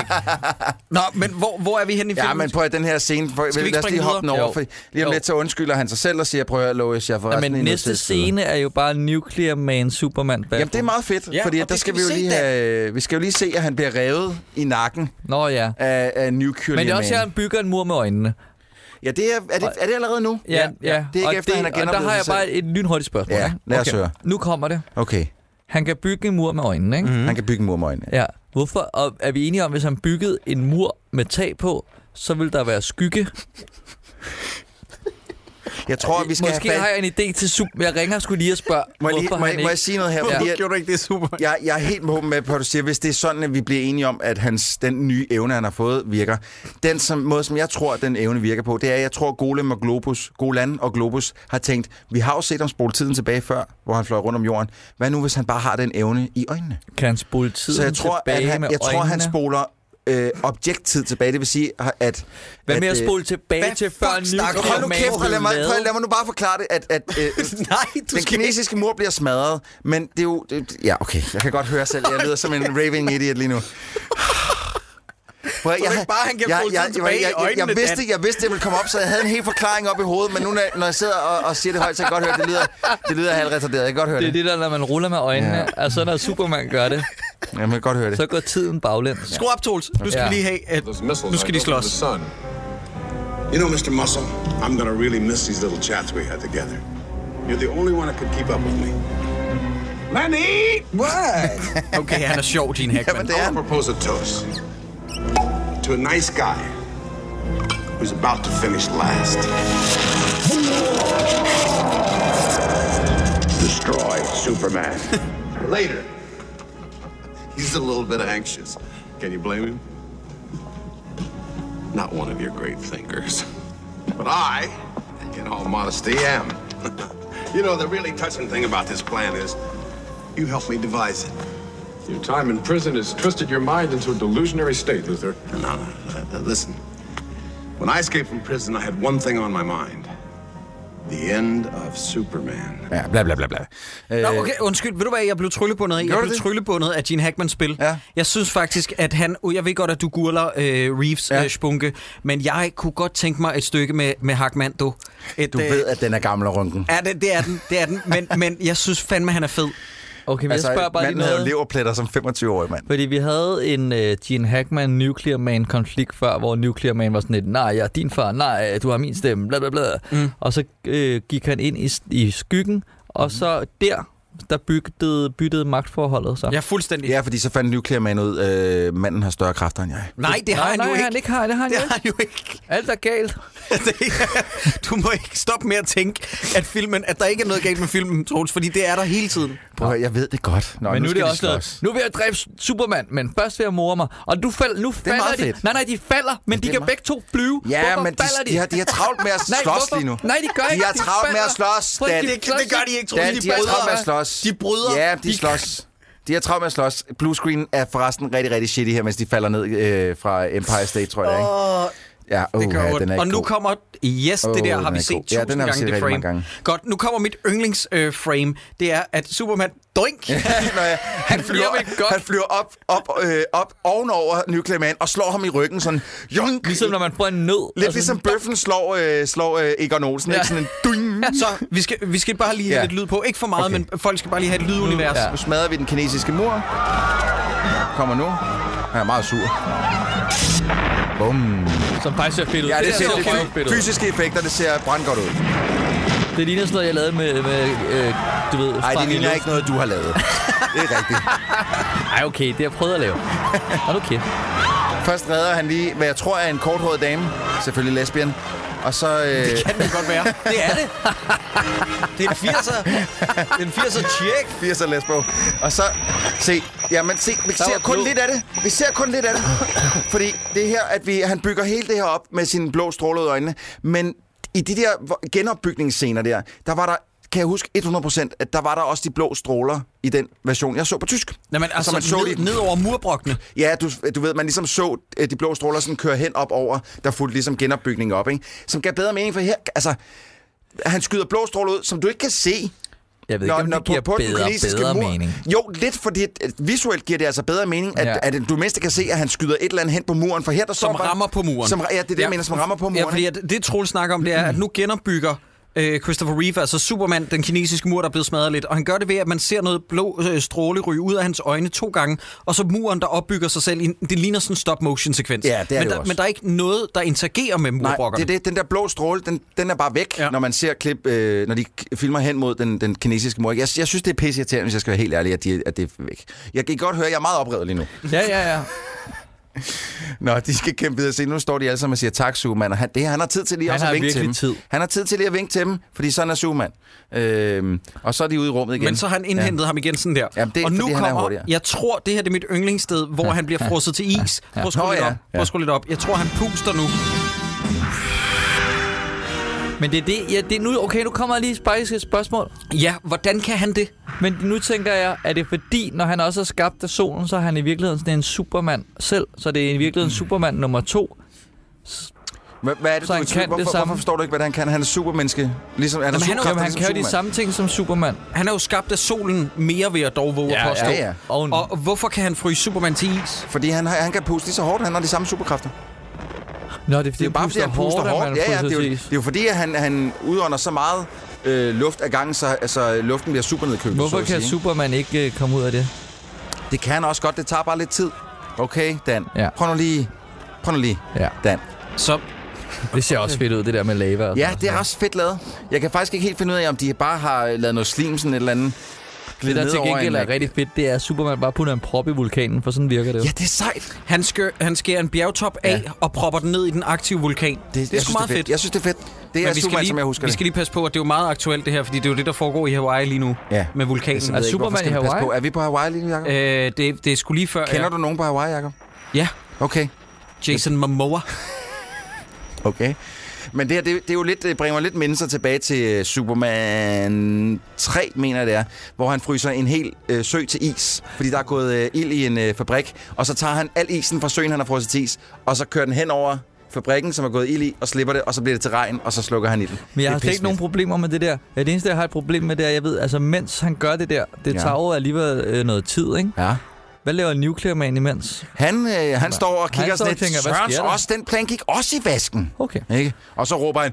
Nå, men hvor, hvor er vi henne i filmen?
Ja, men prøv at den her scene... For,
Skal vi ikke
lad os lige
springe
hoppe den
videre?
over,
Jo.
for lige om
Jo.
lidt så undskylder han sig selv og siger, prøv at Lois, jeg får
Ja, men næste scene er jo bare Nuclear Man Superman.
Jamen, det er meget fedt,
Ja,
ja, fordi
og
der
det
skal,
skal
vi jo
vi se
lige have, vi skal jo lige se, at han bliver revet i nakken
Nå ja.
af, af Nuclear
Men det er
Man.
også, at han bygger en mur med øjnene.
Ja, det er, er, det, er det allerede nu?
Ja, ja. ja.
Det er
og
ikke efter,
det,
han har
Og der har
genoplevet
jeg
sig selv.
bare et lynhurtigt spørgsmål.
Ja,
ikke?
lad os høre.
Nu kommer det.
Okay.
Han kan bygge en mur med øjnene, ikke?
Han kan bygge en mur med øjnene.
Ja. Hvorfor? Og er vi enige om, hvis han byggede en mur med tag på, så vil der være skygge?
Jeg tror, vi skal
Måske
have fat...
har jeg en idé til super... Jeg ringer skulle lige og spørger,
Må jeg, lige,
hvorfor
må,
han
jeg, må jeg sige noget her? Fordi at,
du ikke det super?
jeg, jeg er helt på med, på, at du siger, hvis det er sådan, at vi bliver enige om, at hans, den nye evne, han har fået, virker. Den som, måde, som jeg tror, den evne virker på, det er, at jeg tror, Golem og Globus, Golan og Globus har tænkt, vi har jo set ham spole tiden tilbage før, hvor han fløj rundt om jorden. Hvad nu, hvis han bare har den evne i øjnene?
Kan han spole tiden
Så jeg tror,
tilbage
at han,
med
jeg tror, han
øjnene?
spoler øh, objekttid tilbage. Det vil sige, at...
Hvad med at
øh,
spole tilbage til før
snakker du? Hold nu
Man
kæft,
blev
og lad mig,
lavet?
prøv, lad mig nu bare forklare det, at, at
<laughs>
øh,
Nej, du
den
skal ikke.
kinesiske mur bliver smadret, men det er jo... Det, ja, okay, jeg kan godt høre selv, jeg lyder som en raving idiot lige nu. Prøv, at-
Tror du ikke bare, han kan
jeg,
få
jeg,
tiden
jeg,
tilbage i
jeg, jeg,
øjnene,
jeg, vidste,
Dan?
jeg vidste, det ville komme op, så jeg havde en hel forklaring op i hovedet, men nu når jeg- når jeg sidder og, og siger det højt, så kan jeg godt høre, det lyder, det lyder halvt retarderet. Jeg kan godt høre
Det
det.
er det der, når man ruller med øjnene, ja. og så når Superman gør det,
Ja, man kan godt høre det.
så går tiden baglæns.
Skru op, Tools. Nu skal
Ja.
vi lige have... At, nu skal de slås.
You know, Mr. Muscle, I'm gonna really miss these little chats we had together. You're the only one that could keep up with me. Lenny! What?
<laughs> Okay, han er sjov, Gene Hackman.
I want to propose a toast to a nice guy who's about to finish last. Destroy Superman. <laughs> Later. He's a little bit anxious. Can you blame him? Not one of your great thinkers. But I, in all modesty, am. <laughs> you know, the really touching thing about this plan is you helped me devise it.
Your time in prison has twisted your mind into a delusionary state, Luther.
No, no, uh, uh, listen. When I escaped from prison, I had one thing on my mind the end of Superman.
Ja, bla bla bla bla.
Nå, okay, undskyld. Ved du hvad, jeg blev tryllebundet i? Jeg
Gjorde
blev
det?
tryllebundet af Gene Hackmans spil. Ja. Jeg synes faktisk, at han... Uh, Jeg ved godt, at du gurler øh, Reeves ja. øh, spunke, men jeg kunne godt tænke mig et stykke med, med Hackman, du. Et, øh,
Du ved, at den er gammel og runken.
Ja, det, det er den, det er den. Men, men jeg synes fandme, han er fed.
Okay, men altså, jeg spørger bare lige
manden havde jo
noget.
leverpletter som 25-årig mand.
Fordi vi havde en uh, Gene Hackman Nuclear Man konflikt før, hvor Nuclear Man var sådan lidt, nej, jeg er din far, nej, du har min stemme, bla bla bla. Mm. Og så øh, gik han ind i, i skyggen, og mm. så der, der byggede, byttede magtforholdet sig.
Ja, fuldstændig.
Ja, fordi så fandt Nuclear Man ud, øh, manden har større kræfter end jeg.
Nej, det har
nej,
han
nej,
jo ikke.
Han ikke har, det har han
Det
jo
har
ikke.
han jo ikke. <laughs>
Alt er galt.
du må ikke stoppe med at tænke, at, filmen, at der ikke er noget galt med filmen, Troels, fordi det er der hele tiden.
Prøv at høre, jeg ved det godt. Nå,
Men nu, nu er
skal
det
de
også noget.
slås.
Nu vil jeg dræbe Superman, men først vil jeg more mig. Og du fald, nu falder
meget
de.
fedt.
Nej, nej, de falder, men, men de
det er
kan
meget-
begge to flyve.
Ja,
hvorfor
men de,
falder de?
de, har, de har travlt med at
<laughs> Nej,
slås
hvorfor?
lige nu.
Nej, de gør
De
ikke.
har travlt med at
falder.
slås,
Prøv,
Dan.
de slås
Det gør de ikke, Troels.
Dan, de, de har
falder.
travlt med at slås.
De bryder.
Ja, de, slås. De har travlt med at slås. Blue screen er forresten rigtig, rigtig shitty her, mens de falder ned øh, fra Empire State, tror jeg. Ikke? Ja, oh,
Det gør
ja,
ondt.
den er
Og
ikke
nu
god.
kommer... Yes, det
Åh,
der
den
har vi
er
set
god.
tusind
Ja, den har vi
gange,
set
det
rigtig
frame.
mange gange.
Godt, nu kommer mit yndlingsframe. Øh, frame. det er, at Superman... Doink!
<laughs> Nå ja, han, flyver,
flyver med godt.
han flyver op, op, øh, op ovenover Nuclear Man og slår ham i ryggen sådan... Junk,
Ligesom når man får en nød.
Lidt
og
ligesom
sådan-
bøffen slår, øh, slår øh, Egon Olsen, ja. ikke? Sådan en
<laughs>
ding.
<laughs> Så vi skal, vi skal bare lige have
Ja.
lidt lyd på. Ikke for meget,
Okay.
men folk skal bare lige have et lydunivers.
Ja.
Ja.
Nu smadrer vi den kinesiske mur. Kommer nu. Han er meget sur. Bum.
Som faktisk ser fedt ud.
Ja, det, det ser
der
det
røv fedt
fy-
ud.
fysiske effekter, det ser brandgodt ud.
Det ligner sådan noget, jeg lavede med, med øh, du ved,
Nej,
fang
det
i
ligner
luften.
ikke noget, du har lavet. Det er rigtigt.
Ej, okay, det har jeg prøvet at lave. Hold nu kæft.
Først redder han lige, hvad jeg tror er en korthåret dame. Selvfølgelig lesbian. Og så... Øh... Det
kan det
<laughs>
godt være. Det er det. Det er en
altså.
80'er. Det er en 80'er tjek.
80'er lesbo. Og så... Se, jamen se, vi
Der
ser
var
kun
blod.
lidt af det. Vi ser kun lidt
<coughs>
af det. Fordi det er her, at vi, han bygger hele det her op med sine blå strålede øjne. Men i de der vo- genopbygningsscener der, der var der kan jeg huske 100%, at der var der også de blå stråler i den version, jeg så på tysk.
Nå, men
Så
altså, man så ned,
de-
ned over murbrokkene.
Ja, du, du ved, man ligesom så øh, de blå stråler sådan køre hen op over, der fulgte ligesom genopbygning op, ikke? Som gav bedre mening, for her, altså, han skyder blå stråler ud, som du ikke kan se.
Jeg ved ikke, om det giver bedre- bedre mening.
Jo, lidt, fordi øh, visuelt giver det altså bedre mening, at,
Ja.
ja. at, at du mindst kan se, at han skyder et eller andet hen på muren, for her der
Som
står bare-
rammer på muren.
Som, ja, det er det, jeg mener, som rammer på muren.
Ja, fordi at det, Troels snakker om, det er, at nu genopbygger øh, Christopher Reeve, altså Superman, den kinesiske mur, der er blevet smadret lidt. Og han gør det ved, at man ser noget blå øh, stråle ryge ud af hans øjne to gange, og så muren, der opbygger sig selv. i en- Det ligner sådan en stop-motion-sekvens.
Ja, det er
men,
det
der,
også.
men der er ikke noget, der interagerer med
Nej,
murbrokkerne.
det er det. Den der blå stråle, den, den er bare væk, ja. når man ser klip, øh, når de k- filmer hen mod den, den kinesiske mor. Jeg, jeg synes, det er pisse irriterende, hvis jeg skal være helt ærlig, at, de, at det er væk. Jeg kan godt høre, at jeg er meget oprevet lige nu.
Ja, ja, ja.
Nå, de skal kæmpe videre. Se, nu står de alle sammen og siger tak, Superman. Og han, det, her, han har tid til lige
Han
også
har
at vinke til
virkelig
dem.
tid.
Han har tid til lige at vinke til dem, fordi sådan er Superman. Øhm, og så er de ude i rummet igen.
Men så har han indhentet ja. ham igen sådan der.
Jamen, det er,
og nu
fordi han er
kommer,
hurtigere.
jeg tror, det her det er mit yndlingssted, hvor han bliver frosset til is. Prøv at skrue
Nå,
lidt
ja.
op. Prøv at skrue lidt op. Jeg tror, han puster nu.
Men det er det, ja, det er nu, okay, nu kommer der lige faktisk et spørgsmål.
Ja, hvordan kan han det?
Men nu tænker jeg, er det fordi, når han også er skabt af solen, så er han i virkeligheden sådan en supermand selv, så det er i virkeligheden Superman nummer to.
Hvad, hvad er det,
Så
du
han
er i tvivl?
kan det
hvorfor,
samme.
hvorfor forstår du ikke, hvad han kan? Han er supermenneske. Ligesom, han er
Jamen, han er jo-
superkræfter
Jamen, han
som
kan jo de
Superman.
samme ting som Superman.
Han er jo skabt af solen mere, vil jeg dog våge at
Ja,
påstå.
ja, ja.
Og hvorfor kan han fryse Superman til is?
Fordi han, har- han kan puste lige så hårdt, han har de samme superkræfter.
Nå, det er fordi,
Det er jo bare fordi, han puster hårdt.
at man
Ja, ja,
fryser
det, er jo,
til
det
is.
er jo fordi, at han, han udånder så meget øh, luft ad gangen, så altså, luften bliver super nedkølet.
Hvorfor
så at
kan
sige,
Superman ikke øh, komme ud af det?
ikke? Det kan han også godt, det tager bare lidt tid. Okay, Dan.
Ja.
Prøv nu lige. Prøv nu lige,
Ja.
Dan.
Så
Det ser også fedt ud, det der med lava. og
Ja,
sådan
det er også fedt lavet. Jeg kan faktisk ikke helt finde ud af, om de bare har øh, lavet noget slim, sådan et eller andet.
noget. Det,
glide
der
ned
til
over
gengæld
en-
er rigtig fedt, det er, at Superman bare putter en prop i vulkanen, for sådan virker det jo.
Ja, det er sejt.
Han, skør, han skærer en bjergtop af ja. og propper den ned i den aktive vulkan. Det, det er
jeg
sgu
synes,
meget
det
fedt.
Jeg synes, det er fedt. Det er
vi skal,
Superman,
lige,
som jeg husker
vi
det.
skal lige passe på, at det er jo meget aktuelt det her, fordi det er jo det, der foregår i Hawaii lige nu
Ja. Altså,
med vulkanen.
Så ved
Er
jeg ikke, hvorfor
Superman
skal
i
vi passe
Hawaii?
på. Er vi på Hawaii lige nu, Jacob?
Øh, det, det er sgu lige før.
Kender
ja.
du nogen på Hawaii, Jacob?
Ja,
Okay.
Jason Momoa.
Okay. Men det her, det, det er jo lidt, det bringer mig lidt mindelser tilbage til øh, Superman 3, mener jeg det er, hvor han fryser en hel øh, sø til is, fordi der er gået øh, ild i en øh, fabrik, og så tager han al isen fra søen, han har frosset til is, og så kører den hen over fabrikken, som er gået ild i, og slipper det, og så bliver det til regn, og så slukker han ilden.
Men
Det
jeg
er
har slet ikke nogen
pissefedt.
problemer med det der. Ja, det eneste, jeg har et problem med, det er, jeg ved, altså mens han gør det der, det
Ja.
ja. tager jo alligevel øh, noget tid, ikke?
Ja.
Hvad laver Nuclear Man imens?
Han, øh, han står og kigger
står
sådan
og
lidt,
tænker, hvad
Sørens
sker der?"
også, den plan gik også i vasken.
Okay.
Ikke? Og så råber han,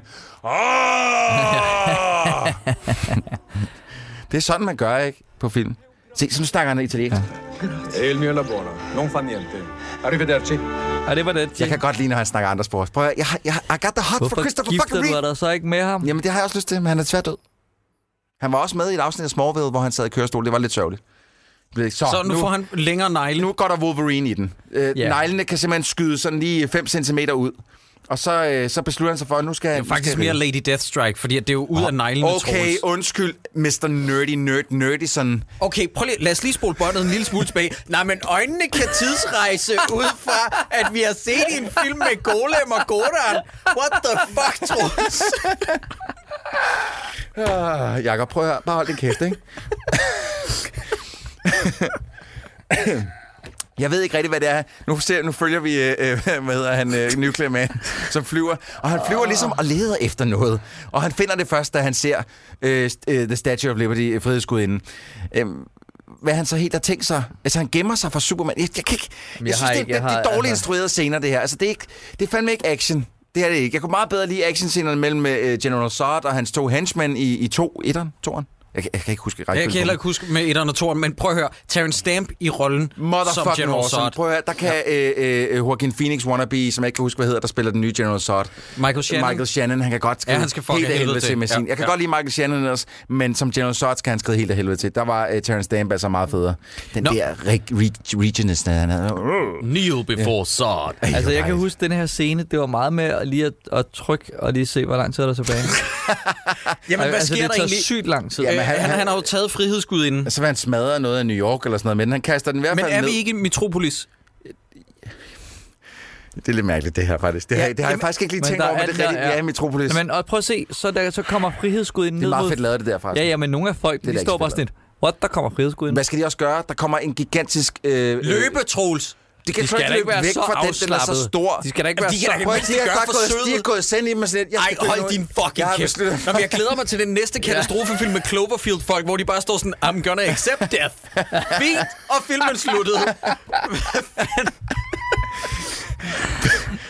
"Åh!" Det er sådan, man gør, ikke? På film. Se, så nu snakker han italiensk. Ja.
E il mio lavoro non fa niente. Arrivederci.
Ja, det var det.
Jeg kan godt lide, når han snakker andre sprog. Prøv at, høre, jeg, har- jeg, har- I got the hot for
Hvorfor
Christopher
gifter
fucking
du
Reeve.
dig så ikke med ham?
Jamen, det har jeg også lyst til, men han er tværdød. Han var også med i et afsnit af Smallville, hvor han sad i kørestol. Det var lidt sørgeligt. Blev- Så,
Så nu, nu får han længere negle.
nu går der Wolverine i den. Øh,
Ja.
Neglene kan simpelthen skyde sådan lige 5 cm ud. Og så, øh, så beslutter han sig for, at nu skal han...
Det er faktisk
nu skal
mere
jeg
Lady Deathstrike, fordi at det er jo ud af neglene,
Okay,
Troels.
undskyld, Mr. Nerdy Nerd Nerdison.
Okay, prøv lige, lad os lige spole båndet en lille smule tilbage. Nej, men øjnene kan tidsrejse ud fra, at vi har set i en film med Golem og Godard. What the fuck, Troels?
Ah, Jakob, prøv at høre. Bare hold din kæft, ikke? Jeg ved ikke rigtig, hvad det er. Nu, ser, nu følger vi, øh, øh, hvad hedder han, øh, Nuclear Man, som flyver. Og han flyver ligesom og leder efter noget. Og han finder det først, da han ser øh, st- øh, The Statue of Liberty, øh, frihedsgudinden. Øh, hvad han så helt har tænkt sig. Altså, han gemmer sig fra Superman. Jeg, jeg, kan ikke, jeg,
jeg
synes,
har
det,
ikke-
det,
jeg
det er
har-
dårligt
altså-
instrueret scener, det her. Altså, det er, ikke, det er fandme ikke action. Det er det ikke. Jeg kunne meget bedre lide actionscenerne mellem øh, General Zod og hans to henchmen i, i to, etteren, toeren. Jeg, kan- jeg kan ikke huske
Jeg kan
rækkefølgen på
heller
dem.
ikke huske med etteren og toeren, men prøv at høre. Terrence Stamp i rollen som
Motherfucking
General
awesome.
Zod.
Prøv at høre, der kan ja. øh, øh, Joaquin Phoenix wannabe, som jeg ikke kan huske, hvad hedder, der spiller den nye General Zod.
Michael Shannon.
Michael Shannon, han kan godt skrive
Ja, han skal fucking
helt af
helvede
helvede til.
til.
Med
Ja,
sin. Jeg kan
ja.
godt lide Michael Shannon også, men som General Zod skal han skrive helt af helvede til. Der var øh, Terrence Stamp altså meget federe. Den
Nå.
der reg- reg- regionist, han havde.
Kneel before Zod.
Altså, jeg kan huske den her scene, det var meget med at lige at, at trykke og lige se, hvor lang tid er der
<laughs>
tilbage.
Jamen, hvad
altså,
sker
det
der
tager
egentlig?
sygt lang tid.
Jamen,
Jamen,
han,
han-
han, han, har jo taget frihedsgud inden.
Så vil Altså, han smadre noget af New York eller sådan noget, men han kaster den i hvert
Men
fald
er
ned.
vi ikke i Metropolis?
Øh. Det er lidt mærkeligt, det her faktisk. Det, ja, det har jeg faktisk ikke lige tænkt over, men det er rigtigt. Ja, Metropolis.
Men og prøv at se, så, der, så kommer frihedsguden ned
Det er meget
mod-
fedt lavet, det der, faktisk.
Ja, ja, men nogle af folk,
Det er
de
da ikke
står
så
bare
fedt
sådan lidt, what, der kommer frihedsguden.
Hvad skal de også gøre? Der kommer en gigantisk... Øh,
Løbe, Troels!
De kan
De
sgu
skal
ikke
da ikke
løbe
være
væk
så
fra den, den er så
afslappet.
stor.
De skal da ikke være
de kan
så-
da
Prøv at de
mindst
har
gøre
godt gået-
forsøget. De er gået send i dem og sådan lidt. Jeg
Ej,
skal finde
hold
ud-
din fucking
Jeg har
kæft.
besluttet-
Nå, men jeg glæder mig til den
<laughs>
næste katastrofefilm med Cloverfield-folk, hvor de bare står sådan, I'm gonna accept death. Fint, og filmen sluttede.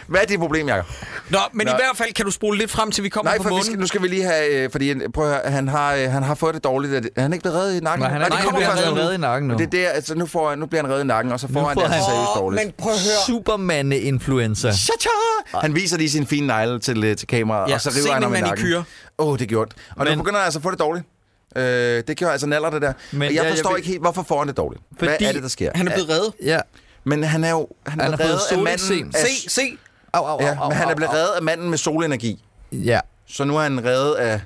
Hvad er dit problem, Jacob?
Nå, men Nå.
Nå.
i hvert fald kan du spole lidt frem til, vi kommer
Nej,
på
for vi
månen.
skal, nu skal vi lige have... Øh, fordi, øh, prøv at høre, han har, øh, han har fået det dårligt. Er det- Er han ikke blevet reddet i nakken?
Nej, han er
det
ikke
kommer
blevet
først
reddet
nu.
i nakken nu.
Men Det er der, altså, nu, får han, nu bliver han reddet i nakken, og så får
Nu
han
får
det altså
han-
seriøst
Åh,
dårligt.
men prøv at høre. Supermande-influencer.
Cha-cha! Han viser lige sin fine negle til, øh, til kameraet,
Ja,
ja, og så
se
river han
min
ham i
manicure.
nakken. Åh, oh, det gjorde ondt. Og men, nu begynder han altså at få det dårligt. Øh, det gjorde altså naller det der. Men, og jeg
ja, jeg
forstår
ved-
ikke helt, hvorfor får han det dårligt? Hvad
Fordi
er det, der sker?
Han er blevet reddet.
Ja.
Men han er jo han er
Han har fået
reddet af
soleksem.
manden. af-
Se, se.
Au, au,
Ja, men han er blevet reddet af manden med solenergi.
Ja.
Så nu er han reddet af...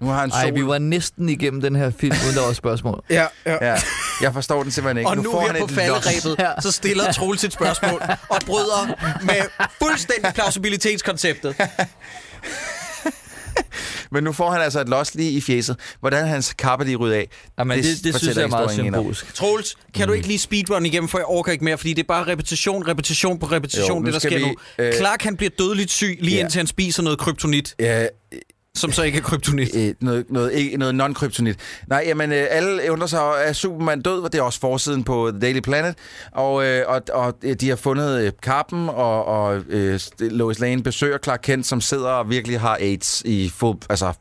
Nu har han sol.
Ej, vi var næsten igennem den her film, uden der var
<laughs>
spørgsmål.
Ja, ja.
ja. Jeg forstår den simpelthen ikke.
Og nu,
får
her
han
på
et loft.
falderæbet, så stiller Troels et
<laughs>
spørgsmål og bryder med fuldstændig plausibilitetskonceptet.
Men nu får han altså et loss lige i fjeset. Hvordan hans kappe lige rydder af.
Jamen, det- det synes
fortæller
jeg er meget
historien ikke om.
symbolsk.
Troels, kan
Mm.
du ikke lige speedrun igennem, for jeg orker ikke mere, fordi det er bare repetition, repetition på
Jo,
repetition,
nu
det der
skal
sker
vi,
nu.
øh,
Clark, han bliver dødeligt syg, lige
ja.
indtil han spiser noget kryptonit,
Ja,
som så ikke er kryptonit.
øh, noget, noget, ikke- noget non-kryptonit. Nej, jamen, øh, alle undrer sig, er Superman død? Og Det er også forsiden på The Daily Planet. Og, øh, og, og øh, de har fundet øh, kappen, og, og øh, Lois Lane besøger Clark Kent, som sidder og virkelig har AIDS i fuld, altså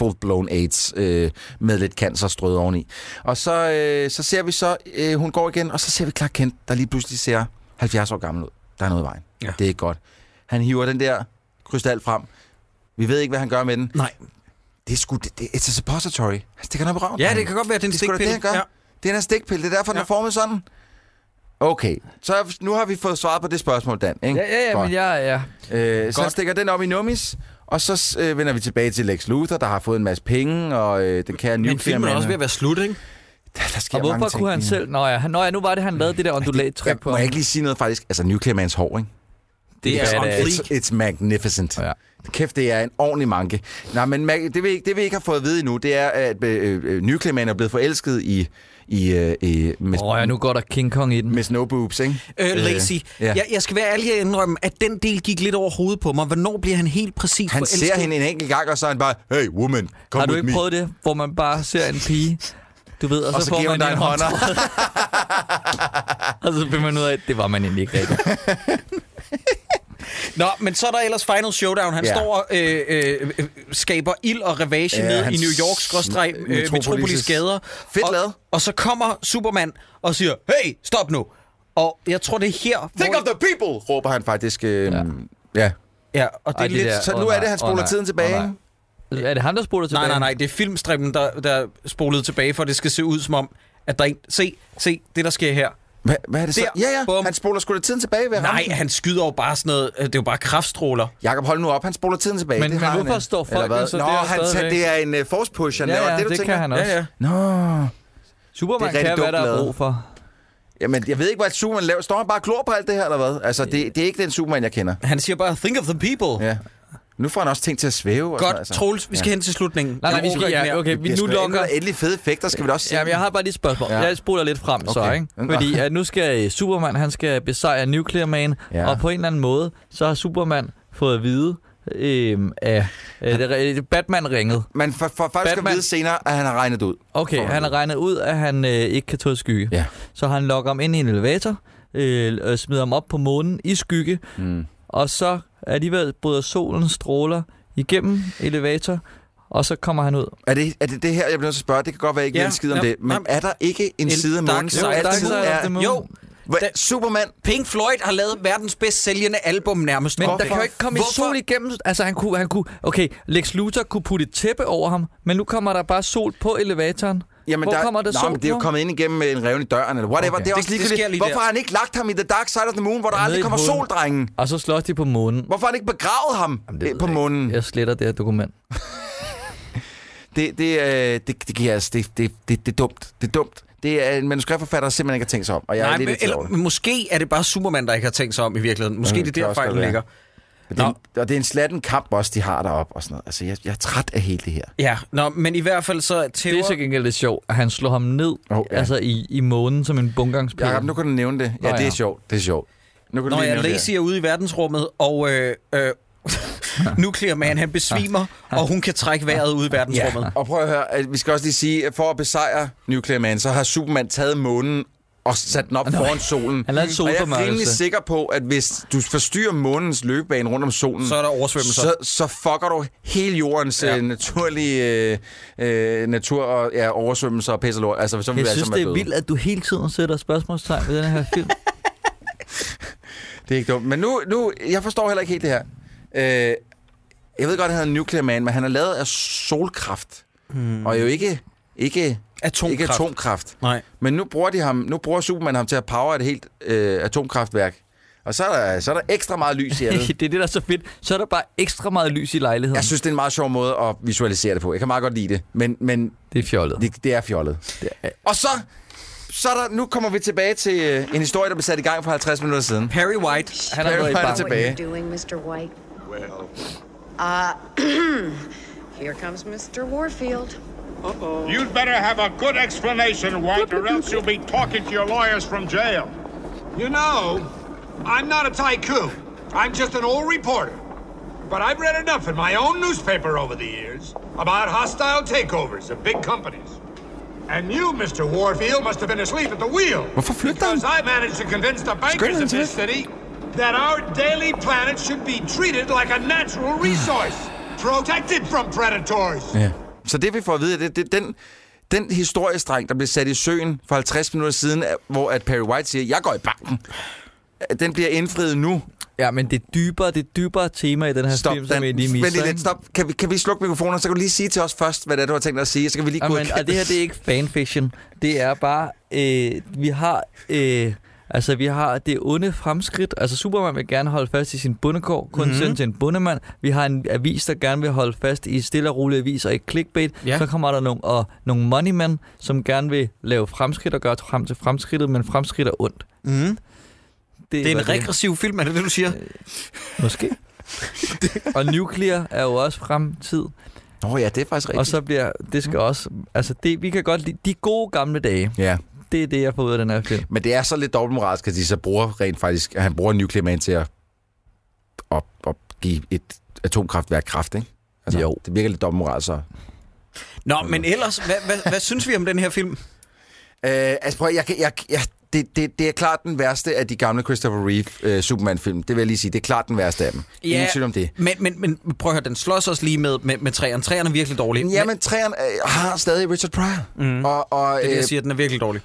full-blown AIDS øh, med lidt cancer strøget oveni. Og så, øh, så ser vi så, øh, hun går igen, og så ser vi Clark Kent, der lige pludselig ser 70 år gammel ud. Der er noget i vejen.
Ja.
Det er ikke godt. Han hiver den der krystal frem. Vi ved ikke, hvad han gør med den
Nej.
det er sgu, det, det, it's a suppository. Altså, Han stikker den op i røven.
Ja, det kan godt være, at det er en
det er sgu da
stikpille.
det, han gør.
Ja.
Ja. Det er en stikpille. Det er derfor, den er formet sådan. Okay, så er- nu har vi fået svaret på det spørgsmål, Dan. Ikke?
Ja, ja, ja, men jeg ja.
Øh, så
Godt.
stikker den op i nummis, og så øh, vender vi tilbage til Lex Luthor, der har fået en masse penge, og øh, den kære
Men
nuclear
filmen er
man.
også ved at være slut, ikke?
Der, der sker
Og hvorfor
mange ting.
kunne han
lige nu.
selv... Nå ja, han- nå ja, nu var det, han lavede det der
Ja,
ondulat-trick på
må jeg
ham.
ikke lige sige noget faktisk? Altså, Nuclear Mans hår, ikke?
Det er
Ja,
on
det er-
fleek.
It's, it's magnificent. Ja. Kæft, det er en ordentlig manke. Nej, men mag- det, vi, ikke- det vi ikke har fået at vide endnu, det er, at øh, øh, Nuclear Man er blevet forelsket i, i, øh, i Miss,
Åh ja, nu går der King Kong i den.
Miss No Boobs, ikke?
Øh, Lazy.
ja.
Jeg, jeg skal være ærlig og indrømme, at den del gik lidt over hovedet på mig. Hvornår bliver han helt præcis
Han
forelsket?
ser hende en enkelt gang, og så er han bare, hey woman, come
Har du
with
ikke
me.
prøvet det, hvor man bare ser en pige, du ved, og,
Og
så,
så
får
giver
man
hun dig en hånd.
og så finder man ud af, at det var man egentlig ikke rigtig.
Nå, men så er der ellers Final Showdown. Han
Ja.
står og øh, øh, øh, skaber ild og ravage
Ja,
ned
han
i New Yorks skråstreg
sm-
øh, Metropolis
Metropolis'
gader.
Fedt
og,
lavet.
Og så kommer Superman og siger, hey, stop nu. Og jeg tror, det er her,
Think of the people, råber han faktisk. Øh,
Ja,
ja. ja.
og det er
Ej,
Ej,
det
lidt...
der-
så...
Så
Åh,
nu er
nej,
det, han
åh,
spoler
nej,
tiden
åh,
tilbage.
nej.
ikke?
Er det ham, der spoler tilbage?
Nej, nej, nej, det er filmstrippen, der, der spolede tilbage, for det skal se ud som om, at der er en... Se, se, det der sker her.
Hvad, hvad er det så?
Der.
Ja, ja,
Bum.
han spoler sgu da tiden tilbage ved at ramme
Nej,
den.
han skyder jo bare sådan noget... øh, Det er jo bare kraftstråler.
Jakob, hold nu op. Han spoler tiden tilbage.
Men-
det
men
har han
hvorfor
ikke.
står folk
Eller hvad?
jo så
Nå,
der
han
stadigvæk?
det er en uh, force push, han
Ja,
laver.
ja,
det, du
det
tænker?
kan han også.
Ja, ja.
Nå.
Superman
Det er rigtig
kan, hvad
dumt
der er
lavet.
brug for.
Jamen, jeg ved ikke, hvad Superman laver. Står han bare og glor på alt det her, eller hvad? Altså, det, det er ikke den Superman, jeg kender.
Han siger bare, think of the people.
Ja. Nu får han også ting til at svæve. og sådan
Godt,
noget, altså.
Troels, vi skal hen til slutningen.
Nej, nej,
Jeg
vi
orker
skal,
ikke
ja,
mere.
okay, vi
Det er
nu
sgu da
lukker...
endelig- Endelig fede effekter, skal vi da også se.
Jamen, jeg har bare lige et spørgsmål.
Ja.
Jeg spoler lidt frem, så,
Okay.
ikke?
Mm,
<laughs> Fordi
ah.
at nu skal øh, Superman, han skal besejre Nuclear Man,
Ja.
og på en eller anden måde, så har Superman fået at vide, øhm, af øh, det- øh, Batman ringet.
Man får for, faktisk at
Batman-
vide senere, at han har regnet det ud.
Okay, han har regnet ud, at han øh, ikke kan tåle skygge.
Ja.
Så han lokker ham ind i en elevator, øh, og smider ham op på månen i skygge,
Mm.
og så alligevel bryder solen stråler igennem elevator, og så kommer han ud.
Er det, er det det her, jeg bliver nødt til at spørge? Det kan godt være, at jeg ikke
Ja,
ja, ved en skid om
ja,
det. Men
nej.
er der ikke en,
En
side af månen,
dark
som
side- dark
altid
side of the
er...
moon.
Jo.
Hva, Superman.
Pink Floyd har lavet verdens bedst sælgende album nærmest.
Men
Hvorfor?
der kan jo ikke komme Hvorfor? sol igennem. Altså, han kunne, han kunne... Okay, Lex Luthor kunne putte et tæppe over ham, men nu kommer der bare sol på elevatoren.
Jamen,
Hvor
der,
kommer der
Nå,
sol
men det er jo
på?
kommet ind igennem øh, en revne i døren, eller whatever.
Okay.
Okay. Det er
Det-
også
det
ligegyldigt.
sker lige
Hvorfor
der.
har han ikke lagt ham i The Dark Side of the Moon, hvor der
Nede i
aldrig kommer
hulen.
sol, drengen?
Og så slås de på månen.
Hvorfor har han ikke begravet ham
Jamen,
Jamen, på månen?
Jeg sletter det her dokument.
Det, det, øh, det, det, giver, altså, det, det, det, det er dumt. Det er dumt. Det er en manuskriptforfatter, der simpelthen ikke har tænkt sig om. Og jeg
Nej,
er lidt
men,
irriteret over
eller,
det.
men måske er det bare Superman, der ikke har tænkt sig om i virkeligheden. Måske
Mm,
det er
kan
der,
også godt
fejlen
være.
ligger.
Og det, er
Nå.
en, og det er en slatten kamp også, de har deroppe og sådan noget. Altså, jeg, jeg er træt af hele det her.
Ja, nå, men i hvert fald så tæver...
Det er til gengæld lidt sjovt, at han slår ham ned
Oh, ja.
altså i, i månen som en bungangspil.
Jacob, nu kan du nævne det. Ja,
Nå,
det
ja.
er sjovt. Det er sjovt. Nu kan du
Når
lige
jeg
nævne det her.
Lacey er ude i verdensrummet, og øh, øh, <laughs> Nuclear Man, han besvimer, og hun kan trække vejret ude i verdensrummet.
Og prøv at høre, at vi skal også lige sige, at for at besejre Nuclear Man, så har Superman taget månen og sat den op
Nå.
foran solen.
Han lavede en
Og jeg er rimelig
solformørkelse.
sikker på, at hvis du forstyrrer månens løbebane rundt om solen,
Så er der oversvømmelser.
Så, så fucker du hele jordens
Ja.
ja. naturlige øh, øh, natur og ja, oversvømmelser og pisse og lort. Altså, så vil
Jeg
vi alle
synes,
sammen
det er
være
vildt,
døde.
at du hele tiden sætter spørgsmålstegn ved den her film.
<laughs> Det er ikke dumt. Men nu, nu jeg forstår heller ikke helt det her. Øh, jeg ved godt, at han hedder Nuclear Man, men han er lavet af solkraft. Hmm. Og jo ikke, ikke,
Atomkraft.
ikke atomkraft.
Nej.
Men nu bruger, de ham, nu bruger Superman ham til at power et helt øh, atomkraftværk. Og så er, der, så er der ekstra meget <laughs> lys i det.
<laughs> det er det, der er så fedt. Så er der bare ekstra meget lys i lejligheden.
Jeg synes, det er en meget sjov måde at visualisere det på. Jeg kan meget godt lide det, men, men
det er fjollet.
det, det er fjollet. Det er. Og så, så er der, nu kommer vi tilbage til øh, en historie, der blev sat i gang for 50 minutter siden.
Perry White,
Han er Perry White er tilbage.
doing, Mr. White?
Well,
Uh, here comes Mr. Warfield. Uh-oh.
You'd better have a good explanation, White, or else you'll be talking to your lawyers from jail.
You know, I'm not a tycoon. I'm just an old reporter. But I've read enough in my own newspaper over the years about hostile takeovers of big companies. And you, Mr. Warfield, must have been asleep at the wheel. Because I managed to convince the bankers of this city that our daily planet should be treated like a natural resource, protected from predators.
Ja. Så det vi får at vide, det, det den, den historiestreng, der blev sat i søen for 50 minutter siden, er- hvor at Perry White siger, jeg går i banken. Den bliver indfriet nu.
Ja, men det er dybere, det er dybere tema i den her
Stop,
film,
Dan.
som vi lige
Vent
misser.
lige
ikke?
lidt, stop. Kan vi, kan vi slukke mikrofonen, så kan du lige sige til os først, hvad det er, du har tænkt dig at sige, så kan vi lige
Jamen,
godkende-
og det her, det er ikke fanfiction. Det er bare, øh, vi har... Øh, Altså, vi har det onde fremskridt. Altså, Superman vil gerne holde fast i sin bundekår, kun
Mhm.
mm-hmm. sendt til en bundemand. Vi har en avis, der gerne vil holde fast i stille og rolig avis og ikke clickbait.
Ja.
Ja. Så kommer der nogle, og nogle moneymen, som gerne vil lave fremskridt og gøre frem til fremskridtet, men fremskridt er ondt.
Mm. Det er
var
en regressiv film, er det det, du siger? <laughs>
Måske. og nuclear er jo også fremtid.
Nå ja, det er faktisk rigtigt.
Og så bliver, det
Mhm.
skal også, altså det, vi kan godt lide, de gode gamle dage.
Ja.
Det er det, jeg får ud af den her film.
Men det er så lidt dobbeltmoralsk, at de så bruger rent faktisk, at han bruger Nuclear Man til at, at, at give et atomkraftværk kraft, ikke? Altså, jo. Det virker lidt dobbeltmoralsk, så. Øh,
Nå, men ellers, hvad, hvad, hvad synes vi om den her film?
Øh, altså prøv, at- jeg, kan- jeg, jeg, det, det, det er klart den værste af de gamle Christopher Reeve øh, Superman-film. Det vil jeg lige sige. Det er klart den værste af dem. Ja. Ingen tvivl om det.
Men, men, men prøv at høre, den slås også lige med, med, med træerne. Træerne er virkelig dårlige.
Men, jamen, træerne øh, har stadig Richard Pryor. Mm. Og, og,
det er det,
øh,
jeg siger, den er virkelig dårlig.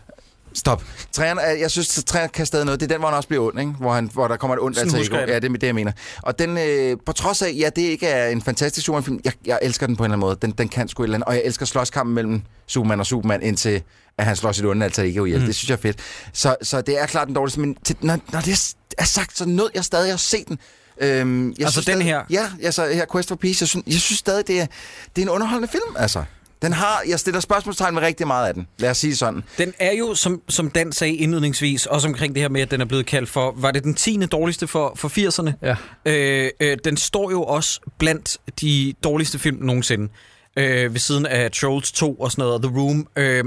Stop. Træerne, er- jeg synes, at træerne kan stadig noget. Det er den, hvor han også bliver ond, ikke? Hvor, han, hvor der kommer et ondt
Sådan
alter
husker
ego.
jeg det.
Ja, det er det, jeg mener. Og den, øh, på trods af, ja, det ikke er en fantastisk Superman-film, jeg, jeg elsker den på en eller anden måde. Den, den kan sgu et eller andet. Og jeg elsker slåskampen mellem Superman og Superman, indtil at han slår sit onde alter ego ihjel.
Mm.
Mm. Det synes jeg er fedt. Så, så det er klart den dårligste, men til, når, når det er sagt, så nød jeg stadig at se den. Øhm, jeg
Altså
synes
den
stadig,
her?
Ja, altså her Quest for Peace. Jeg synes, jeg synes stadig, det er, det er en underholdende film, altså. Den har, jeg stiller spørgsmålstegn med rigtig meget af den. Lad os sige det sådan.
Den er jo, som, som Dan sagde indledningsvis, også omkring det her med, at den er blevet kaldt for, var det den 10. dårligste for, for 80'erne?
Ja.
Øh, øh, den står jo også blandt de dårligste film nogensinde, øh, ved siden af Trolls 2 og sådan noget, og The Room. Øh,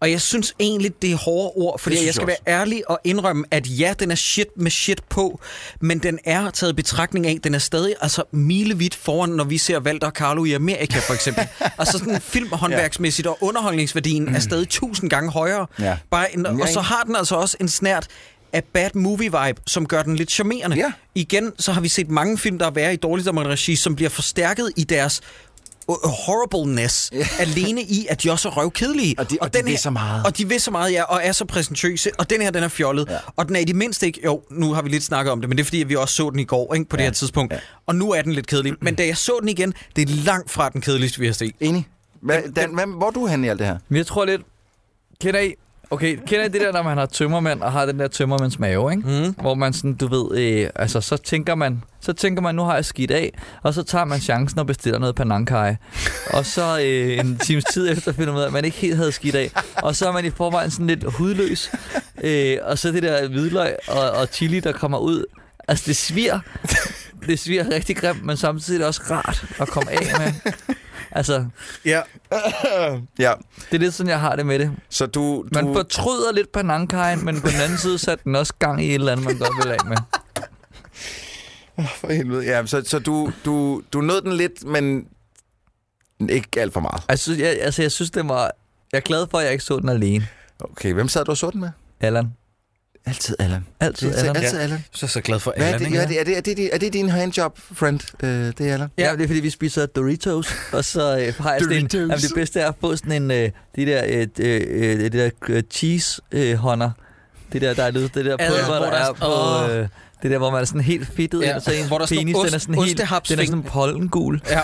og jeg synes egentlig, det er hårde ord, fordi
Det synes
jeg skal
jeg
være ærlig og indrømme, at ja, den er shit med shit på, men den er taget i betragtning af, den er stadig altså milevidt foran, når vi ser Walter og Carlo i Amerika for eksempel.
<laughs>
altså sådan filmhåndværksmæssigt og underholdningsværdien er stadig tusind gange højere.
Ja.
Bare en, og så har den altså også en snært af bad movie-vibe, som gør den lidt charmerende. Ja. Igen, så har vi set mange film, der er værre i dårligt regi, som bliver forstærket i deres uh, horribleness alene i, at de også er røvkedelige.
Og de- og de
den
vil
her,
så meget.
Og de vil så meget, ja, og er så præsentøse. Og den her, den er fjollet. Ja. Og den er i det mindste ikke... Jo, nu har vi lidt snakket om det, men det er fordi, at vi også så den i går ikke, på ja. det her tidspunkt. Ja. Og nu er den lidt kedelig. Men da jeg så den igen, det er langt fra den kedeligste, vi har set.
Enig. Hvad, Dan, hvad, hvor er du henne i alt det her?
Men jeg tror lidt... Kender I... Okay, kender I det der, når man har tømmermænd og har den der tømmermænds mave, ikke? Mm. Hvor man sådan, du ved, øh, altså så tænker man, så tænker man, nu har jeg skidt af, og så tager man chancen og bestiller noget panangkai. og så øh, en times tid efter finder man ud af, at man ikke helt havde skidt af. Og så er man i forvejen sådan lidt hudløs. Øh, og så det der hvidløg og, og chili, der kommer ud. Altså det svir. Det svir rigtig grimt, men samtidig er det også rart at komme af med. Altså,
Ja.
ja.
Det er lidt sådan, jeg har det med det.
Så du... du...
Man fortryder lidt panangkajen, men på den anden side satte den også gang i et eller andet, man godt vil af med.
For helvede. Ja, så, så du, du, du nåede den lidt, men ikke alt for meget.
Altså jeg, altså, jeg synes, det var... Jeg er glad for, at jeg ikke så den alene.
Okay, hvem sad du og så den med?
Allan.
Altid Allan.
Altid
Altid-
Allan.
altid Allan.
Så er så glad for
Hvad er
Allan,
det,
ikke?
ja, det, er, det, er, det, er det din handjob, friend? Øh, det er Allan.
Ja, det er fordi, vi spiser Doritos, og så øh, har jeg sådan en,
Doritos.
jamen, det bedste er at få sådan en, øh, de der, øh, øh, øh, det der øh, cheese øh, hånder. Det der, der er lyde, det der
Ja,
pulver,
hvor
der
der
er
er-
på...
Åh.
Øh, det der, hvor man er sådan helt fedtet
Ja,
ind, og så ens
hvor der står
penis, den er
ost-
sådan helt, den er
ostehapsfing.
sådan pollengul.
Ja.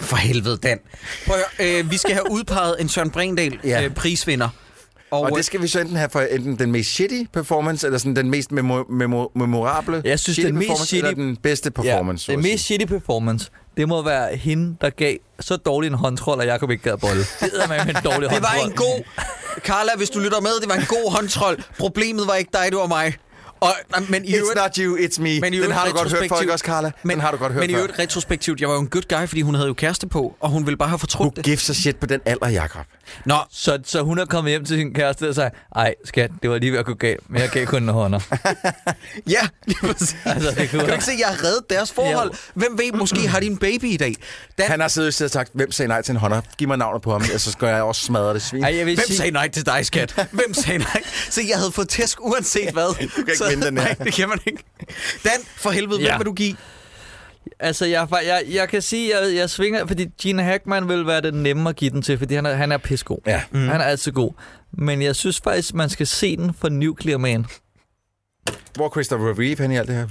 For helvede, Dan. Prøv at høre, øh, vi skal have udpeget en Søren Brindal
Ja.
ja. øh, prisvinder. øh,
Og, og det skal vi så enten have for enten den mest shitty performance, eller sådan den mest memo- memo- memorable
Jeg synes,
shitty
den mest
performance,
shitty-
eller den bedste performance.
Ja, det mest shitty performance, det må være hende, der gav så dårlig en håndtrol, at Jacob ikke gad bolle. Det er med en dårlig
Det var
håndtrol.
en god... Carla, hvis du lytter med, det var en god håndtrol. Problemet var ikke dig, det var mig. Og, nej, men i
It's
øvrigt,
not you, it's me.
men i
den
øvrigt
har du godt hørt for,
retrospektivt-
ikke også, Carla? Men, den har du godt hørt
Men i
før.
øvrigt retrospektivt, jeg var jo en good guy, fordi hun havde jo kæreste på, og hun ville bare have fortrudt det.
Gift sig shit på den alder, Jakob.
Nå,
Så, så hun er kommet hjem til sin kæreste og sagde, ej skat, det var lige ved at gå galt, men jeg gav kun en hånder.
ja, <laughs> lige præcis.
Altså, det
Kan
kunne
du ikke se, jeg har reddet deres forhold? Hvem ved, måske har de en baby i dag. Dan,
Han har siddet og sagt, hvem sagde nej til en hånder? Giv mig navnet på ham, ellers så skal jeg også smadre det svin.
Ej, jeg vil
Hvem
sige,
sagde nej til dig,
<laughs>
skat? Hvem sagde nej? Så jeg havde fået tæsk uanset hvad. Du
ikke
så,
vinde den
<laughs>
her.
Nej, det kan man ikke. Dan, for helvede, ja.
Ja.
hvem vil du give?
altså jeg, er fa- jeg, jeg kan sige, jeg, jeg svinger, fordi Gene Hackman vil være den nemme at give den til, fordi han er, han er pissegod.
Ja.
Mm. Han er altid god. Men jeg synes faktisk, man skal se den for Nuclear Man.
Hvor er Christopher Reeve hen i alt det her?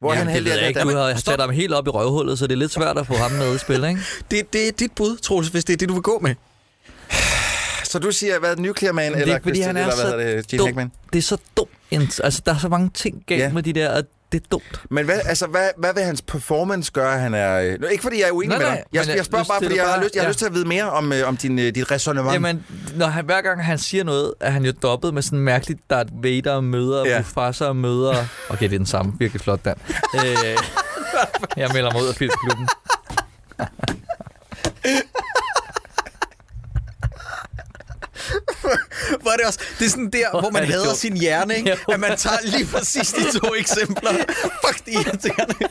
Hvor er han
det
heldig
ved
i
jeg
alt
ikke.
det
Du
her?
har sat ham helt op i røvhullet, så det er lidt svært at få ham med i spil, ikke?
Det, det er dit bud, Troels, hvis det er det, du vil gå med.
Så du siger, hvad er det, Nuclear Man,
Men
eller,
fordi
Christi-
han er
eller
så
hvad hedder det, Gene
dum.
Hackman?
Det er så dumt. En- Altså, der er så mange ting galt
Ja.
yeah. med de der, og det er dumt.
Men hvad, altså, hvad, hvad vil hans performance gøre, han er... øh, Nå, ikke fordi jeg er uenig
Nej,
med
nej,
dig. Jeg,
men, øh,
jeg spørger
du
bare,
stiller
fordi jeg har,
bare-
lyst, jeg har
ja.
lyst til at vide mere om, øh, om din, øh, dit resonemang.
Jamen, når han, hver gang han siger noget, er han jo dobbet med sådan mærkeligt Darth Vader møder,
Ja.
yeah. Mufasa møder... Okay, det er den samme. Virkelig flot, Dan. <laughs> øh, jeg melder mig ud af filmklubben.
Hvor er det også? Det er sådan der, hvor man
er det
hader
dumt.
sin hjerne, ikke?
Jo.
At man tager lige præcis de
<laughs>
to eksempler. Fuck, de er irriterende.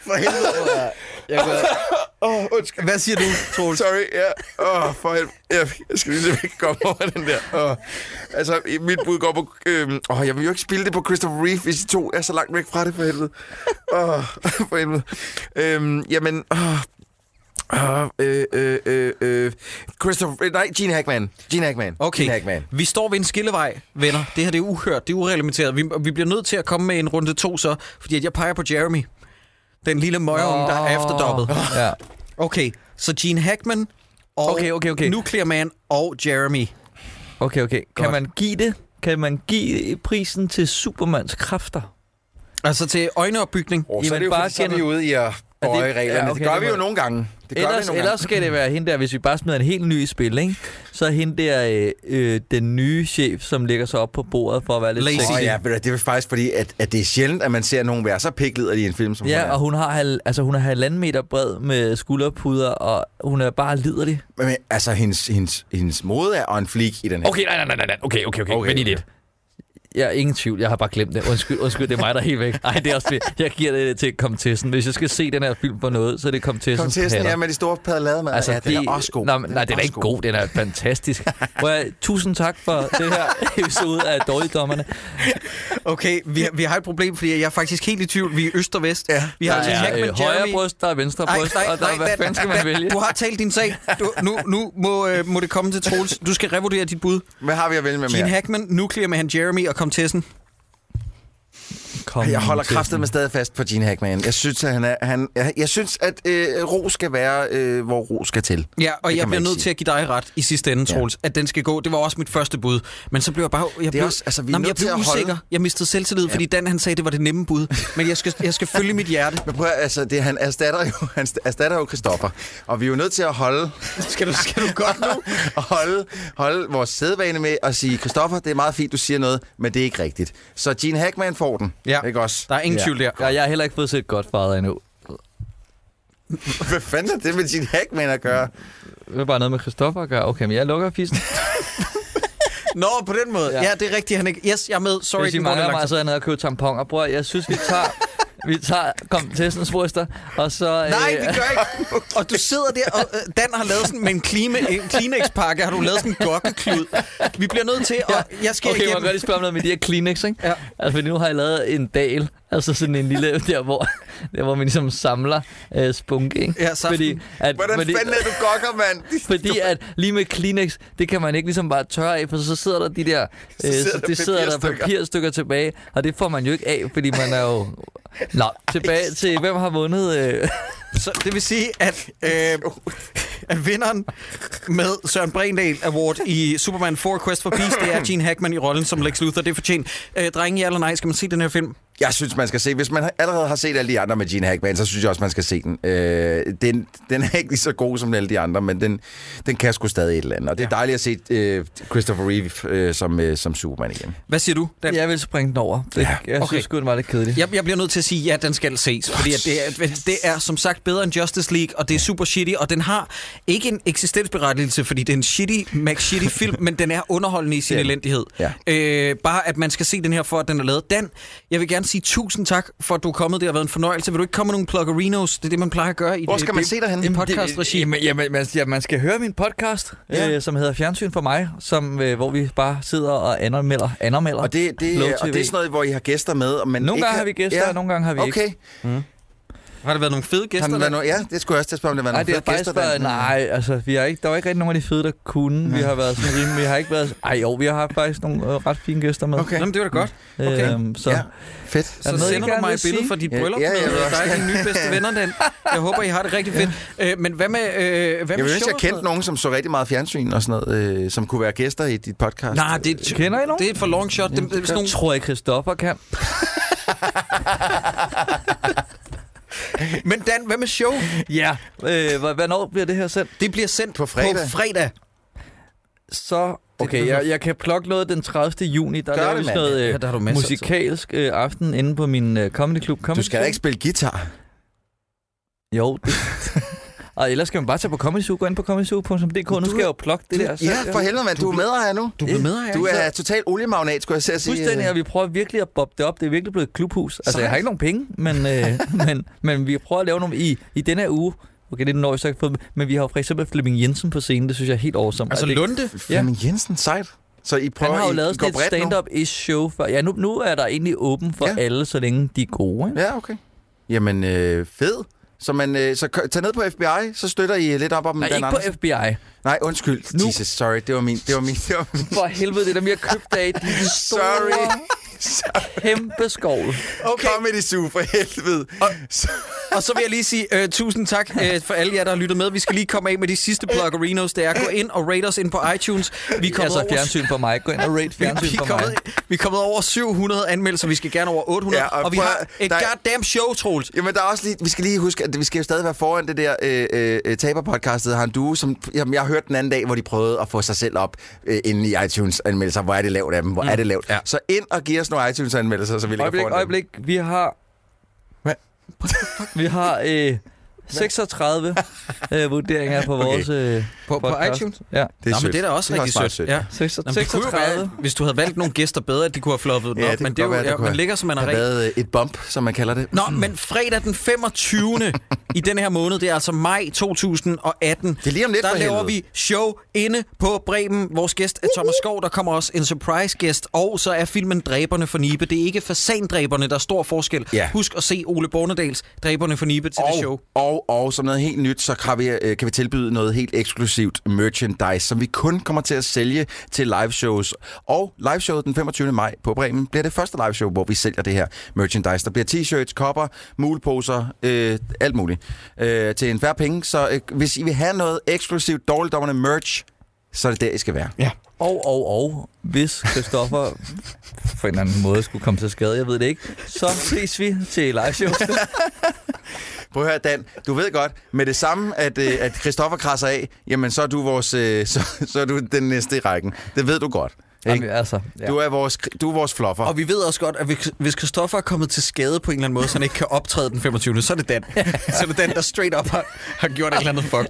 For helvede.
<laughs> Åh, undskyld.
Hvad siger du, Troels?
Sorry, ja. Åh, for helvede. Jeg, jeg skal lige ikke komme over den der. Åh. Altså, mit bud går på... Øh, åh, jeg vil jo ikke spille det på Christopher Reeve, hvis I to er så langt væk fra det, for helvede. Åh, for helvede. Øhm, jamen, åh. Åh, øh, øh, øh, øh. Christopher... øh, Nej, Gene Hackman. Gene Hackman. Gene
Okay,
Hackman.
vi står ved en skillevej, venner. Det her det er uhørt, det er ureglementeret. Vi, vi bliver nødt til at komme med en runde to så, fordi at jeg peger på Jeremy. Den lille møgeunge, der er efterdobbet.
Ja.
Okay, så Gene Hackman og
Okay, okay, okay.
Nuclear Man og Jeremy.
Okay, okay. Kan
Godt.
man give det? Kan man give prisen til Supermans kræfter?
Altså til øjenopbygning.
Oh, så er
Jamen,
det jo,
bare
bare så er vi
kender-
ude i at
det-
bøje
ja,
reglerne.
okay,
det gør
det
vi jo
må-
nogle gange. Det gør vi
Ellers,
nogle
ellers
gange.
skal det være hende der, hvis vi bare smider en helt ny i spil, ikke? Så er hende der øh, øh, den nye chef, som lægger sig op på bordet for at være lidt
Lazy.
sexy.
Åh, ja, ved du, det er faktisk fordi, at, at det er sjældent, at man ser nogen være så pikliderlig i en film, som hun
Ja,
er.
og hun har hal, altså hun er halvanden meter bred med skulderpuder, og hun er bare liderlig.
Men, men, altså, hendes, hendes, hendes mode er on fleek i den her.
nej, nej, nej, nej. Okay, okay, okay.
Vent lige lidt.
jeg er ingen tvivl. Jeg har bare glemt det. Undskyld, undskyld, det er mig, der er helt væk. Ej, det er også det. Jeg giver det til Comtessen. Hvis jeg skal se den her film på noget, så er det Comtessens
Kontesten,
patter.
ja, med de store paddelade med. Altså, ja, den er også god.
Nej, men- nej, den er ikke god. Den er fantastisk. Prøv at, tusind tak for det her
<laughs>
episode af Dårligdommerne.
Okay, vi, vi har et problem, fordi jeg er faktisk helt i tvivl. Vi er øst og vest. Ja. Vi
Der
har Gene
er,
Hackman,
øh,
Jeremy-
højre bryst, der er venstre
Ej,
bryst, og der er- hvad
Dan,
fanden skal man
Dan,
vælge?
Du har talt din sag. Du, nu nu må, øh, må det komme til Troels. Du skal revurdere dit bud.
Hvad har vi at vælge med
Gene
mere?
Hackman, Nuclear Man, Jeremy og Comtessen.
Kom
Jeg holder
til
kraftet med stadig fast på Gene Hackman. Jeg synes, at, han er, han, jeg- jeg synes, at øh, ro skal være, øh, hvor ro skal til.
Ja,
Det
og
kan
jeg
man
bliver
ikke
nødt
sige.
til at give dig ret i sidste ende,
Ja.
Troels, at den skal gå. Det var også mit første bud. Men så blev jeg bare... Jeg blev,
også- altså, vi er
Nå, men
nødt
jeg blev
til at holde-
usikker. Jeg mistede selvtillid, ja. fordi Dan han sagde, det var det nemme bud. Men jeg skal, jeg skal følge mit
<laughs>
hjerte.
Men prøv at, altså, det, han erstatter jo, han erstatter jo Christoffer. Og vi er jo nødt til at holde...
Skal du, skal du godt nu?
holde, holde vores sædvane med at sige, Christoffer, det er meget fint, du siger noget, men det er ikke rigtigt. Så Gene Hackman får den,
Ja.
ikke også?
Der er ingen
Ja.
tvivl der.
Ja, jeg har heller ikke fået set Godfather endnu.
Hvad fanden er det med Gene Hackman at gøre?
Det er bare noget med Christoffer at gøre. Okay, men jeg lukker
<laughs>
fissen.
Nå, på den måde. Ja,
Ja.
ja det er rigtigt. Han ikke... Yes, jeg er med. Sorry,
Hvis I
den går lidt
mangler mig,
langt.
så er jeg nede og købe tamponer. Bror, jeg synes, vi
<laughs>
tager... Vi tager kom testens bryster, og så... øh,
Nej,
<laughs>
vi gør ikke. Og du sidder der, og øh, Dan har lavet sådan med en, klima, en Kleenex-pakke, har du lavet sådan en gokkeklud. Vi bliver nødt til, og jeg skal
Okay, må jeg
igennem.
godt lige spørge om noget med de her Kleenex, ikke? Ja. Altså, fordi nu har jeg lavet en dal, altså sådan en lille, <laughs> der hvor, der, hvor man ligesom samler øh, spunk, ikke?
Ja, saften.
at,
Hvordan fanden er du gokker, mand?
Fordi at lige med Kleenex, det kan man ikke ligesom bare tørre af, for så sidder der de der, øh,
sidder
så
der
det sidder der
papirstykker.
papirstykker tilbage, og det får man jo ikke af, fordi man er
<laughs>
jo... Nå, tilbage til, hvem har vundet... Øh,
Så det vil sige, at, øh, at vinderen med Søren Brendal Award i Superman 4 Quest for Peace, det er Gene Hackman i rollen som Lex Luthor. Det er fortjent. Øh, drenge, ja eller nej, skal man se den her film?
Jeg synes, man skal se. Hvis man har- allerede har set alle de andre med Gene Hackman, så synes jeg også, man skal se den. Øh, den, den er ikke lige så god som alle de andre, men den, den kan sgu stadig et eller andet. Og det er dejligt at se øh, Christopher Reeve øh, som, øh, som Superman igen.
Hvad siger du? Dan?
jeg vil springe den over. Det, ja, jeg okay.
okay.
synes sgu, den var lidt kedelig.
Jeg, jeg bliver nødt til at sige, ja, den skal ses, fordi at det, er, det er som sagt bedre end Justice League, og det er super shitty, og den har ikke en eksistensberettigelse, fordi det er en shitty, max shitty film, men den er underholdende i sin
Det er den.
elendighed.
Ja.
Øh, bare at man skal se den her for, at den er lavet. Dan, jeg vil gerne sige tusind tak for, at du er kommet. Det har været en fornøjelse. Vil du ikke komme med nogle pluggerinos? Det er det, man plejer at gøre i
Hvor
det-
skal man
det,
se dig henne?
det podcast-regi.
Jamen, jamen, man, ja, man skal høre min podcast,
Ja.
ja. øh, som hedder Fjernsyn for mig, som, øh, hvor vi bare sidder og anmelder. anmelder
Og det, det,
Flow
og det er
TV.
sådan noget, hvor I har gæster med. og Man
Nogle
ikke
gange har vi gæster, og nogle gange har vi
okay.
ikke.
Okay.
Har der været nogle fede
Har
gæster?
der
der?
været no- ja, det skulle jeg også til at spørge, om der var
Nej,
nogle
det har
flere gæster.
faktisk været,
der-
nej, altså, vi har ikke, der var ikke rigtig nogen af de fede, der kunne. Vi har været sådan rimelig, vi har ikke været, ej jo, vi har haft faktisk nogle øh, ret fine gæster med.
Okay.
Jamen, det var da godt. Okay.
Øhm, så
Ja.
ja.
Fedt.
Er
Så
der noget, I
sender du
gerne
mig
vil
et billede
sige?
fra dit
Ja,
bryllup
ja, jeg vil
med
også
dig og dine nye bedste venner,
<laughs>
Dan. Jeg håber, I har det rigtig fedt. Øh, men hvad med, øh, hvad
Jeg
med
ville ønske, jeg
showet?
kendte nogen, som så rigtig meget fjernsyn og sådan noget, øh, som kunne være gæster i dit podcast.
Nej, det,
Kender I nogen?
det er et for long shot. Det, det er sådan nogle,
tror jeg, Christoffer kan.
men Dan, hvad med show?
Ja. Øh, hvor- hvornår bliver det her sendt?
Det bliver sendt
På fredag.
På fredag.
Så, okay, jeg, jeg kan plukke noget den 30. juni. Der
Gør
laver
det,
vi sådan
mand.
noget øh,
Ja, der har du masser af tid.
musikalsk øh, aften inde på min øh, comedy club. Comedy
Du skal da
Zoo.
ikke spille guitar.
Jo. Det.
<laughs>
og ellers skal man bare tage på Comedy Zoo, gå ind på comedyzoo.dk. Nu skal jeg jo plukke det der. selv,
Ja, for helvede, mand. Du er med her nu.
Du er med her.
Du
ikke?
er total oliemagnat, skulle jeg til at sige. øh.
Fuldstændig, og vi prøver virkelig at bobbe det op. Det er virkelig blevet et klubhus. Altså, jeg har ikke nogen penge, men, øh, men, men vi prøver at lave nogle i, i denne her uge. Okay, det er den så ikke fået, men vi har jo for eksempel Flemming Jensen på scenen. Det synes jeg er helt awesome.
Altså
Og det,
Lunde?
Ja.
Jamen Jensen, sejt. Så I prøver,
han har jo
I,
lavet
I går
sådan et
bredt nu?
stand-up-ish show før. Ja, nu, nu er der egentlig åben for
Ja.
ja. alle, så længe de er gode. Ikke?
Ja, okay. Jamen, øh, fed. Så, man, øh, så kø- tag ned på FBI, så støtter I lidt op om
Nej,
Dan
ikke
Andersen.
på FBI.
Nej, undskyld.
Nu.
Jesus, sorry. Det var min. Det var min. Det var min.
For helvede, det er dem, jeg købte af. De store, <laughs>
Sorry.
kæmpe skovl.
Okay. Comedy Zoo, for helvede. Så-
Og så vil jeg lige sige øh, tusind tak øh, for alle jer, der har lyttet med. Vi skal lige komme af med de sidste pluggerinos. Det er gå ind og rate os ind på iTunes. Vi kommer
Altså,
over...
fjernsyn for mig. Gå ind og rate
Vi, vi, er
fjernsyn for mig.
kommet, vi er kommet over 700 anmeldelser, vi skal gerne over 800,
Ja,
ja,
og
og, og vi
prøv at-
har et
der er-
goddamn show, Troels.
Jamen, der er også lige, vi skal lige huske, at vi skal jo stadig være foran det der øh, øh, øh, taberpodcastet, har en duo, som jamen, jeg har hørt den anden dag, hvor de prøvede at få sig selv op øh, inde i iTunes-anmeldelser. Hvor er det lavt af dem? Hvor
Mm.
er det lavt? Ja. Så ind og giv os nogle iTunes-anmeldelser, så vi ligger
Øjeblik,
foran
øjeblik. Vi har...
Hvad?
Vi har øh, 36 øh, vurderinger på vores... Øh,
På, på
podcast.
iTunes?
Ja.
Det er Nå, men det er da også
Det er
rigtig
også
sødt.
ret sødt.
Ja.
Seks-
Nå, men det kunne jo
36.
være, hvis du havde valgt nogle gæster bedre, at de kunne have floppet den op.
Ja, det
Men
kunne
det er
godt
jo,
være, det
ja,
kunne
man
have-
ligger, som man er
have
rigtig.
været et bump, som man kalder det.
Nå, men fredag den 25. i den her måned, det er altså maj 2018. Det er lige om
lidt,
Der
for
laver
helvede.
vi show inde på Bremen. Vores gæst er Thomas Skov, der kommer også en surprise gæst. Og så er filmen Dræberne for Nibe. Det er ikke fasandræberne, der er stor forskel.
Ja.
Husk at se Ole Bornedals Dræberne for Nibe til
og,
det show.
Og, og som noget helt nyt, så kan vi, øh, kan vi tilbyde noget helt eksklusivt merchandise, som vi kun kommer til at sælge til liveshows. Og liveshowet den 25. maj på Bremen bliver det første liveshow, hvor vi sælger det her merchandise. Der bliver t-shirts, kopper, muleposer, øh, alt muligt øh, til en færre penge. Så øh, hvis I vil have noget eksklusivt dårligdommerne merch, så er det der, I skal være. Ja.
Og, og, og, hvis Christoffer på en eller anden måde skulle komme til skade, jeg ved det ikke, så ses vi til live
<laughs>
show.
Prøv at høre, Dan. Du ved godt, med det samme, at, øh, at Christoffer krasser af, jamen så er du, vores, øh, så, så er du den næste i rækken. Det ved du godt. Ikke?
Jamen, altså, ja.
Du er vores, du er vores floffer.
Og vi ved også godt, at hvis- hvis Christoffer er kommet til skade på en eller anden måde, så han ikke kan optræde den 25., så er det den. <laughs> så er det den, der straight up har, har gjort et eller andet fucked.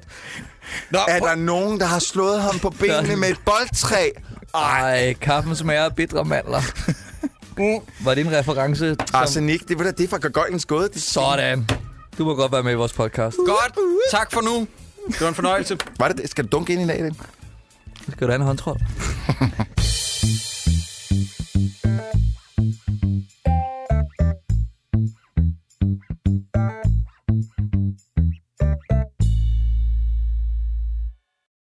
Nå,
er der nogen, der har slået ham på benene med et boldtræ?
Ej, kaffen smager af bitre mandler.
Mm.
Var det en reference? Som...
Arsenik, det, ved du, det er fra Gagolgens gåde. Det...
Sådan. Du må godt være med i vores podcast.
Godt. Tak for nu. Det var en fornøjelse.
Var det, det? Skal du dunke ind i dag, Dan?
Skal du have en håndtrol?